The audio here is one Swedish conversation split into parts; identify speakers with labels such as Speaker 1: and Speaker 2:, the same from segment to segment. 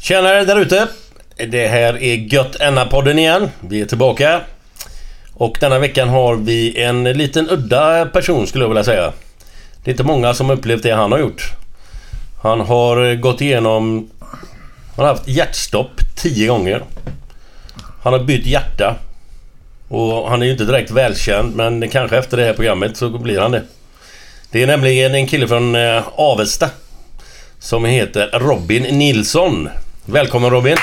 Speaker 1: Tjenare där ute! Det här är Gött Enna-podden igen. Vi är tillbaka. Och denna veckan har vi en liten udda person skulle jag vilja säga. Det är inte många som har upplevt det han har gjort. Han har gått igenom... Han har haft hjärtstopp tio gånger. Han har bytt hjärta. Och han är ju inte direkt välkänd men kanske efter det här programmet så blir han det. Det är nämligen en kille från eh, Avesta. Som heter Robin Nilsson. Välkommen Robin!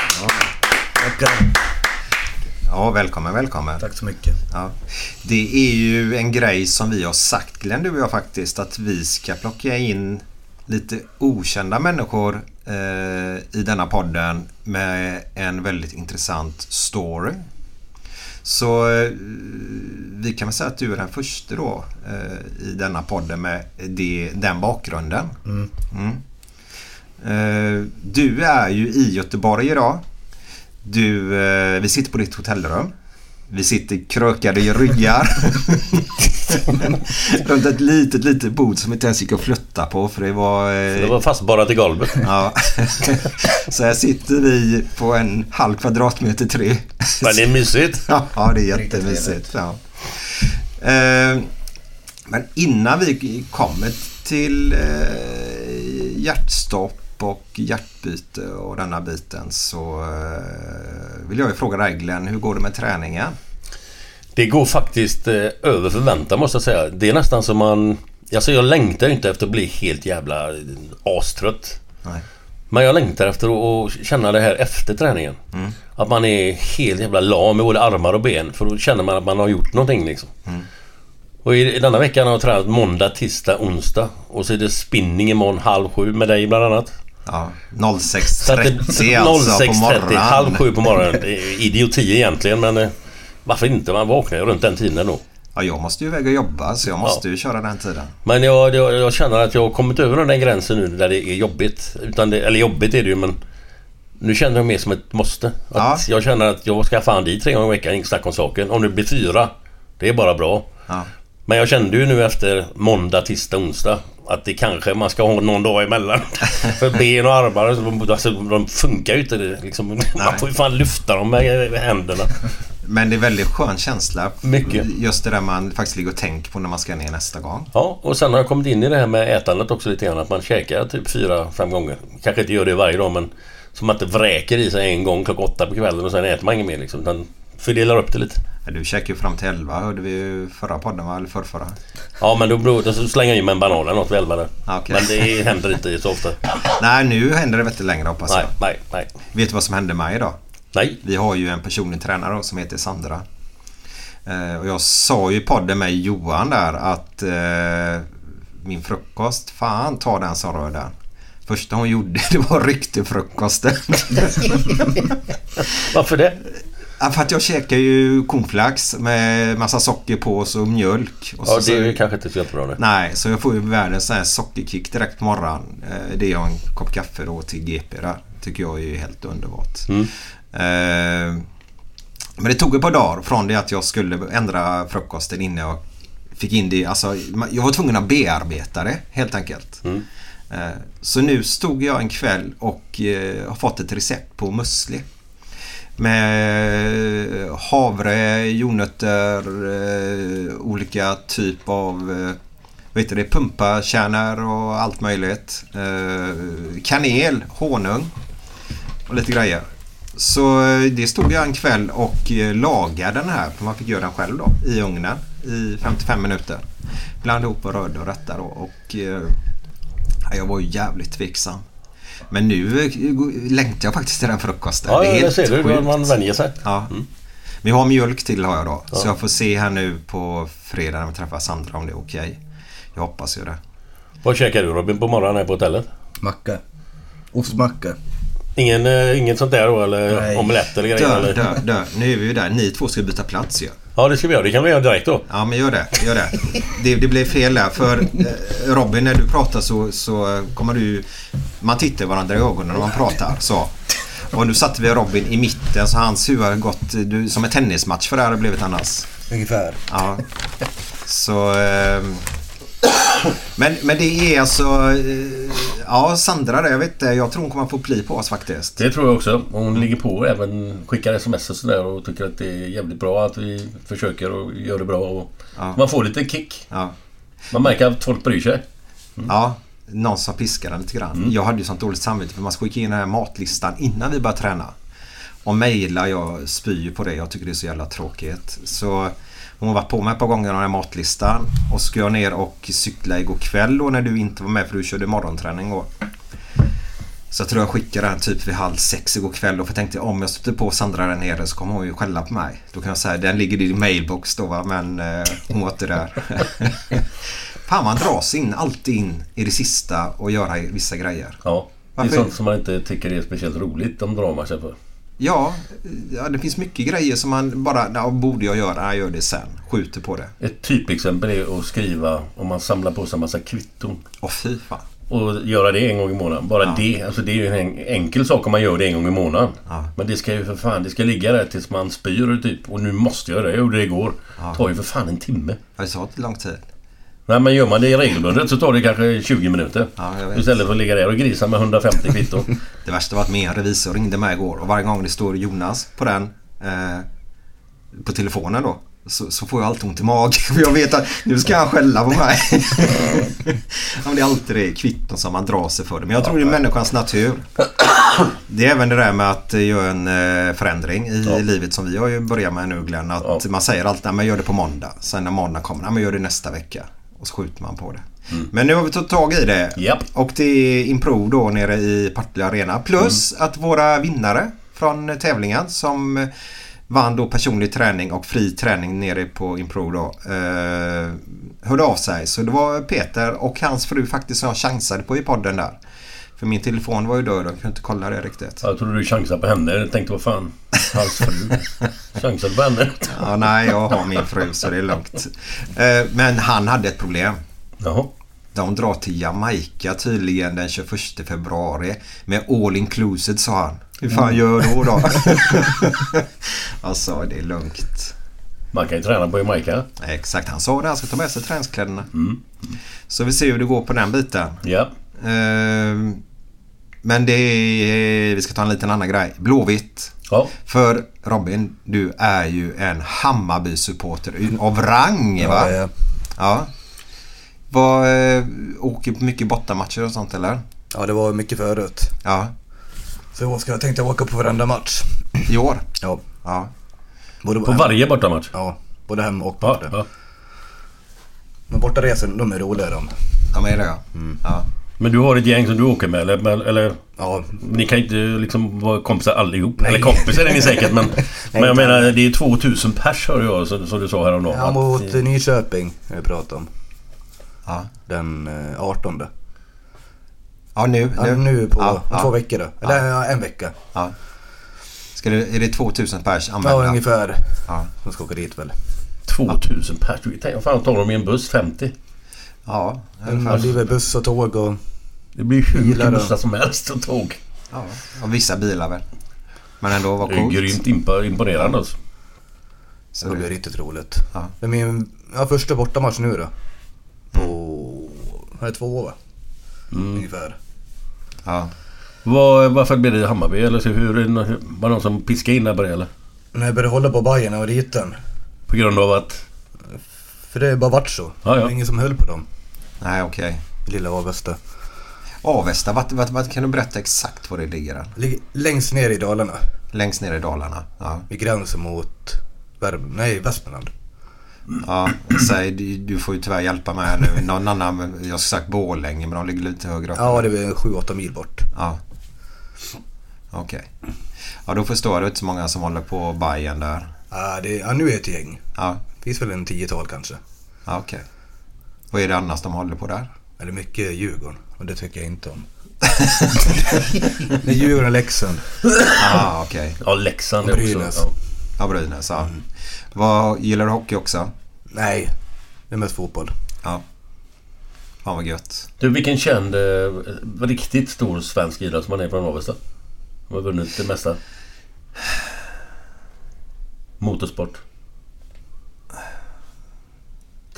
Speaker 2: Ja, välkommen, välkommen.
Speaker 3: Tack så mycket.
Speaker 2: Ja. Det är ju en grej som vi har sagt, Glenn, du och jag faktiskt, att vi ska plocka in lite okända människor eh, i denna podden med en väldigt intressant story. Så eh, vi kan väl säga att du är den första då eh, i denna podden med det, den bakgrunden. Mm. Eh, du är ju i Göteborg idag. Du, eh, vi sitter på ditt hotellrum. Vi sitter krökade i ryggar. Runt ett litet, litet bord som inte ens gick att flytta på för det var... eh,
Speaker 1: Det var fastborrat i golvet.
Speaker 2: Ja. Så här sitter vi på en halv kvadratmeter tre.
Speaker 1: Men det är mysigt.
Speaker 2: Ja, ja, det är jättemysigt. Ja. Eh, Men innan vi kommer till eh, hjärtstopp och hjärtbyte och denna biten så eh, vill jag ju fråga dig Glenn, hur går det med träningen?
Speaker 1: Det går faktiskt eh, över förväntan måste jag säga. Det är nästan som man... Alltså jag längtar inte efter att bli helt jävla eh, astrött.
Speaker 2: Nej.
Speaker 1: Men jag längtar efter att att känna det här efter träningen. Att man är helt jävla lam i både armar och ben. För då känner man att man har gjort någonting liksom. Och i, i denna veckan har jag tränat måndag, tisdag, onsdag. Och så är det spinning imorgon halv sju med dig bland annat.
Speaker 2: Ja,
Speaker 1: Så att det-
Speaker 2: 06.30 alltså på
Speaker 1: 06.30, halv sju
Speaker 2: morgonen.
Speaker 1: på morgonen. Det är Idioti egentligen men... eh, Varför inte? Man vaknar ju runt den tiden ändå.
Speaker 2: Ja, jag måste ju iväg och jobba så jag måste ju köra den tiden.
Speaker 1: Men jag, jag, jag känner att jag har kommit över den där gränsen nu där det är jobbigt. Utan det, eller jobbigt är det ju men... Nu känner jag mer som ett måste. Att
Speaker 2: Ja.
Speaker 1: Jag känner att jag ska fan dit tre gånger i veckan, inget snack om saken. Om det blir fyra, det är bara bra.
Speaker 2: Ja.
Speaker 1: Men jag kände ju nu efter måndag, tisdag, onsdag att det kanske man ska ha någon dag emellan. För ben och armar, alltså, de funkar ju inte. Det, liksom. Man får ju fan lyfta dem med med händerna.
Speaker 2: Men det är väldigt skön känsla.
Speaker 1: Mycket.
Speaker 2: Just det där man faktiskt ligger och tänker på när man ska ner nästa gång.
Speaker 1: Ja, och sen har jag kommit in i det här med ätandet också lite grann. Att man käkar typ fyra, fem gånger. Kanske inte gör det varje dag men så man inte vräker i sig en gång klockan åtta på kvällen och sen äter man inget mer liksom. Utan fördelar upp det lite.
Speaker 2: Ja, Du käkar ju fram till 11 hörde vi ju förra podden va? Eller förrförra?
Speaker 1: Ja men då, beror- då slänger jag i mig en banan eller något vid elva där.
Speaker 2: Ja, okej.
Speaker 1: Men det händer inte så ofta.
Speaker 2: Nej, nu händer det väl inte längre hoppas
Speaker 1: Nej,
Speaker 2: jag.
Speaker 1: nej, nej.
Speaker 2: Vet du vad som hände mig idag?
Speaker 1: Nej,
Speaker 2: Vi har ju en personlig tränare som heter Sandra. Eh, och jag sa ju i podden med Johan där att eh, min frukost, fan ta den som rör den. Första hon gjorde det var att ryckte frukosten.
Speaker 1: varför det?
Speaker 2: Ja, för att jag käkar ju cornflakes med massa socker på och så mjölk. Och
Speaker 1: Ja,
Speaker 2: så,
Speaker 1: det är ju kanske inte så jättebra nu.
Speaker 2: Nej, så jag får ju världens sån här sockerkick direkt på morgonen. Eh, Det är jag en kopp kaffe då till GP där. Tycker jag är helt underbart. Eh, Men det tog ett par dagar från det att jag skulle ändra frukosten innan jag fick in det. Alltså, man- jag var tvungen att bearbeta det helt enkelt. Eh, Så nu stod jag en kväll och eh, har fått ett recept på müsli. Med eh, havre, jordnötter, eh, olika typ av eh, vad heter det, pumpakärnor och allt möjligt. Eh, kanel, honung och lite grejer. Så eh, det stod jag en kväll och eh, lagade den här, för man fick göra den själv då, i ugnen i 55 minuter. Blandade ihop och rörde och rättade då. Och, eh, jag var ju jävligt tveksam. Men nu eh, längtar jag faktiskt till den frukosten.
Speaker 1: Ja,
Speaker 2: är
Speaker 1: ja, det
Speaker 2: helt
Speaker 1: ser du.
Speaker 2: sjukt.
Speaker 1: Man- Man vänjer Mm. sig.
Speaker 2: Ja. Men jag har mjölk till har jag då. Så jag får se här nu på fredag när vi träffar Sandra om det är okej. Jag hoppas ju det.
Speaker 1: Vad käkar du Robin på morgonen här på hotellet?
Speaker 3: Macka. Ostmacka.
Speaker 1: Ingen, eh, inget sånt där då eller
Speaker 3: Nej.
Speaker 1: omelett eller grejer?
Speaker 2: Dö,
Speaker 1: Eller?
Speaker 2: dö, dö. Nu är vi ju där. Ni två ska byta plats ju.
Speaker 1: Ja, det ska vi göra. Det kan vi göra direkt då.
Speaker 2: Ja men gör det. Gör det. det, det blev fel där. För eh, Robin när du pratar så, så kommer du... Man tittar varandra i ögonen när man pratar. Så. Och nu satte vi Robin i mitten så hans huvud har gått du, som en tennismatch för det här har blivit annars.
Speaker 3: Ungefär.
Speaker 2: Ja. Så... ehm, Men, men det är alltså... eh, Ja, Sandra där, jag vet inte. Jag tror hon kommer få pli på oss faktiskt.
Speaker 1: Det tror jag också. Och Hon ligger på även skickar sms och sådär och tycker att det är jävligt bra att vi försöker och gör det bra. Och Man får lite kick.
Speaker 2: Ja,
Speaker 1: Man märker att folk bryr sig.
Speaker 2: ja någon som piskar den lite grann. Jag hade ju sånt dåligt samvete för man ska skicka in den här matlistan innan vi börjar träna. Och mejla, jag spyr ju på det. Jag tycker det är så jävla tråkigt. Så hon har varit på mig ett par gånger om den här matlistan. Och så ska jag ner och cykla igår kväll då när du inte var med för du körde morgonträning igår. Så jag tror jag skickade den typ vid halv sex igår kväll och för jag tänkte om jag stötte på Sandra där nere så kommer hon ju skälla på mig. Då kan jag säga den ligger i din mailbox då va men eh, hon var inte där. Fan man dras in, alltid in i det sista och göra vissa grejer.
Speaker 1: Ja. Det
Speaker 2: Varför?
Speaker 1: är sånt som man inte tycker är speciellt roligt. De drar man sig för.
Speaker 2: Ja, ja, det finns mycket grejer som man bara, ja, borde jag göra? Jag gör det sen. Skjuter på det.
Speaker 1: Ett typexempel är att skriva om man samlar på sig en massa kvitton.
Speaker 2: Åh fy fan.
Speaker 1: Och göra det en gång i månaden. Bara det. Alltså det är ju en enkel sak om man gör det en gång i månaden. Men det ska ju för fan, det ska ligga där tills man spyr typ. Och nu måste jag göra det. Jag gjorde det igår. Tar ju för fan en timme.
Speaker 2: Ja, det tar lång tid.
Speaker 1: Nej men gör man det regelbundet så tar det kanske 20 minuter.
Speaker 2: Ja, jag vet.
Speaker 1: Istället för att ligga där och grisa med 150 kvitton.
Speaker 2: Det värsta var att min revisor ringde mig igår och varje gång det står Jonas på den eh, på telefonen då så, så får jag alltid ont i magen för jag vet att nu ska han skälla på mig. ja, men det är alltid det kvitton som man drar sig för. Det. Men jag tror det är människans natur. Det är även det där med att eh, göra en eh, förändring i livet som vi har ju börjat med nu Glenn. Att
Speaker 1: Ja.
Speaker 2: man säger alltid att gör det på måndag. Sen när måndag kommer, "Nej, men gör det nästa vecka. Och så skjuter man på det. Men nu har vi tagit tag i det.
Speaker 1: Mm. Japp.
Speaker 2: Och det är improv då nere i Partille Arena. Plus att våra vinnare från tävlingen som vann då personlig träning och fri träning nere på improv då. Eh, hörde av sig. Så det var Peter och hans fru faktiskt som jag chansade på i podden där. För min telefon var ju död och jag kunde inte kolla det riktigt.
Speaker 1: Jag trodde du chansade på henne. Jag tänkte vad fan. Hans fru. Chansade på henne.
Speaker 2: Ja, nej, jag har min fru så det är lugnt. Eh, men han hade ett problem.
Speaker 1: Jaha.
Speaker 2: De drar till Jamaica tydligen den 21 februari med all inclusive sa han. Hur fan gör då då? Jag sa det är lugnt.
Speaker 1: Man kan ju träna på Jamaica.
Speaker 2: Exakt, han sa det. Han ska ta med sig träningskläderna.
Speaker 3: Mm.
Speaker 2: Så vi ser hur det går på den biten.
Speaker 1: Ja.
Speaker 2: Eh, men det är... Vi ska ta en liten annan grej. Blåvitt.
Speaker 1: Ja.
Speaker 2: För Robin, du är ju en Hammarby-supporter av rang
Speaker 3: Ja,
Speaker 2: va?
Speaker 3: ja.
Speaker 2: Ja. Vad, eh, åker på mycket bortamatcher och sånt eller?
Speaker 3: ja, det var mycket förut.
Speaker 2: Ja.
Speaker 3: Så i år ska jag tänkte jag åka på varenda match.
Speaker 2: I år?
Speaker 3: Ja.
Speaker 2: Ja.
Speaker 3: Både
Speaker 1: På varje bortamatch.
Speaker 3: Ja, både hem och
Speaker 1: Ja,
Speaker 3: borta.
Speaker 1: ja.
Speaker 3: Men bortaresor, de är roliga de.
Speaker 2: De är det ja.
Speaker 3: Mm.
Speaker 2: ja.
Speaker 1: Men du har ett gäng som du åker med eller? eller- eller
Speaker 3: Ja,
Speaker 1: ni kan ju inte liksom vara kompisar allihop.
Speaker 3: Nej.
Speaker 1: Eller kompisar är ni säkert men... men jag
Speaker 3: inte
Speaker 1: menar
Speaker 3: alla.
Speaker 1: det är 2000 pers hör jag som, som du sa häromdagen.
Speaker 3: ja
Speaker 1: Att-
Speaker 3: mot eh, Nyköping har vi pratat om.
Speaker 2: Ja.
Speaker 3: Den eh, 18.
Speaker 2: Ja nu.
Speaker 3: Ja, nu på
Speaker 2: ja,
Speaker 3: om två
Speaker 2: ja.
Speaker 3: veckor då. Eller ja. en vecka.
Speaker 2: Ja. Ska Ska det, är det 2000 pers använda?
Speaker 3: Ja, ungefär.
Speaker 2: Ja.
Speaker 3: Som ska åka dit väl.
Speaker 1: 2000 pers. Tänk om fan tar dem i en buss 50.
Speaker 2: Ja,
Speaker 3: Ja,
Speaker 2: ungefär.
Speaker 3: Mm, det är väl buss och tåg och...
Speaker 1: Det blir hur
Speaker 3: Gillar
Speaker 1: mycket
Speaker 3: det.
Speaker 1: bussar som helst och tåg.
Speaker 2: ja. Och vissa bilar väl. Men ändå, vad
Speaker 1: Det är
Speaker 2: coolt.
Speaker 1: grymt impa- imponerande alltså.
Speaker 2: Så
Speaker 3: Det blir
Speaker 2: det-
Speaker 3: riktigt roligt.
Speaker 2: Ja.
Speaker 3: Det är min ja, första bortamatch nu då. På... Här är två år va? Ungefär.
Speaker 2: Ja.
Speaker 1: Var, varför blev det Hammarby? Eller så hur, hur- var det någon som piskade in där på det eller?
Speaker 3: När jag började hålla på Bajen och riten.
Speaker 1: På grund av att...
Speaker 3: För det har bara varit så.
Speaker 1: Ja, ja.
Speaker 3: Det var ingen som höll på dem.
Speaker 2: Nej, okej.
Speaker 3: i Lilla Avesta.
Speaker 2: Avesta, vad, vad, vad, kan du berätta exakt var det ligger? än?
Speaker 3: Ligger längst ner i Dalarna.
Speaker 2: Längst ner i Dalarna? Ja.
Speaker 3: Vid gränsen mot Värm... Nej, Västmanland.
Speaker 2: ja säg, du, du får ju tyvärr hjälpa mig här nu. Någon annan, jag skulle sagt Borlänge, men de ligger lite högre upp.
Speaker 3: Ja, det är 7-8 mil bort.
Speaker 2: Ja. Okej. Ja, då förstår jag. Det är inte så många som håller på Bajen där.
Speaker 3: Ja, det, ja, nu är det ett gäng.
Speaker 2: Ja,
Speaker 3: Finns väl en tiotal kanske.
Speaker 2: ja okej. Vad är det annars de håller på där?
Speaker 3: Eller mycket Djurgården. Och det tycker jag inte om. det är Djurgården och Leksand.
Speaker 2: Ah, okej.
Speaker 1: Ja, Leksand är
Speaker 3: Brynäs.
Speaker 1: också.
Speaker 2: Ja, Brynäs. Ja. Vad, gillar du hockey också?
Speaker 3: Nej, det är mest fotboll.
Speaker 2: Ja. Fan vad gött.
Speaker 1: Du, vilken känd, eh, riktigt stor svensk idrottsman är från Avesta? De har vunnit det mesta. Motorsport.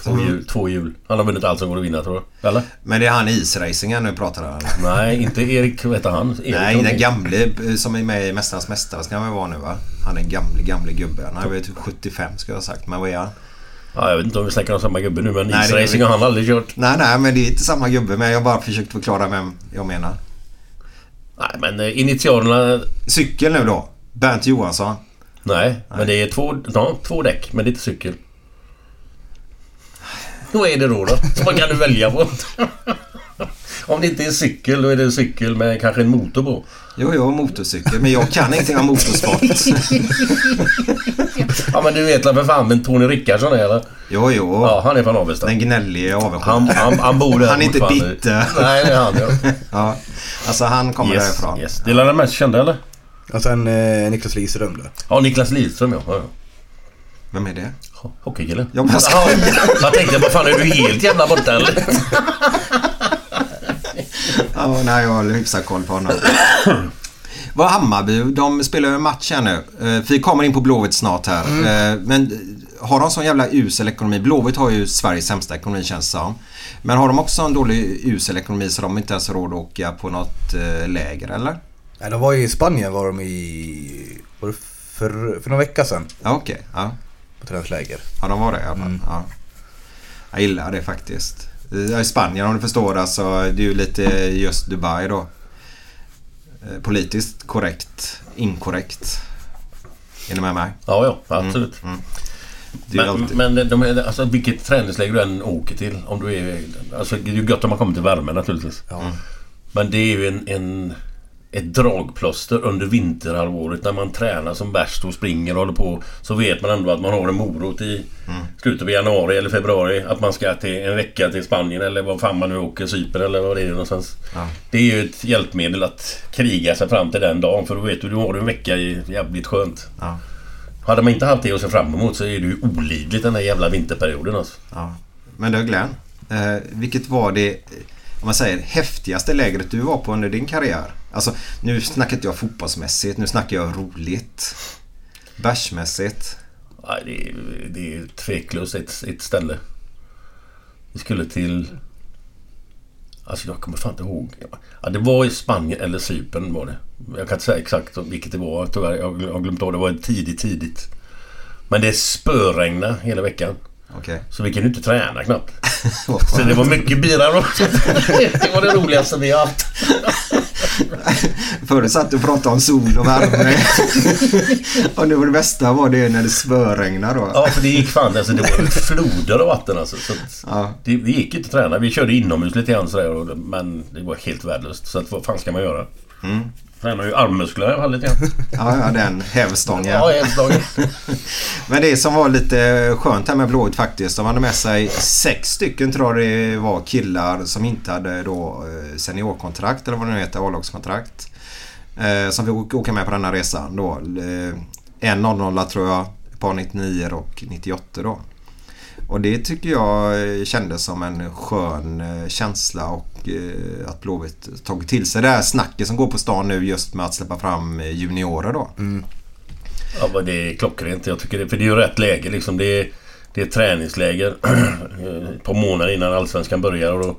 Speaker 1: Två
Speaker 2: Mm.
Speaker 1: hjul, två hjul. Han har vunnit allt som går att vinna tror jag. Eller?
Speaker 2: Men det är han i isracingen nu pratar om.
Speaker 1: Nej, inte Erik. Vad heter han? Erik
Speaker 2: Nej,
Speaker 1: någonting.
Speaker 2: den gamle eh, som är med i Mästarnas Mästare ska han väl vara nu va? Han är en gamle, gamle gubbe. Han är väl typ 75 skulle jag ha sagt. Men vad är han?
Speaker 1: Ja, jag vet inte om vi snackar om samma gubbe nu men
Speaker 2: Nej, det gör
Speaker 1: isracing
Speaker 2: vi.
Speaker 1: har han aldrig kört.
Speaker 2: Nej, nej, men det är inte samma gubbe. Men jag har bara försökt förklara vem jag menar.
Speaker 1: Nej, men eh, initialerna...
Speaker 2: Cykel nu då. Bernt Johansson.
Speaker 1: Nej, men det är två, ja, två däck men det är inte cykel. Vad är det då då? Som man kan du välja på? om det inte är cykel då är det en cykel med kanske en motor på.
Speaker 2: Jo, jo, motorcykel. Men jag kan ingenting om motorsport.
Speaker 1: Ja men du vet väl för fan men Tony Rickardsson är eller?
Speaker 2: Jo, jo.
Speaker 1: Ja, han är från Avesta.
Speaker 2: Den gnällige avundsjuka.
Speaker 1: Han, han, han bor där
Speaker 2: Han är inte
Speaker 1: fortfarande.
Speaker 2: bitter.
Speaker 1: Nej, det är han ja.
Speaker 2: Ja. Alltså han kommer
Speaker 1: Yes,
Speaker 2: därifrån.
Speaker 1: yes. Det är den mest kända eller?
Speaker 3: Och sen eh, Niklas Liseröm då.
Speaker 1: Ja, Niklas Lidström ja. ja. ja.
Speaker 2: Vem är det?
Speaker 1: Hockeykille.
Speaker 2: Jag bara skojar.
Speaker 1: Jag tänkte, vad fan är du helt jävla borta eller?
Speaker 2: Ja, nej, jag har hyfsat koll på honom. Vad Hammarby, de spelar ju en match här nu. Eh, Vi kommer in på Blåvitt snart här. Eh, Men har de sån jävla usel ekonomi? Blåvitt har ju Sveriges sämsta ekonomi känns det som. Men har de också en dålig usel ekonomi så de inte ens har råd att åka på något eh, läger eller?
Speaker 3: Nej, de var ju i Spanien var de i... Var det för, för några vecka sedan.
Speaker 2: Ja, okej. Ja.
Speaker 3: På träningsläger.
Speaker 2: Ja, de var det i alla fall. Ja. Jag gillar det faktiskt. I Spanien om du förstår alltså. Det är ju lite just Dubai då. Eh, Politiskt korrekt, inkorrekt. Är ni med mig?
Speaker 1: Ja, ja, absolut.
Speaker 2: Mm, Det är ju alltid...
Speaker 1: Men, men de, är- alltså, vilket träningsläger du än åker till. Om du är, alltså, det är ju gött om man kommer till värmen naturligtvis. Men det är ju en, en, ett dragplåster under vinterhalvåret när man tränar som värst och springer och håller på. Så vet man ändå att man har en morot i
Speaker 2: Mm.
Speaker 1: slutet av januari eller februari. Att man ska till en vecka till Spanien eller vad fan man nu åker. Cypern eller vad det är någonstans. Det är ju ett hjälpmedel att kriga sig fram till den dagen. För då vet du, du har en vecka i jävligt skönt.
Speaker 2: Ja.
Speaker 1: Hade man inte haft det att se fram emot så är det ju olidligt den här jävla vinterperioden alltså.
Speaker 2: Ja. Men du Glenn, eh, vilket var det eh, om man säger, häftigaste lägret du var på under din karriär? Alltså nu snackar inte jag fotbollsmässigt, nu snackar jag roligt. Bärsmässigt.
Speaker 1: Nej, det är, det är tveklöst ett, ett ställe. Vi skulle till... Alltså jag kommer fan inte ihåg. Ja, det var i Spanien eller Cypern var det. Jag kan inte säga exakt vilket det var tyvärr. Jag har glö- jag har glömt av det. var tidigt, tidigt. Men det spöregna hela veckan.
Speaker 2: Okej.
Speaker 1: Så vi kan ju inte träna knappt. Så det var mycket bilar också. Det var det roligaste vi har haft.
Speaker 2: Förut satt du och pratade om sol och värme. och nu var det bästa var det när det spöregnar då.
Speaker 1: Ja, för det gick fan alltså, det var floder av vatten alltså. Så att
Speaker 2: Ja.
Speaker 1: det, det gick inte att träna. Vi körde inomhus lite grann sådär, och- men det var helt värdelöst. Så att, vad fan ska man göra? Tränar ju armmusklerna i alla fall lite grann.
Speaker 2: Ja, ja den hävstången.
Speaker 1: Ja, en dag.
Speaker 2: Men det som var lite skönt här med Blåvitt faktiskt. De hade med sig sex stycken tror jag det var killar som inte hade då eh, seniorkontrakt eller vad det nu heter, A-lagskontrakt. Eh, som fick åka med på denna resan då. Eh, en 00 tror jag, ett par 99 och 98 då. Och det tycker jag eh, kändes som en skön eh, känsla och eh, att Blåvitt tagit till sig det här snacket som går på stan nu just med att släppa fram eh, juniorer då.
Speaker 1: Ja, men det är klockrent. Jag tycker det. För det är ju rätt läge liksom. Det är, det är träningsläger ett par månader innan Allsvenskan börjar. Och då,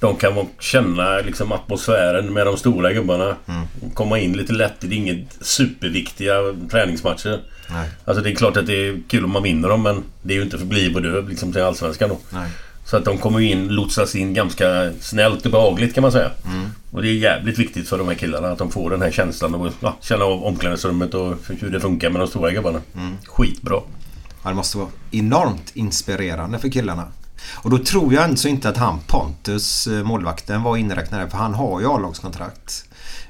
Speaker 1: de kan vara- känna liksom atmosfären med de stora gubbarna.
Speaker 2: Mm.
Speaker 1: Komma in lite lätt. Det är inget superviktiga träningsmatcher.
Speaker 2: Nej.
Speaker 1: Alltså det är klart att det är kul om man vinner dem men det är ju inte för bliv och döv liksom till Allsvenskan då.
Speaker 2: Nej.
Speaker 1: Så att de kommer ju in, lotsas in ganska snällt och behagligt kan man säga.
Speaker 2: Mm.
Speaker 1: Och det är jävligt viktigt för de här killarna att de får den här känslan och ja, känna av omklädningsrummet och hur det funkar med de stora gubbarna.
Speaker 2: Mm.
Speaker 1: Skitbra.
Speaker 2: Ja, det måste vara enormt inspirerande för killarna. Och då tror jag alltså inte att han Pontus, eh, målvakten, var inräknad för han har ju A-lagskontrakt.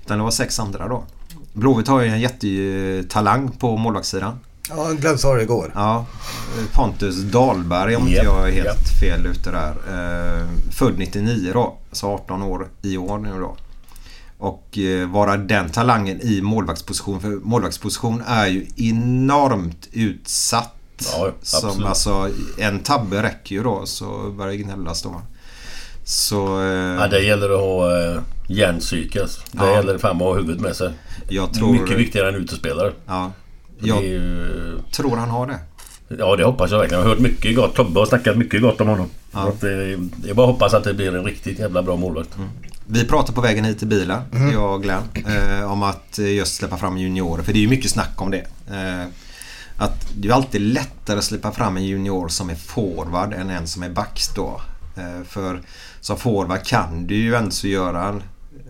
Speaker 2: Utan det var sex andra då. Blåvitt har ju en jättetalang på målvaktssidan.
Speaker 3: Ja, Glenn sa det igår.
Speaker 2: Ja, eh, Pontus Dahlberg om inte
Speaker 1: Japp,
Speaker 2: jag är helt
Speaker 1: japp.
Speaker 2: fel ute där. Eh, född 99 då, så 18 år i år nu då. Och eh, vara den talangen i målvaktsposition. För målvaktsposition är ju enormt utsatt.
Speaker 1: Ja, ja,
Speaker 2: som
Speaker 1: absolut.
Speaker 2: alltså, en tabbe räcker ju då så börjar det gnällas då. Så eh,
Speaker 1: Ja, där gäller det att ha eh, järnpsyke alltså. Där
Speaker 2: Ja.
Speaker 1: gäller det fan att ha huvudet med sig.
Speaker 2: jag tror...
Speaker 1: Mycket viktigare än utespelare.
Speaker 2: Ja,
Speaker 1: Ja.
Speaker 2: jag
Speaker 1: Det är ju,
Speaker 2: tror han har det.
Speaker 1: Ja, det hoppas jag verkligen. Jag har hört mycket gott. Tobbe har snackat mycket gott om honom. Så Att, eh, jag bara hoppas att det blir en riktigt jävla bra målvakt.
Speaker 2: Mm. Vi pratade på vägen hit i bilen, jag och Glenn, eh, om att eh, just släppa fram juniorer. För det är ju mycket snack om det. Eh, att det är alltid lättare att släppa fram en junior som är forward än en som är back då. Eh, för som forward kan du ju ens göra en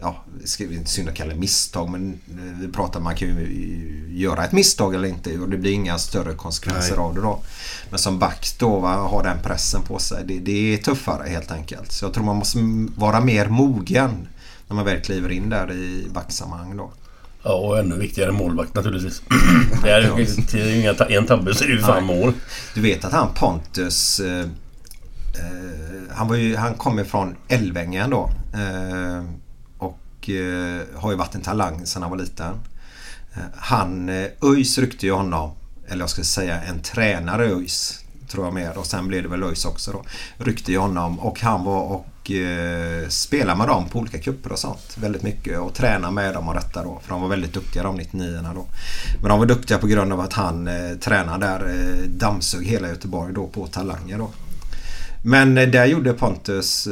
Speaker 2: Ja, det ska vi inte synd att kalla det misstag men eh, vi pratar man kan ju göra ett misstag eller inte och det blir inga större konsekvenser av det då. Men som back då va, har den pressen på sig. Det, det är tuffare helt enkelt. Så jag tror man måste m- vara mer mogen när man väl kliver in där i backsammanhang då.
Speaker 1: Ja, och ännu viktigare målvakt naturligtvis. det är ju det är ju inga ta- en tabbe så är det ju fan mål.
Speaker 2: Du vet att han Pontus eh, eh, han, var ju, han kommer från Älvängen då. Eh, och eh, har ju varit en talang sedan han var liten. Eh, han, eh, ÖIS ryckte ju honom, eller jag ska säga en tränare i ÖIS tror jag med och sen blev det väl ÖIS också då. Ryckte ju honom och han var och eh, spelade med dem på olika kupper och sånt väldigt mycket och tränade med dem och detta då. För de var väldigt duktiga de 99 då. Men de var duktiga på grund av att han eh, tränade där, eh, dammsög hela Göteborg då på talanger då. Men eh, där gjorde Pontus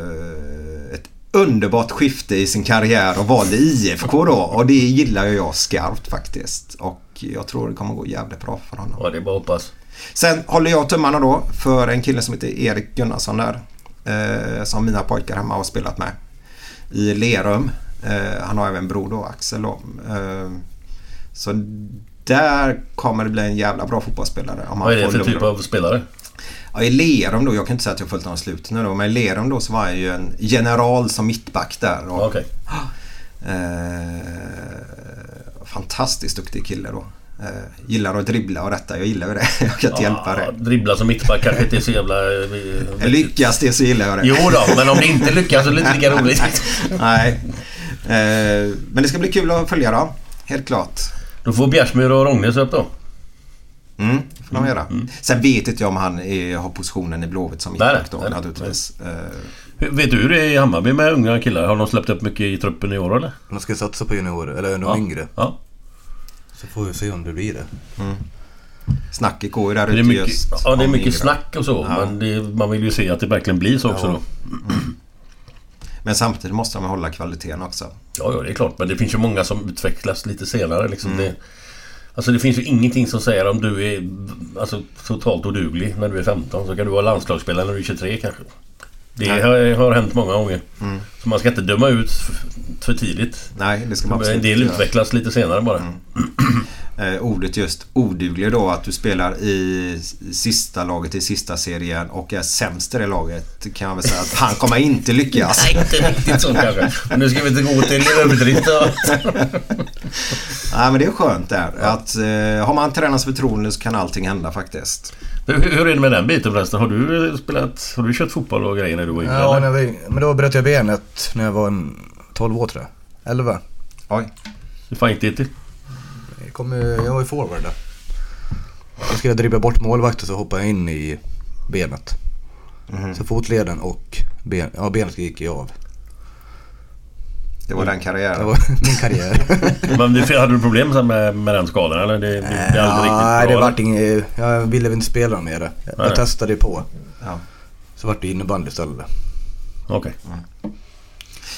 Speaker 2: eh, ett underbart skifte i sin karriär och valde IFK då. Och det gillar ju jag skarpt faktiskt. Och jag tror det kommer gå jävligt bra för honom.
Speaker 1: Ja, det är bara att hoppas.
Speaker 2: Sen håller jag tummarna då för en kille som heter Erik Gunnarsson där. Eh, som mina pojkar hemma har spelat med. I Lerum. Eh, han har även en bror då, Axel då. Eh, så där kommer det bli en jävla bra fotbollsspelare. Om han
Speaker 1: Vad är det
Speaker 2: får
Speaker 1: för
Speaker 2: lugn
Speaker 1: typ
Speaker 2: och ro.
Speaker 1: av spelare?
Speaker 2: Ja, I Lerum då, jag kan inte säga att jag följt honom i slutet nu då, men i Lerum då så var han ju en general som mittback där. Och,
Speaker 1: Okej.
Speaker 2: eh, fantastiskt duktig kille då. Eh, gillar att dribbla och detta, jag gillar ju det. Jag kan inte hjälpa
Speaker 1: Ja,
Speaker 2: det.
Speaker 1: dribbla som mittback kanske inte är så jävla... eh, vettigt.
Speaker 2: Lyckas det så gillar jag det.
Speaker 1: Jo då, men om det inte lyckas så är det inte lika roligt.
Speaker 2: Nej. Eh, men det ska bli kul att följa dem. Helt klart.
Speaker 1: Då får Bjärsmyr och Rognäs upp då.
Speaker 2: Mm, får de göra. Sen vet inte jag om han är, har positionen i Blåvitt som
Speaker 1: Nej,
Speaker 2: mittback då
Speaker 1: nej,
Speaker 2: naturligtvis. Eh,
Speaker 1: Hur- Vet du hur det är i Hammarby med unga killar? Har de släppt upp mycket i truppen i år eller?
Speaker 3: De ska satsa på juniorer, eller de yngre.
Speaker 1: Ja.
Speaker 3: Så får vi se om det blir det.
Speaker 2: snacket går ju där
Speaker 1: Det är
Speaker 2: ute
Speaker 1: mycket,
Speaker 2: just.
Speaker 1: ja, det är
Speaker 2: om
Speaker 1: mycket
Speaker 2: Ingram.
Speaker 1: snack och så. Men det, man vill ju se att det verkligen blir så också då.
Speaker 2: Men samtidigt måste de hålla kvaliteten också.
Speaker 1: Ja, ja, det är klart. Men det finns ju många som utvecklas lite senare. Liksom.
Speaker 2: Mm.
Speaker 1: Det, alltså det finns ju ingenting som säger om du är alltså, totalt oduglig när du är 15 så kan du vara landslagsspelare när du är 23 kanske. Det har, har hänt många gånger.
Speaker 2: Mm.
Speaker 1: Så man ska inte döma ut f- för tidigt.
Speaker 2: Nej, det ska man
Speaker 1: En
Speaker 2: absolut inte
Speaker 1: del
Speaker 2: Mm. göra.
Speaker 1: utvecklas lite senare bara.
Speaker 2: eh, ordet just oduglig då. Att du spelar i sista laget i sista serien och är sämst i det laget. Kan jag väl säga att han kommer inte lyckas.
Speaker 1: Nej, inte riktigt så kanske. Nu ska vi inte gå till överdrift.
Speaker 2: Nej, men det är skönt där. Att, eh, har man tränarens förtroende så kan allting hända faktiskt.
Speaker 1: Du, Hur, hur är det med den biten förresten? Har du spelat... Har du kört fotboll och grejer när du var yngre?
Speaker 3: Ja,
Speaker 1: eller?
Speaker 3: när vi, men då bröt jag benet när jag var en 12 år tror jag. 11.
Speaker 2: Oj.
Speaker 1: Hur fan gick det till?
Speaker 3: Jag, kom, eh, jag var ju forward där. Då skulle jag dribbla bort målvakten så hoppade jag in i benet. Så fotleden och ben, ja, benet gick ju av.
Speaker 2: Det
Speaker 1: Mm.
Speaker 2: var den
Speaker 3: Det
Speaker 2: karriären.
Speaker 3: var min karriär.
Speaker 1: Men du, hade du problem sen med, med den skadan eller? Det, det, det är aldrig riktigt
Speaker 3: Eh, Nej,
Speaker 1: bra,
Speaker 3: det
Speaker 1: eller?
Speaker 3: vart inget, eh, jag ville väl inte spela mer. Jag,
Speaker 1: Nej.
Speaker 3: jag testade ju på.
Speaker 2: Ja.
Speaker 3: Så vart det innebandy istället.
Speaker 1: Okej.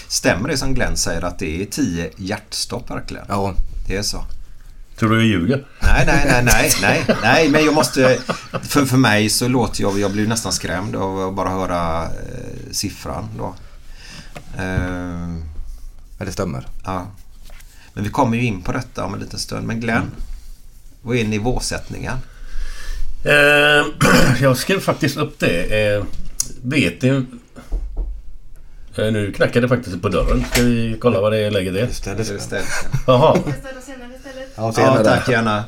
Speaker 2: Stämmer det som Glenn säger att det är 10 hjärtstopp verkligen?
Speaker 3: Ja,
Speaker 2: Det är så.
Speaker 1: Tror du jag ljuger?
Speaker 2: Nej, nej, nej, nej, nej, nej, men jag måste... För, för mig så låter jag... Jag blir nästan skrämd av att bara höra eh, siffran då. Eh,
Speaker 3: ja, det stämmer.
Speaker 2: ja. Men vi kommer ju in på detta om en liten stund. Men Glenn, vad är nivåsättningen?
Speaker 1: Eh, jag skrev faktiskt upp det. Eh, vet ni... Eh, nu knackar det faktiskt på dörren. Ska vi kolla vad det är läget är?
Speaker 3: Ställ dig.
Speaker 2: Just det.
Speaker 1: Jaha.
Speaker 3: Ja,
Speaker 2: Ja,
Speaker 3: senare.
Speaker 2: tack gärna.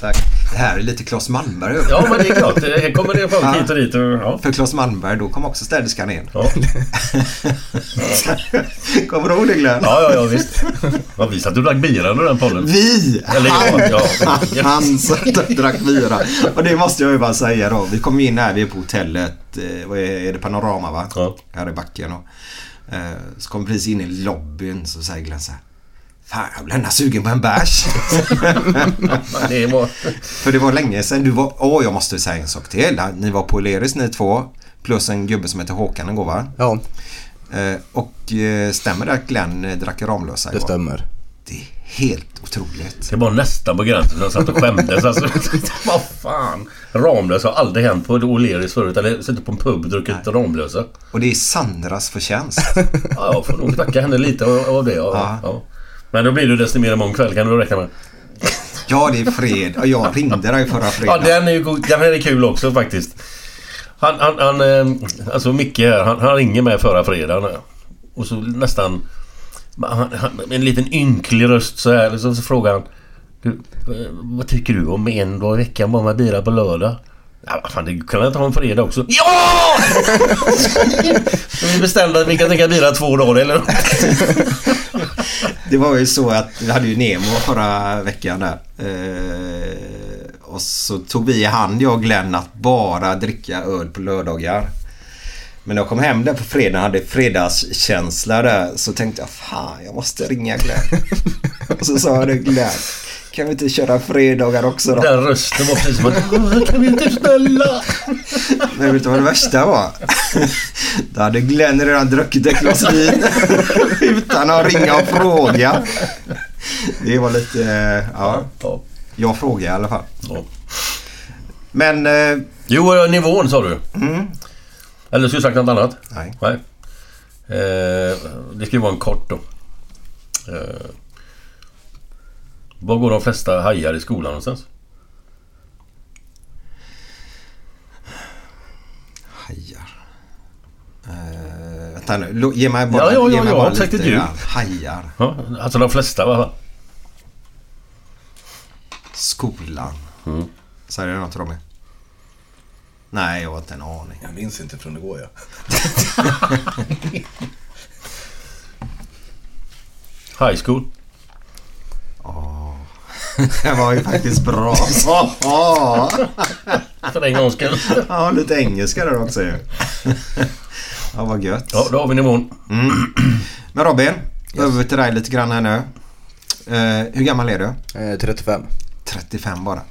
Speaker 2: Tack. Det här är lite Claes Malmberg över.
Speaker 1: Ja, men det är klart. Det här kommer det folk hit och dit. Och, ja.
Speaker 2: För Claes Malmberg, då kom också städerskan in.
Speaker 1: Ja.
Speaker 2: Kommer du ihåg det Glenn?
Speaker 1: ja, ja, ja visst. Ja, vi satt och drack bira under den podden.
Speaker 2: Vi!
Speaker 1: Eller jag. Ja.
Speaker 2: Han- Han satt och drack bira. Och det måste jag ju bara säga då. Vi kom in här, vi är på hotellet. Eh, vad är, är det Panorama va?
Speaker 1: Ja.
Speaker 2: Här i backen. Och, eh, så kom vi precis in i lobbyn så säger Glenn så här. Fan jag blir ändå sugen på en bärs.
Speaker 1: Det var...
Speaker 2: För det var länge sedan du var... Åh jag måste säga en sak till. Ni var på Leris ni två. Plus en gubbe som heter Håkan igår va?
Speaker 3: Ja,
Speaker 2: Eh, och eh, stämmer det att Glenn eh, drack Ramlösa
Speaker 3: det
Speaker 2: igår?
Speaker 3: stämmer.
Speaker 2: Det är helt otroligt.
Speaker 1: Det var nästan på gränsen. Jag satt och skämdes. Alltså, vad fan. Ramlösa har aldrig hänt på O'Learys förut. Eller suttit på en pub och druckit Ramlösa.
Speaker 2: Och det är Sandras förtjänst.
Speaker 1: Ja, jag får nog tacka henne lite av av det. Ja. Ja. Men då blir du desto mer imorgon kväll kan du räkna med.
Speaker 2: Ja, det är fred. Och jag ringde dig förra
Speaker 1: Ja,
Speaker 2: fredagen.
Speaker 1: den är ju god. Den här är kul också faktiskt. Han, han, han eh, alltså Micke här, han, han ringer mig förra fredagen. eh. Och så nästan... Han, han, med en liten ynklig röst så här. liksom, Så, så frågar han... Du, eh, vad tycker du om en dag i veckan bara med bira på lördag? Ja, vad fan, det kan jag ta en fredag också. Ja! Så vi bestämde att vi kan dricka bira två dagar eller
Speaker 2: Det var ju så att vi hade ju Nemo förra veckan där. Eh, och så tog vi i hand, jag och Glenn, att bara dricka öl på lördagar. Men när jag kom hem där på fredagen hade fredagskänsla där. Så tänkte jag, fan jag måste ringa Glenn. och så sa jag det Glenn. Kan vi inte köra fredagar också då?
Speaker 1: Den rösten var precis som att "Åh, Kan vi inte snälla?
Speaker 2: Men vet du vad det värsta var? Då hade Glenn redan druckit ett glas vin utan att ringa och fråga. Det var lite... eh, Ja,
Speaker 1: Ja.
Speaker 2: jag frågade i alla fall.
Speaker 1: ja.
Speaker 2: Men... eh,
Speaker 1: Jo, eh, nivån sa du. Eller skulle du sagt något annat?
Speaker 2: Mm. Nej.
Speaker 1: Eh, det ska ju vara en kort då. Eh, var går de flesta hajar i skolan någonstans?
Speaker 2: Hajar. Eh, vänta nu. Lo- Ge mig
Speaker 1: Ja,
Speaker 2: bara,
Speaker 1: ja, ja,
Speaker 2: ge mig
Speaker 1: ja,
Speaker 2: bara
Speaker 1: exakt
Speaker 2: lite
Speaker 1: ett djur.
Speaker 2: grann. Hajar.
Speaker 1: Ja, alltså de flesta va?
Speaker 2: Skolan. Säger det något Robin? Nej, jag har inte en aning.
Speaker 3: Jag minns inte från igår ja.
Speaker 1: High school.
Speaker 2: Det var ju faktiskt bra. Oh, oh.
Speaker 1: För en gångs skull.
Speaker 2: Ja, lite engelska där också ju. Ja, vad gött.
Speaker 1: Ja, då har vi nivån.
Speaker 2: Men Robin, över till dig lite grann här nu. Eh, hur gammal är du?
Speaker 3: Eh, 35.
Speaker 2: 35 bara.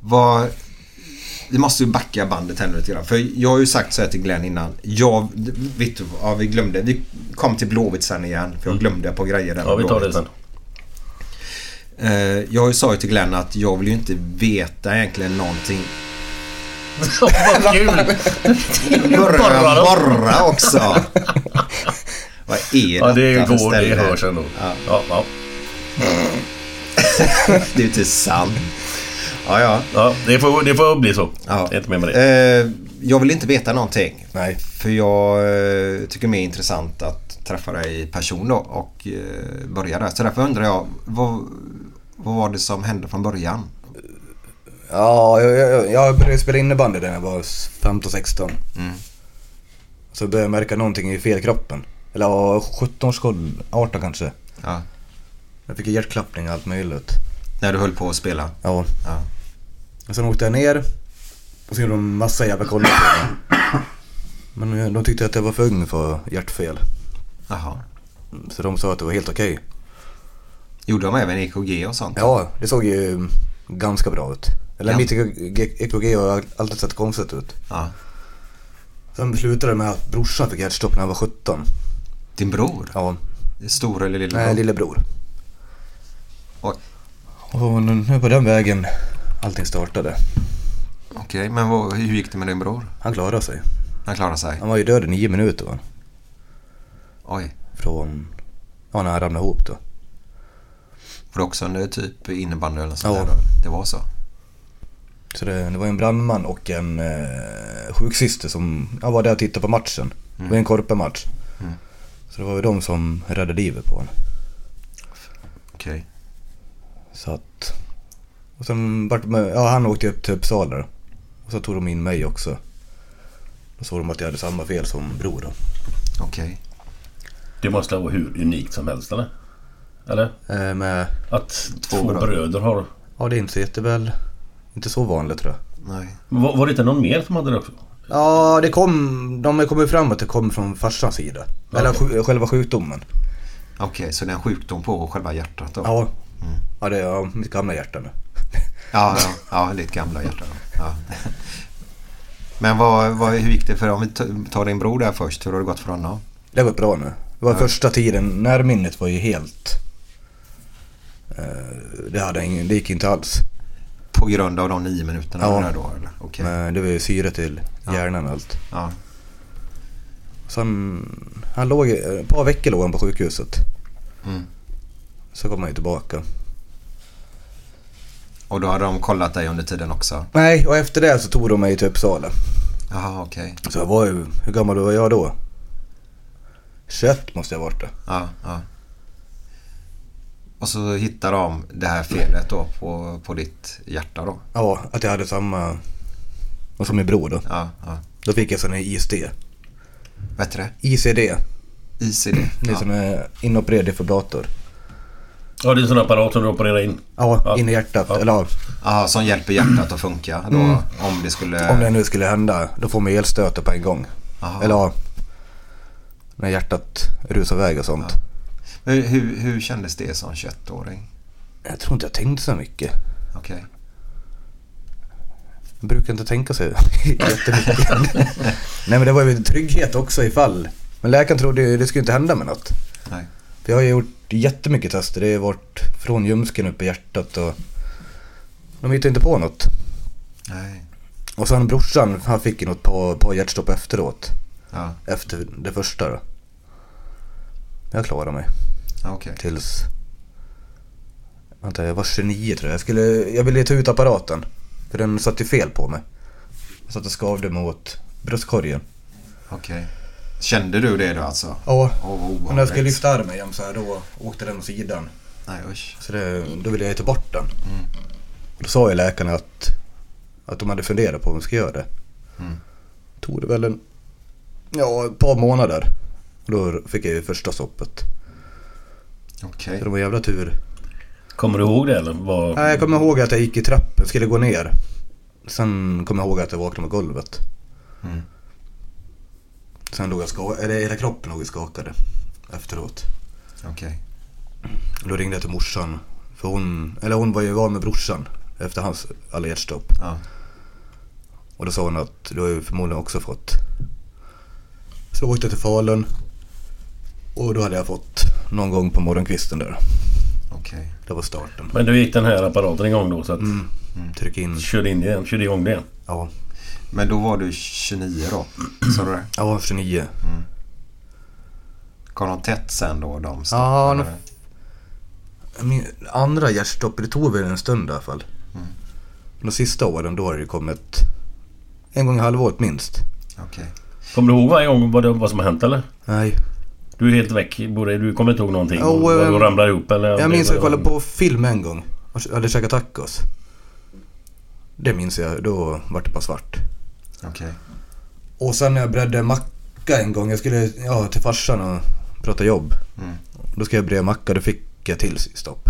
Speaker 2: Vad... Vi måste ju backa bandet här nu lite grann. För jag har ju sagt så här till Glenn innan. Jag, vet du, ja, vi glömde. Vi kom till Blåvitt sen igen. För jag glömde på grejer där.
Speaker 1: Mm. Ja, vi
Speaker 2: med
Speaker 1: tar det
Speaker 2: Blåvitt.
Speaker 1: sen.
Speaker 2: Eh, jag sa ju till Glenn att jag vill ju inte veta egentligen någonting.
Speaker 1: Åh, Vad kul!
Speaker 2: Borra,
Speaker 1: Borra.
Speaker 2: borra också. Vad är
Speaker 1: Ja, det
Speaker 2: detta för
Speaker 1: går. Det
Speaker 2: ställe?
Speaker 1: hörs ändå. Ja, ja.
Speaker 2: Det är ju inte sant. Ja, ja.
Speaker 1: ja det, får, det får bli så.
Speaker 2: Ja.
Speaker 1: Det är inte mer med det.
Speaker 2: Eh, jag vill inte veta någonting.
Speaker 3: Nej.
Speaker 2: För jag eh, tycker mer intressant att träffa dig i person då och eh, börja där. Så därför undrar jag, vad, vad var det som hände från början?
Speaker 3: Ja, jag, jag, jag började spela innebandy när jag var 15-16. Så började jag märka någonting i fel kroppen. Eller ja, 17 års ålder, 18 kanske.
Speaker 2: Ja.
Speaker 3: Jag fick hjärtklappning och allt möjligt.
Speaker 2: När du höll på att spela?
Speaker 3: Ja.
Speaker 2: Ja.
Speaker 3: Och sen åkte jag ner och så gjorde de massa jävla koll på mig. Men eh, de tyckte att jag var för ung för hjärtfel.
Speaker 2: Jaha.
Speaker 3: Så de sa att det var helt okej.
Speaker 2: Gjorde de även EKG och sånt?
Speaker 3: Ja, det såg ju ganska bra ut. Eller
Speaker 2: Ja.
Speaker 3: mitt EKG har alltid sett konstigt ut.
Speaker 2: Ja.
Speaker 3: Sen slutade det med att brorsan fick hjärtstopp när han var 17.
Speaker 2: Din bror?
Speaker 3: Ja,
Speaker 2: Stor eller lillebror?
Speaker 3: nej, lillebror.
Speaker 2: Oj.
Speaker 3: Och nu nu på den vägen allting startade.
Speaker 2: Okej, men vad, hur gick det med din bror?
Speaker 3: Han klarade sig.
Speaker 2: Han klarade sig?
Speaker 3: Han var ju död i nio minuter va?
Speaker 2: Oj.
Speaker 3: Från... Ja, när han ramlade ihop då.
Speaker 2: Var det också en typ innebandy eller något
Speaker 3: Ja.
Speaker 2: sånt där då? Det var så?
Speaker 3: Så det, det var en brandman och en eh, sjuksyster som ja, var där och tittade på matchen. Det var en korpematch. Så det var ju de som räddade livet på honom.
Speaker 2: Okej.
Speaker 3: Så att... Och sen vart med, ja, han åkte upp till Uppsala då. Och så tog de in mig också. Då såg de att jag hade samma fel som bror då.
Speaker 2: Okej.
Speaker 1: Det måste vara hur unikt som helst eller? Eller?
Speaker 3: Eh, med,
Speaker 1: Att två,
Speaker 2: bröder.
Speaker 1: bröder. har...
Speaker 3: ja det är inte så jätteväl... Inte så vanligt tror jag.
Speaker 2: Nej.
Speaker 1: Var, var det inte någon mer som hade det också?
Speaker 3: Ja, det kom... De har kommit fram att det kom från farsans sida. Eller sj- själva sjukdomen.
Speaker 2: Okej, så det är en sjukdom på själva hjärtat då?
Speaker 3: Ja. Ja, det är ja, mitt gamla hjärta nu.
Speaker 2: Ja, ja, ja lite gamla hjärtan. Ja. Men vad, vad, hur gick det för, om vi t- tar din bror där först, hur har det gått för honom?
Speaker 3: Det har gått bra nu. Det var första tiden, närminnet var ju helt... Eh, det, hade ingen, det gick inte alls.
Speaker 2: På grund av de nio minuterna
Speaker 3: Ja.
Speaker 2: där då eller? Okej.
Speaker 3: Men det var ju syre till hjärnan och allt.
Speaker 2: Ja.
Speaker 3: Så han, han låg, eh, ett par veckor låg han på sjukhuset.
Speaker 2: Mm.
Speaker 3: Så kom han ju tillbaka.
Speaker 2: Och då hade de kollat dig under tiden också?
Speaker 3: Nej, och efter det så tog de mig till Uppsala.
Speaker 2: Jaha, okej.
Speaker 3: Så jag var ju, hur gammal var jag då? 21 måste jag ha varit det.
Speaker 2: Ja, ja. Och så hittar de det här felet då på, på ditt hjärta då?
Speaker 3: Ja, att jag hade samma... Och som min bror då.
Speaker 2: Ja, ja.
Speaker 3: Då fick jag sån här ISD.
Speaker 2: Vad heter det?
Speaker 3: ICD.
Speaker 2: ICD?
Speaker 3: Det är
Speaker 2: Ja.
Speaker 3: sån här inopererad defibrillator.
Speaker 1: Ja, det är en sån apparat som du opererar in.
Speaker 3: Ja,
Speaker 1: Ja.
Speaker 3: in i hjärtat.
Speaker 1: Ja.
Speaker 3: Eller ja,
Speaker 2: Aha, som hjälper hjärtat att funka då om det skulle...
Speaker 3: Mm. om det nu skulle hända, då får man elstötar på en gång.
Speaker 2: Aha.
Speaker 3: Eller ja, när hjärtat rusar iväg och sånt.
Speaker 2: Hur, hur, hur kändes det som 21-åring?
Speaker 3: Jag tror inte jag tänkte så mycket.
Speaker 2: Okej.
Speaker 3: Jag brukar inte tänka så jättemycket. Nej men det var ju en trygghet också ifall. Men läkaren trodde ju det skulle inte hända med något.
Speaker 2: Nej.
Speaker 3: För jag har ju gjort jättemycket tester. Det har ju varit från ljumsken upp i hjärtat och de hittade inte på något.
Speaker 2: Nej.
Speaker 3: Och sen brorsan, han fick ju något på, på hjärtstopp efteråt.
Speaker 2: Ja,
Speaker 3: Efter det första då. Jag klarade mig
Speaker 2: ja, okej.
Speaker 3: tills... Vänta, jag var 29 tror jag. Jag, skulle, jag ville ta ut apparaten. För den satt ju fel på mig. Så att det skavde mot bröstkorgen.
Speaker 2: Okej. Kände du det då alltså?
Speaker 3: Ja,
Speaker 2: Åh,
Speaker 3: och
Speaker 2: vad
Speaker 3: när jag skulle
Speaker 2: obehagligt.
Speaker 3: lyfta armen igen så här, då åkte den åt sidan.
Speaker 2: Nej, usch.
Speaker 3: Så det, då ville jag ta bort den.
Speaker 2: Mm.
Speaker 3: Då sa ju läkarna att, att de hade funderat på om de skulle göra det.
Speaker 2: Mm.
Speaker 3: Tog det väl en, ja, ett par månader. Och då fick jag ju första stoppet.
Speaker 2: Okej.
Speaker 3: Så det var jävla tur.
Speaker 1: Kommer du ihåg det eller? Vad...
Speaker 3: Nej, jag kommer ihåg att jag gick i trappen, skulle gå ner. Sen kommer jag ihåg att jag vaknade på golvet. Sen låg jag skakad, eller hela kroppen låg och skakade efteråt.
Speaker 2: Okej.
Speaker 3: Och Då ringde jag till morsan. För hon, eller hon var ju van med brorsan efter hans alla hjärtstopp.
Speaker 2: Ja.
Speaker 3: Och då sa hon att du har ju förmodligen också fått. Så åkte jag till Falun. Och då hade jag fått någon gång på morgonkvisten där.
Speaker 2: Okej.
Speaker 3: Det var starten.
Speaker 1: Men du gick den här apparaten igång då så att...
Speaker 3: Mm. Tryck in.
Speaker 1: Körde, in igen, körde igång det igen.
Speaker 3: Ja,
Speaker 2: Men då var du 29 då? Sa du det?
Speaker 3: ja 29.
Speaker 2: Kom de tätt sen då? De
Speaker 3: Ja,
Speaker 2: eller?
Speaker 3: de- Min andra hjärtstopp, det tog väl en stund i alla fall.
Speaker 1: Mm.
Speaker 3: De sista åren då har det kommit en gång i halvåret minst.
Speaker 2: Okej.
Speaker 1: Kommer du ihåg varje gång vad, det, vad som har hänt eller?
Speaker 3: Nej.
Speaker 1: Du är helt väck. Både, du kommer inte ihåg någonting?
Speaker 3: Ja,
Speaker 1: Oh,
Speaker 3: och,
Speaker 1: vad
Speaker 3: ehm,
Speaker 1: du ramlar ihop eller?
Speaker 3: Jag minns att jag kollade på film en gång. Jag hade käkat tacos. Det minns jag. Då vart det bara svart.
Speaker 2: Okej.
Speaker 3: Och sen när jag bredde
Speaker 1: Mm.
Speaker 3: macka en gång. Jag skulle ja, till farsan och prata jobb. Då ska jag breda macka. Då fick rycka till sig stopp.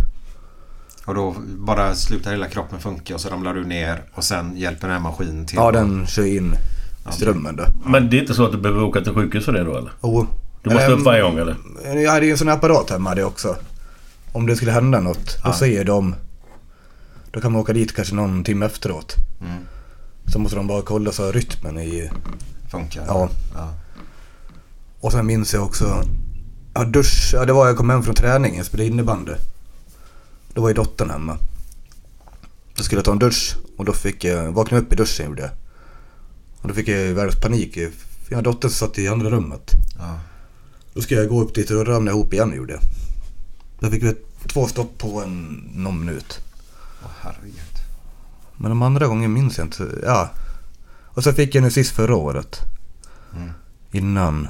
Speaker 2: Och då bara slutar hela kroppen funka och så ramlar du ner och sen hjälper den här maskinen till.
Speaker 3: Ja, den kör in strömmen då.
Speaker 1: Men det är inte så att du behöver åka till sjukhus för det då eller?
Speaker 3: Jo.
Speaker 1: Du måste
Speaker 3: Eller,
Speaker 1: upp varje gång eller?
Speaker 3: Jag hade ju en sån här apparat hemma hade jag också. Om det skulle hända något, då säger de... Då kan man åka dit kanske någon timme efteråt. Så måste de bara kolla så att rytmen i...
Speaker 2: Funkar.
Speaker 3: Ja.
Speaker 2: ja.
Speaker 3: Och sen minns jag också... Ja, dusch, ja, det var jag kom hem från träningen, jag spelade innebandy. Då var ju dottern hemma. Då skulle jag ta en dusch och då fick jag... Vaknade upp i duschen gjorde jag. Och då fick jag ju världens panik. för Jag hade dottern som satt i andra rummet.
Speaker 2: Ja.
Speaker 3: Då ska jag gå upp dit och då ramlade jag ihop igen gjorde jag. Då fick vi två stopp på en, någon minut.
Speaker 2: Åh, herregud.
Speaker 3: Men de andra gången minns jag inte. Ja. Och så fick jag nu sist förra året. Innan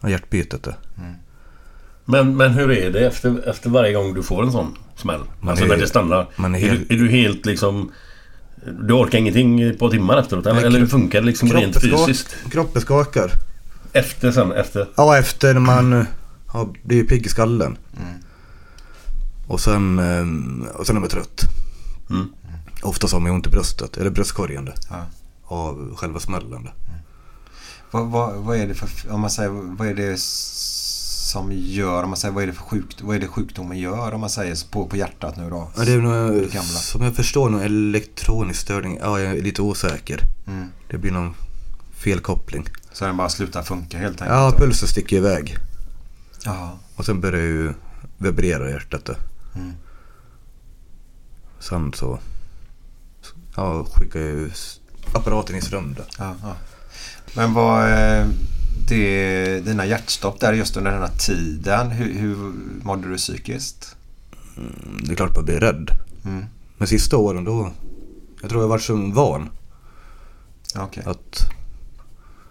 Speaker 3: ja, hjärtbytet. då.
Speaker 1: Men, men hur är det efter, efter varje gång du får en sån smäll?
Speaker 3: Man
Speaker 1: alltså
Speaker 3: är-
Speaker 1: när det stannar.
Speaker 3: man är
Speaker 1: är,
Speaker 3: helt-
Speaker 1: du, är du helt liksom... Du orkar ingenting i ett par timmar efteråt? Eller,
Speaker 3: Nej,
Speaker 1: eller hur
Speaker 3: kropp-
Speaker 1: funkar det liksom rent fysiskt?
Speaker 3: kroppen skakar.
Speaker 1: Efter sen, efter?
Speaker 3: Ja, efter man har blivit pigg i skallen.
Speaker 2: Mm.
Speaker 3: Och sen, eh, och sen är man trött.
Speaker 1: Mm.
Speaker 3: Ofta så har man ju ont i bröstet, eller bröstkorgen. då,
Speaker 2: Ja.
Speaker 3: Av själva smällen. då.
Speaker 2: Vad, vad, vad är det för... Om man säger, vad är det s- som gör... Om man säger, vad är det för sjukt, Vad är det sjukdomen gör? Om man säger så på, på hjärtat nu då?
Speaker 3: Ja, det är nog,
Speaker 2: Gamla.
Speaker 3: som jag förstår, någon elektronisk störning. Ja, jag är lite osäker.
Speaker 2: Mm.
Speaker 3: Det blir någon felkoppling.
Speaker 2: Så den bara slutar funka helt enkelt?
Speaker 3: Ja,
Speaker 2: då?
Speaker 3: pulsen sticker iväg.
Speaker 2: Ja.
Speaker 3: Och sen börjar ju vibrera hjärtat. då.
Speaker 2: Mm.
Speaker 3: Sen så ja, skickar jag ju s- apparaten i ström. Då.
Speaker 2: Ja, ja. Men vad... eh, Det, dina hjärtstopp där just under den här tiden. Hur, hur mådde du psykiskt?
Speaker 3: Det är klart man blir rädd.
Speaker 2: Mm.
Speaker 3: Men sista åren då, jag tror jag varit så van
Speaker 2: Ja, Okej.
Speaker 3: att,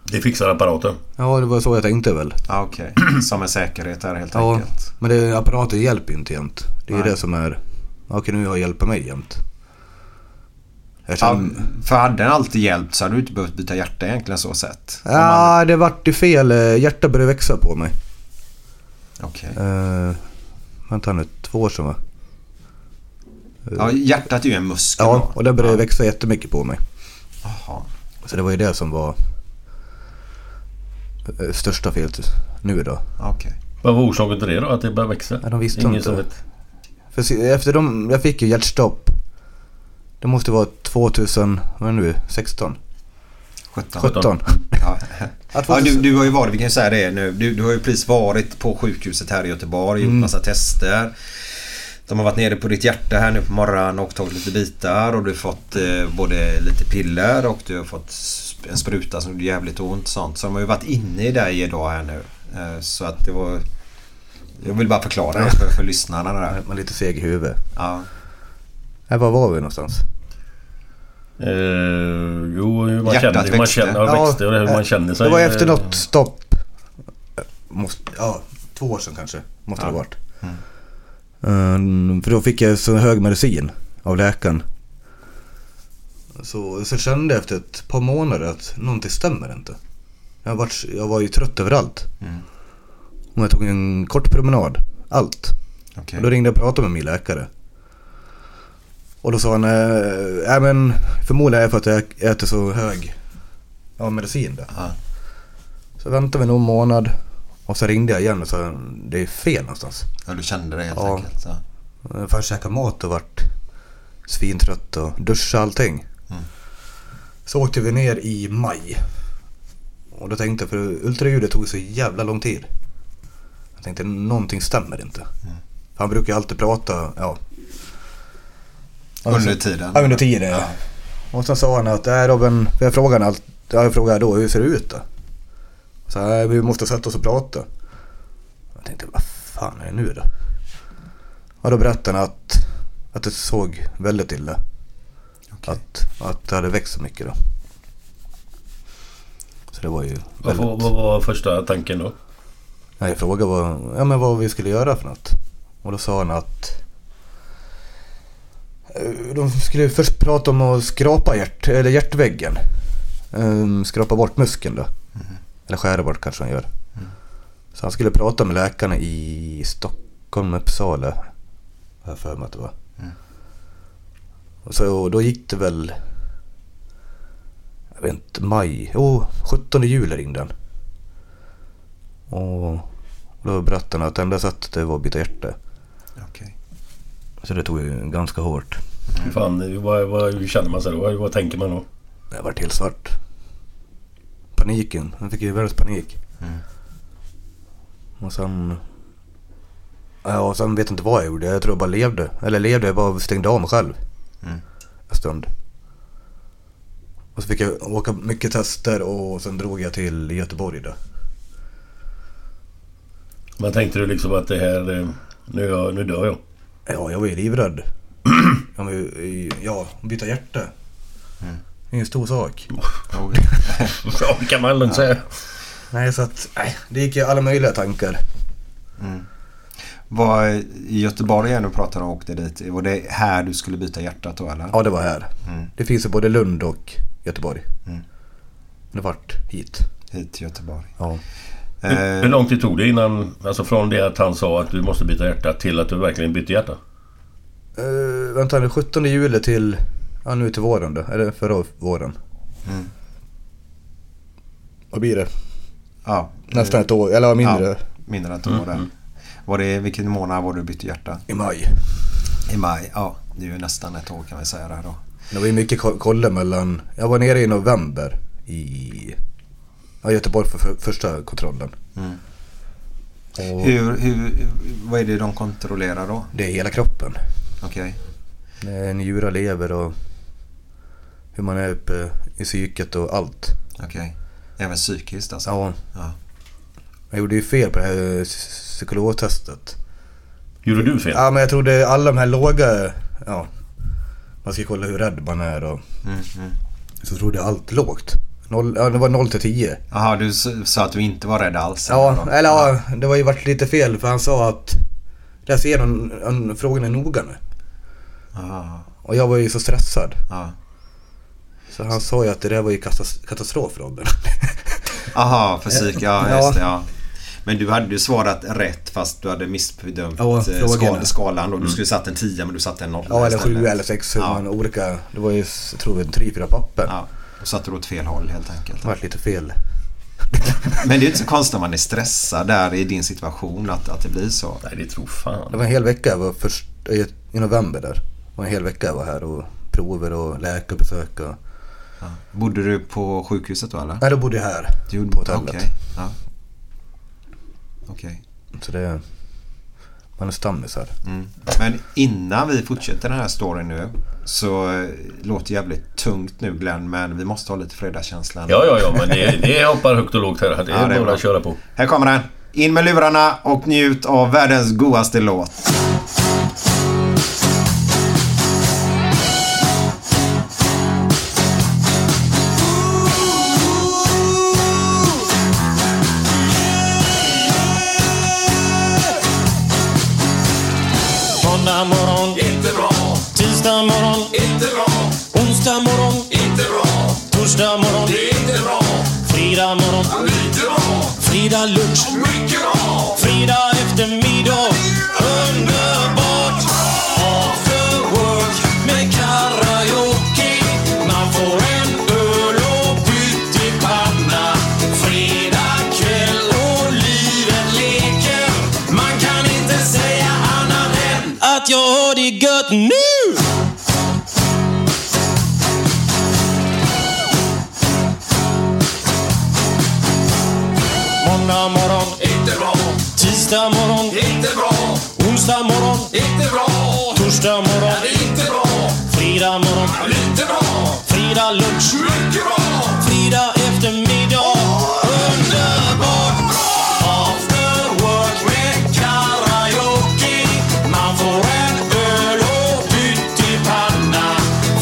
Speaker 1: Det fixar apparaten.
Speaker 3: ja det var så jag tänkte väl.
Speaker 2: Ja, okej. Som en säkerhet där helt
Speaker 3: Ja,
Speaker 2: enkelt.
Speaker 3: men det, apparaten hjälper ju inte jämt. Det är ju
Speaker 2: Nej.
Speaker 3: det som är, ja, okej nu har jag hjälper mig jämt. Jag
Speaker 2: Ja,
Speaker 3: känner,
Speaker 2: för hade den alltid hjälpt så hade du inte behövt byta hjärta egentligen så sett. Om man-
Speaker 3: Ja, det vart ju fel. Eh, Hjärtat började växa på mig.
Speaker 2: Okej.
Speaker 3: Uh, vänta nu, två år sedan va?
Speaker 2: Ja, hjärtat är ju en muskel.
Speaker 3: Ja,
Speaker 2: då.
Speaker 3: och det började växa jättemycket på mig.
Speaker 2: Jaha.
Speaker 3: Så det var ju det som var eh, största felet nu då.
Speaker 2: Okej.
Speaker 1: Vad var orsaken till det då? Att det började växa?
Speaker 3: Ja, de visste
Speaker 1: Ingen
Speaker 3: inte.
Speaker 1: som vet.
Speaker 3: För se- efter de, jag fick ju hjärtstopp. Det måste vara 2000, vad är det nu, 16?
Speaker 2: 17.
Speaker 3: 17?
Speaker 2: Ja.
Speaker 3: Att
Speaker 2: Ja, du,
Speaker 3: 2000
Speaker 2: du har ju varit, vi kan ju säga det nu, du, du har ju precis varit på sjukhuset här i Göteborg,
Speaker 3: Mm.
Speaker 2: gjort massa tester. De har varit nere på ditt hjärta här nu på morgonen och tagit lite bitar och du har fått eh, både lite piller och du har fått sp- en spruta som gjorde jävligt ont och sånt. Så de har ju varit inne i dig idag här nu. Eh, så att det var... Jag vill bara förklara det för, för lyssnarna där.
Speaker 3: Man är lite seg i huvudet.
Speaker 2: Ja.
Speaker 3: Nej, var var vi någonstans?
Speaker 1: Eh, jo, hur man
Speaker 2: Hjärtat
Speaker 1: känner, hur man
Speaker 2: växte.
Speaker 1: känner, ja, växte och hur man känner sig.
Speaker 3: Det var efter
Speaker 1: eh,
Speaker 3: något stopp. Måste, ja, två år sedan kanske. Måste det ha varit. Ehm, för då fick jag så hög medicin av läkaren. Så, så kände jag efter ett par månader att någonting stämmer inte. Jag var, jag var ju trött överallt.
Speaker 1: Mm.
Speaker 3: Och jag tog en kort promenad. Allt.
Speaker 2: Okej.
Speaker 3: Och då ringde jag och pratade med min läkare. Och då sa han, eh, "Nej, men förmodligen är det för att jag äter så hög ja, medicin. Då.
Speaker 2: Ja.
Speaker 3: Så väntade vi någon månad och så ringde jag igen och sa det är fel någonstans.
Speaker 2: Ja, du kände det helt
Speaker 3: Ja.
Speaker 2: enkelt. Ja.
Speaker 3: Jag har käkat Eh, mat och varit svintrött och duscha allting. Så åkte vi ner i maj. Och då tänkte jag, för ultraljudet tog så jävla lång tid. Jag tänkte någonting stämmer inte. För Han brukar ju alltid prata, ja. Alltså-
Speaker 2: Under tiden.
Speaker 3: Ja, under tiden ja. Och sen sa han att, nej Robin, för jag frågade allt, ja, jag frågade då, hur ser det ut då? Så här, vi måste sätta oss och prata. Jag tänkte, vad fan är det nu då? Och då berättade han att, att det såg väldigt illa.
Speaker 2: Okej.
Speaker 3: Att, att det hade växt så mycket då. Så det var ju
Speaker 1: Vad,
Speaker 3: väldigt...
Speaker 1: vad, vad var första tanken då?
Speaker 3: Nej, jag frågade vad, ja, men vad vi skulle göra för något. Och då sa han att eh, de skulle först prata om att skrapa hjärt, eller hjärtväggen. Ehm, skrapa bort muskeln då. Eller skära bort kanske han gör. Så han skulle prata med läkarna i Stockholm, Uppsala. Har jag för mig att det var. Och så, och då gick det väl... Jag vet inte, maj. Jo, 17 juli ringde han. Och då berättade han att enda sättet det var att byta hjärta.
Speaker 2: Okej.
Speaker 3: Så det tog ju ganska hårt.
Speaker 1: Fan, vad, vad, hur känner man sig då? Vad, vad tänker man då?
Speaker 3: Det vart helt svart. Paniken. Han fick ju världens panik. Och sen... Ja, och sen vet jag inte vad jag gjorde. Jag tror jag bara levde. Eller levde, jag bara stängde av mig själv. En stund. Och så fick jag åka mycket tester och sen drog jag till Göteborg då.
Speaker 1: Man tänkte du liksom att det här... eh, Nu, är jag, nu dör jag.
Speaker 3: Ja, jag var ju livrädd. Jag var ju, ja, byta hjärta. Ingen stor sak.
Speaker 1: Ja, det kan man lugnt säga.
Speaker 3: Nej, så att... Nej, det gick ju alla möjliga tankar.
Speaker 2: Var i Göteborg igen du pratade om och åkte dit. Var det här du skulle byta hjärtat då eller?
Speaker 3: Ja, det var här. Det finns i både Lund och Göteborg. Det vart hit.
Speaker 2: Hit till Göteborg. Eh,
Speaker 3: Ja. Mm.
Speaker 1: Hur, hur lång tid tog det innan... Alltså från det att han sa att du måste byta hjärta till att du verkligen bytte hjärta?
Speaker 3: Uh, vänta nu, 17 juli till... Ja, nu till våren då. Eller förra våren. Vad blir det?
Speaker 2: Ja,
Speaker 3: Nästan ett år, eller mindre. Mm,
Speaker 2: Ja, mindre än ett år där. Var det, vilken månad var du bytte hjärta?
Speaker 3: I maj.
Speaker 2: I maj? Ja, det är ju nästan ett år kan vi säga där då.
Speaker 3: Det var ju mycket ko- kolla mellan... Jag var nere i november i... Ja, Göteborg för, för första kontrollen. Och
Speaker 2: Hur, hur, vad är det de kontrollerar då?
Speaker 3: det är hela kroppen.
Speaker 2: Okej.
Speaker 3: Det är njurar, Eh, lever och... Hur man är uppe i psyket och allt.
Speaker 2: Okej. Även psykiskt alltså?
Speaker 3: Ja,
Speaker 2: Ja.
Speaker 3: Jag gjorde ju fel på det här eh, psykologtestet.
Speaker 1: Gjorde du fel?
Speaker 3: Ja, men jag trodde alla de här låga... Ja, man ska kolla hur rädd man är och... mm. Så trodde jag allt lågt. Noll, ja, det var 0 till 10.
Speaker 2: Jaha, du s- sa att du inte var rädd alls?
Speaker 3: Ja,
Speaker 2: eller då?
Speaker 3: eller ja, det var ju varit lite fel för han sa att... Läs igenom an- frågorna noga nu.
Speaker 2: Ja,
Speaker 3: Och jag var ju så stressad.
Speaker 2: ja.
Speaker 3: Så han sa ju att det där var ju katas- katastrof Robin.
Speaker 2: Aha, för psyk, ja
Speaker 3: Eh, Ja.
Speaker 2: just det. Ja. Men du hade ju svarat rätt fast du hade missbedömt
Speaker 3: Ja,
Speaker 2: eh, skal,
Speaker 3: frågorna. Mm.
Speaker 2: skalan då. Du skulle satt en 10 men du satte en 0
Speaker 3: ja, eller 7 eller 6.
Speaker 2: Ja.
Speaker 3: Ja. Olika, det var ju, jag tror jag, tre, fyra papper.
Speaker 2: Ja, då satte du åt fel håll helt enkelt.
Speaker 3: Det var lite fel.
Speaker 2: Men det är inte så konstigt när man är stressad där i din situation att, att det blir så.
Speaker 1: Nej, det tror
Speaker 3: Det
Speaker 1: fan.
Speaker 3: var en hel vecka jag var först, i, i november där. Det var en hel vecka jag var här och prover och läkarbesök och...
Speaker 2: Bodde du på sjukhuset då eller?
Speaker 3: Nej, då bodde jag här.
Speaker 2: Du
Speaker 3: på hotellet.
Speaker 2: Okej. Ja. Okej.
Speaker 3: Så det... Man är stammis här.
Speaker 2: Mm. Men innan vi fortsätter den här storyn nu så eh, låter jävligt tungt nu Glenn men vi måste ha lite fredagskänslan.
Speaker 1: Ja, ja, ja, men det, det hoppar högt och lågt här. Det
Speaker 2: Ja,
Speaker 1: är
Speaker 2: det är
Speaker 1: bara
Speaker 2: bra.
Speaker 1: att köra på.
Speaker 2: Här kommer den. In med lurarna och njut av världens godaste låt.
Speaker 4: Måndag morgon, inte bra. Tisdag morgon, inte bra. Onsdag morgon, inte bra. Torsdag morgon, inte bra. Fredag morgon, lite bra. Fredag lunch, mycket bra. Fredag eftermiddag, underbart. After work med karaoke. Man får en öl och pyttipanna. Fredag kväll och livet leker. Man kan inte säga annat än att jag har det gött nu! Måndag morgon, inte bra. Tisdag morgon, inte bra. Onsdag morgon, inte bra. Torsdag morgon, inte bra. Fredag morgon, inte bra. Fredag lunch, mycket bra. Fredag eftermiddag, underbart bra. After work med karaoke. Man får en öl och pyttipanna.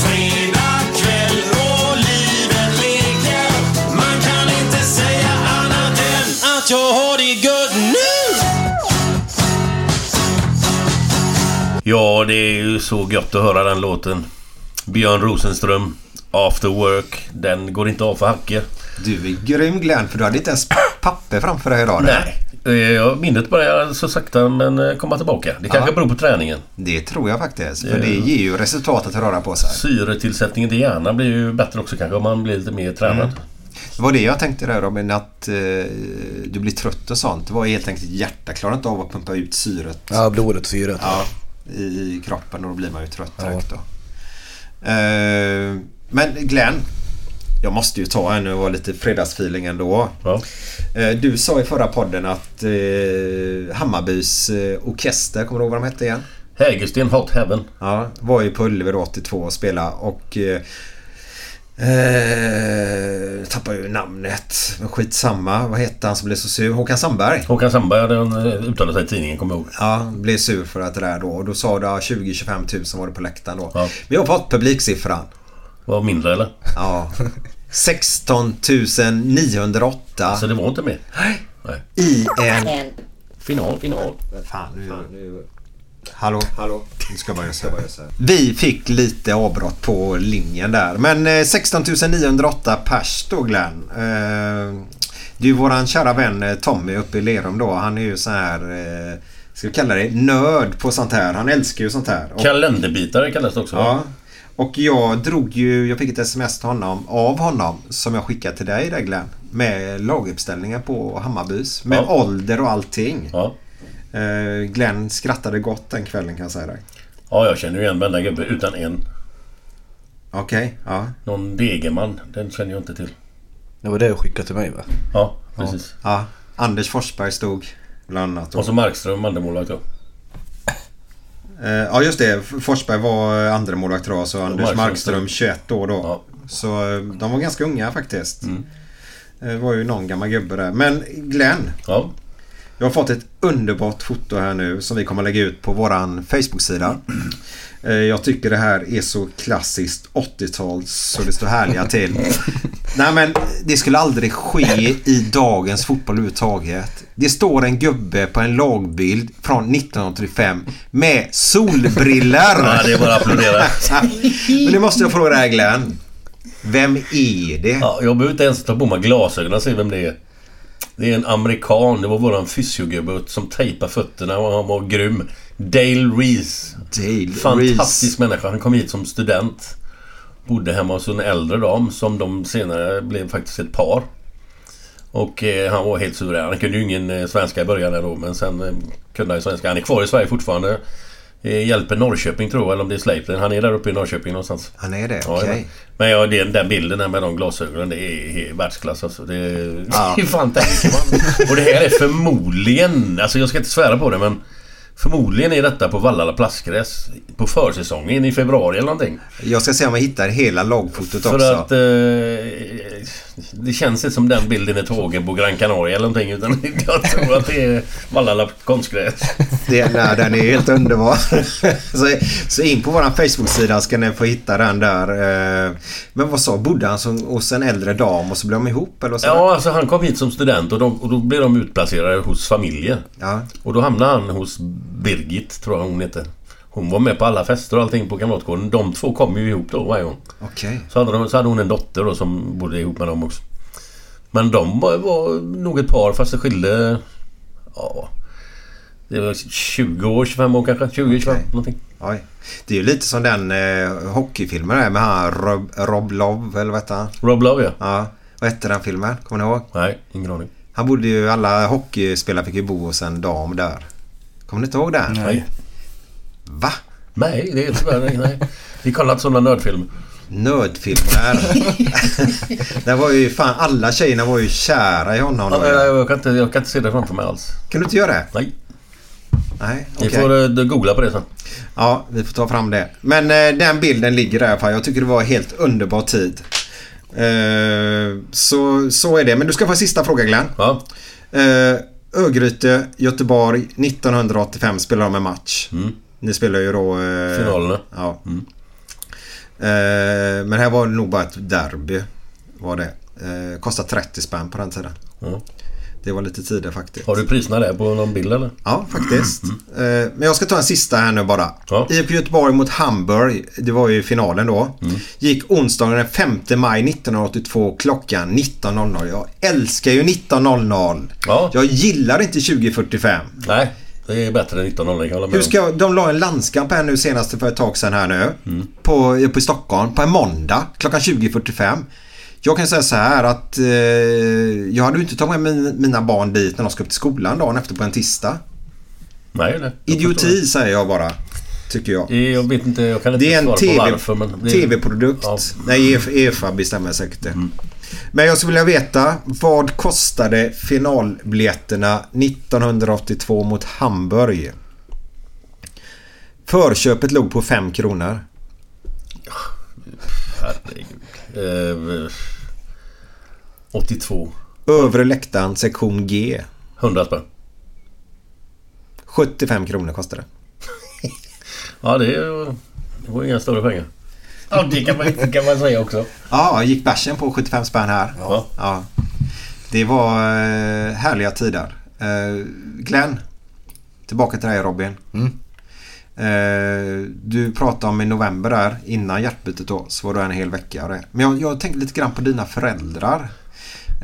Speaker 4: Fredag kväll och livet leker. Man kan inte säga annat än att jag har det gött nu!
Speaker 1: Ja, det är ju så gött att höra den låten. Björn Rosenström, After Work. Den går inte av för hacker.
Speaker 2: Du är grym Glenn för du hade inte ens papper framför dig idag. där.
Speaker 1: Nej, Eh, ja, Minnet börjar så sakta men eh, komma tillbaka. Det kanske
Speaker 2: Ja.
Speaker 1: beror på träningen.
Speaker 2: Det tror jag faktiskt. För det ger ju resultat att röra på sig.
Speaker 1: Syretillsättningen till hjärnan blir ju bättre också kanske om man blir lite mer tränad.
Speaker 2: Mm. Det var det jag tänkte där Robin, att eh, du blir trött och sånt. Det var helt enkelt hjärtat klarar inte av att pumpa ut syret
Speaker 3: Ja, blodet och syret.
Speaker 2: ja, i, i kroppen och då blir man ju trött direkt då. Eh, men Glenn, jag måste ju ta en och vara lite fredagsfeeling ändå.
Speaker 1: Ja.
Speaker 2: Eh, du sa i förra podden att eh, Hammarbys eh, orkester, kommer du ihåg vad de hette igen?
Speaker 1: Hägersten Hot Heaven.
Speaker 2: Ja, var ju på Ullevi då 82 och spela och... Eh, eh, tappar ju namnet. Men skitsamma. Vad hette han som blev så sur? Håkan Sandberg.
Speaker 1: Håkan Sandberg den eh, uttalade sig i tidningen, kommer jag ihåg.
Speaker 2: Ja, blev sur för att det där då. Och då sa du ja, 20-25 000 var det på läktaren då.
Speaker 1: Ja.
Speaker 2: Vi har fått publiksiffran.
Speaker 1: Var mindre eller?
Speaker 2: Ja. 16 908
Speaker 1: Så det var inte mer.
Speaker 2: Nej.
Speaker 1: Nej.
Speaker 2: i en...
Speaker 1: Final, final.
Speaker 2: Fan, nu... nu. Hallå? Hallå? Nu ska jag bara göra så här. Vi fick lite avbrott på linjen där. Men eh, 16 908 pers då Glenn. Eh, Det är ju våran kära vän eh, Tommy uppe i Lerum då. Han är ju så här... eh, Ska vi kalla det nörd på sånt här. Han älskar ju sånt här. Och,
Speaker 1: Kalenderbitare kallas det också va?
Speaker 2: ja. Och jag drog ju... Jag fick ett sms till honom, av honom som jag skickade till dig där Glenn. Med laguppställningar på Hammarbys. Med
Speaker 1: Ja.
Speaker 2: ålder och allting.
Speaker 1: Ja.
Speaker 2: Eh, Glenn skrattade gott den kvällen kan jag säga dig.
Speaker 1: ja, jag känner ju igen varenda gubbe utan en.
Speaker 2: Okej, ja.
Speaker 1: Någon Degerman, den känner jag inte till.
Speaker 3: Det var det du skickade till mig va?
Speaker 1: Ja, precis.
Speaker 2: ja. Anders Forsberg stod bland annat.
Speaker 1: Och
Speaker 2: Och,
Speaker 1: så Markström, andra målvakt då.
Speaker 2: eh, ja just det, F- Forsberg var eh, andra målvakt då så Anders
Speaker 1: Markström
Speaker 2: Markström
Speaker 1: stod-
Speaker 2: 21 år då.
Speaker 1: Ja. Mm.
Speaker 2: Så eh, de var ganska unga faktiskt. Eh, Det var ju någon gammal gubbe där. Men Glenn,
Speaker 1: Ja.
Speaker 2: jag har fått ett underbart foto här nu som vi kommer lägga ut på våran Facebook-sida. Eh, Jag tycker det här är så klassiskt 80-tal så det står härliga till. Nej men det skulle aldrig ske i dagens fotboll överhuvudtaget. Det står en gubbe på en lagbild från 1985 med
Speaker 1: ja,
Speaker 2: solbriller.
Speaker 1: det är bara att applådera.
Speaker 2: men nu måste jag fråga dig Glenn. Vem är det?
Speaker 1: Ja, jag behöver inte ens ta på mig glasögonen och se vem det är. Det är en amerikan. Det var våran fysiogubbe som tejpade fötterna och han var grym. Dale Reese.
Speaker 2: Dale
Speaker 1: Fantastisk
Speaker 2: Reese.
Speaker 1: människa. Han kom hit som student. Bodde hemma hos en äldre dam som de senare blev faktiskt ett par. Och eh, han var helt suverän. Han kunde ju ingen eh, svenska i början där då men sen eh, kunde han ju svenska. Han är kvar i Sverige fortfarande. Eh, hjälper Norrköping tror jag, eller om det är Sleipner. Han är där uppe i Norrköping någonstans.
Speaker 2: Han är det,
Speaker 1: Ja,
Speaker 2: okej.
Speaker 1: jajamän. Men ja, den, den bilden här med de glasögonen, det är, är världsklass alltså. Det, det är fan tänker man. Och det här är förmodligen, alltså jag ska inte svära på det men Förmodligen är detta på Vallala plastgräs på försäsongen i februari eller någonting.
Speaker 2: Jag ska se om jag hittar hela lagfotot också.
Speaker 1: För att... Eh, det känns inte som den bilden är tagen på Gran Canaria eller någonting utan jag tror att det är Vallala konstgräs.
Speaker 2: Det, nej, den är helt underbar. Så, så in på vår Facebook-sida ska ni få hitta den där. eh, Men vad sa Bodde han som, hos en äldre dam och så blev de ihop eller så?
Speaker 1: Ja, alltså han kom hit som student och, de, och då blev de utplacerade hos familjer.
Speaker 2: Ja.
Speaker 1: Och då hamnade han hos Birgit, tror jag hon hette. Hon var med på alla fester och allting på Kamratgården. De två kom ju ihop då varje gång.
Speaker 2: Okej.
Speaker 1: Så hade, de, så hade hon en dotter då som bodde ihop med dem också. Men de var, var nog ett par fast det skilde... Ja... Det var 20 år, 25 år kanske. 20, 25
Speaker 2: Okej.
Speaker 1: någonting.
Speaker 2: Oj. Det är ju lite som den eh, hockeyfilmen där med han Rob, Rob Love eller vad hette han?
Speaker 1: Rob Love ja.
Speaker 2: Ja. Vad hette den filmen? Kommer ni ihåg?
Speaker 1: Nej, ingen aning.
Speaker 2: Han bodde ju... Alla hockeyspelare fick ju bo hos en dam där. Kommer ni inte ihåg den?
Speaker 1: Nej.
Speaker 2: Va?
Speaker 1: Nej, det är tyvärr... nej. Vi kollar inte sådana nördfilmer.
Speaker 2: Nördfilmer. det var ju fan... Alla tjejerna var ju kära i honom.
Speaker 1: Ja, men jag, jag, kan inte, jag kan inte se det framför mig alls.
Speaker 2: Kan du inte göra det?
Speaker 1: Nej.
Speaker 2: Nej,
Speaker 1: Ni
Speaker 2: okej.
Speaker 1: får eh, googla på det sen.
Speaker 2: Ja, vi får ta fram det. Men eh, den bilden ligger där i alla fall. Jag tycker det var helt underbar tid. Eh, så, så är det. Men du ska få en sista fråga Glenn.
Speaker 1: Ja.
Speaker 2: Eh, Örgryte, Göteborg 1985 spelar de en match.
Speaker 1: Mm.
Speaker 2: Ni spelar ju då... Eh,
Speaker 1: Finalerna.
Speaker 2: Ja.
Speaker 1: Mm.
Speaker 2: Eh, men här var det nog bara ett derby. Var det. Eh, kostade 30 spänn på den tiden.
Speaker 1: Ja.
Speaker 2: Det var lite tidigare faktiskt.
Speaker 1: Har du priserna där på någon bild eller?
Speaker 2: Ja, faktiskt. Eh, Men jag ska ta en sista här nu bara.
Speaker 1: Mm-hmm. Ja.
Speaker 2: IFK Göteborg mot Hamburg, det var ju finalen då.
Speaker 1: Mm.
Speaker 2: Gick onsdagen den 5 maj 1982 klockan 19.00. Jag älskar ju 19.00.
Speaker 1: Ja.
Speaker 2: Jag gillar inte 2045.
Speaker 1: Nej, det är bättre än 1900 kan jag hålla med
Speaker 2: Hur
Speaker 1: om.
Speaker 2: ska jag, de la en landskamp här nu senast för ett tag sedan här nu.
Speaker 1: Mm.
Speaker 2: På, uppe i Stockholm på en måndag klockan 20.45. Jag kan säga så här att eh, jag hade ju inte tagit med min, mina barn dit när de ska upp till skolan dagen efter på en tisdag.
Speaker 1: Nej, nej. jag förstår
Speaker 2: Idioti säger jag bara. Tycker jag.
Speaker 1: det. Jag vet inte, jag kan inte
Speaker 2: Det är en
Speaker 1: svara
Speaker 2: TV,
Speaker 1: på varför men... det är-
Speaker 2: TV-produkt.
Speaker 1: Ja. Mm.
Speaker 2: Nej, E EF- EFA bestämmer säkert det. Men jag skulle vilja veta vad kostade finalbiljetterna 1982 mot Hamburg? Förköpet låg på 5 kronor.
Speaker 1: Herregud. Eh, 82.
Speaker 2: Övre läktaren, sektion G.
Speaker 1: 100 spänn.
Speaker 2: 75 kronor kostade det.
Speaker 1: Ja, det, är- det var inga större pengar. Ja, det kan man, kan man säga också.
Speaker 2: Ja, gick bärsen på 75 spänn här.
Speaker 1: Ja.
Speaker 2: Ja. Det var eh, härliga tider. Eh, Glenn, tillbaka till dig Robin. Eh, du pratade om i november där innan hjärtbytet då så var du en hel vecka. och det. Men jag, jag tänkte lite grann på dina föräldrar.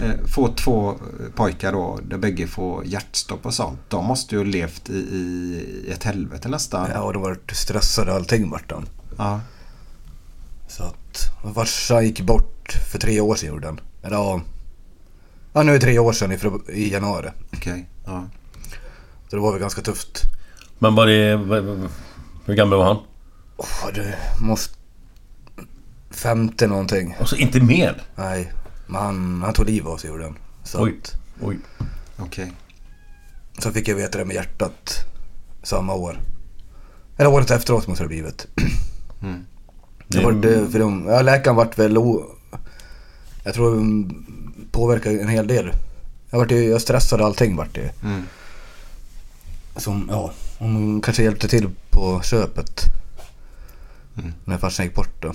Speaker 2: Eh, få två eh, pojkar då där bägge får hjärtstopp och sånt. De måste ju ha levt i, i ett helvete nästan.
Speaker 3: Ja, och de var stressade och allting vart de.
Speaker 2: Ja.
Speaker 3: Så att farsan gick bort för tre år sedan gjorde han. Eller ja, ja nu är det tre år sedan i, febru- i januari.
Speaker 2: Okej. Ja.
Speaker 3: Så det var väl ganska tufft.
Speaker 1: Men var det... var- Hur gammal var han?
Speaker 3: Åh, du måste... Femte någonting.
Speaker 1: Och så inte mer?
Speaker 3: Nej, men han, han tog livet av sig gjorde han. Så,
Speaker 1: Oj.
Speaker 3: att,
Speaker 1: Oj.
Speaker 2: Okej.
Speaker 3: så fick jag veta det med hjärtat samma år. Eller året efteråt måste det ha blivit. Det var det, för de, ja, läkaren vart väl o, Jag tror den påverkade en hel del. Jag, vart, ju- jag stressade allting vart det. Som, ja, hon kanske hjälpte till på köpet. När farsan gick bort då.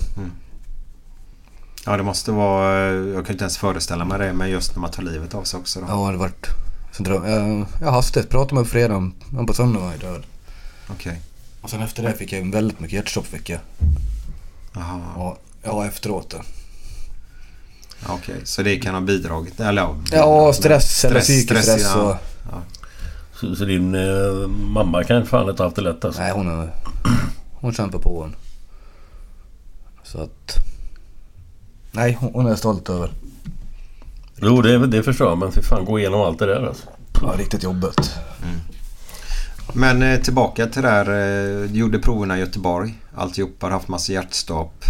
Speaker 2: Ja det måste vara, eh, jag kan inte ens föreställa mig det, men just när man tar livet av sig också då.
Speaker 3: Ja, det vart... Så dröm, jag, jag hastigt pratade med på fredagen, men på söndagen var jag död.
Speaker 2: Okej.
Speaker 3: Och sen efter det fick jag väldigt mycket hjärtstopp fick jag.
Speaker 2: Jaha,
Speaker 3: Ja, ja efteråt då.
Speaker 2: okej. Så det kan ha bidragit? Eller ja,
Speaker 3: Ja, stress eller
Speaker 2: Stress,
Speaker 3: psykisk
Speaker 2: stress,
Speaker 3: stress.
Speaker 2: ja.
Speaker 3: och,
Speaker 1: Så, så din eh, mamma kan fan inte ha haft det lätt alltså.
Speaker 3: Nej, hon är... Hon kämpar på hon. Så att... Nej, hon hon är jag stolt över.
Speaker 1: Jo, det, det förstår jag. Men fy fan, gå igenom allt det där alltså.
Speaker 3: Ja, riktigt jobbigt.
Speaker 2: Men eh, tillbaka till det här. eh, Du gjorde proverna i Göteborg. Alltihopa, har haft massa hjärtstopp.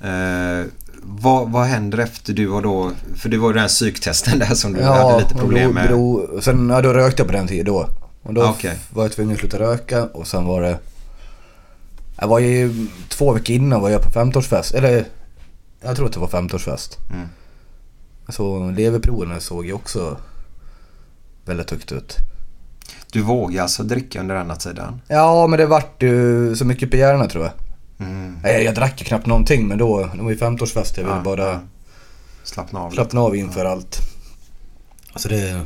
Speaker 2: Eh, vad, vad händer efter du har då... För det var ju den här psyktesten där som du hade lite problem med.
Speaker 3: Blod, sen, ja, då rökte jag på den tiden då. Och då
Speaker 2: Ah, okej.
Speaker 3: f- var jag tvungen att sluta röka och sen var det... Jag var ju två veckor innan var jag på 15-årsfest. Eller jag tror att det var 15-årsfest.
Speaker 2: Mm.
Speaker 3: Så leverproverna såg ju också väldigt högt ut.
Speaker 2: Du vågade alltså dricka under denna tiden?
Speaker 3: Ja men det vart ju så mycket på hjärnan tror jag.
Speaker 2: Mm.
Speaker 3: Nej, Jag, jag drack ju knappt någonting men då, det var ju 15-årsfest. Jag ville
Speaker 2: Ah,
Speaker 3: bara
Speaker 2: ah. Slappna av lite.
Speaker 3: slappna av inför allt. Alltså det...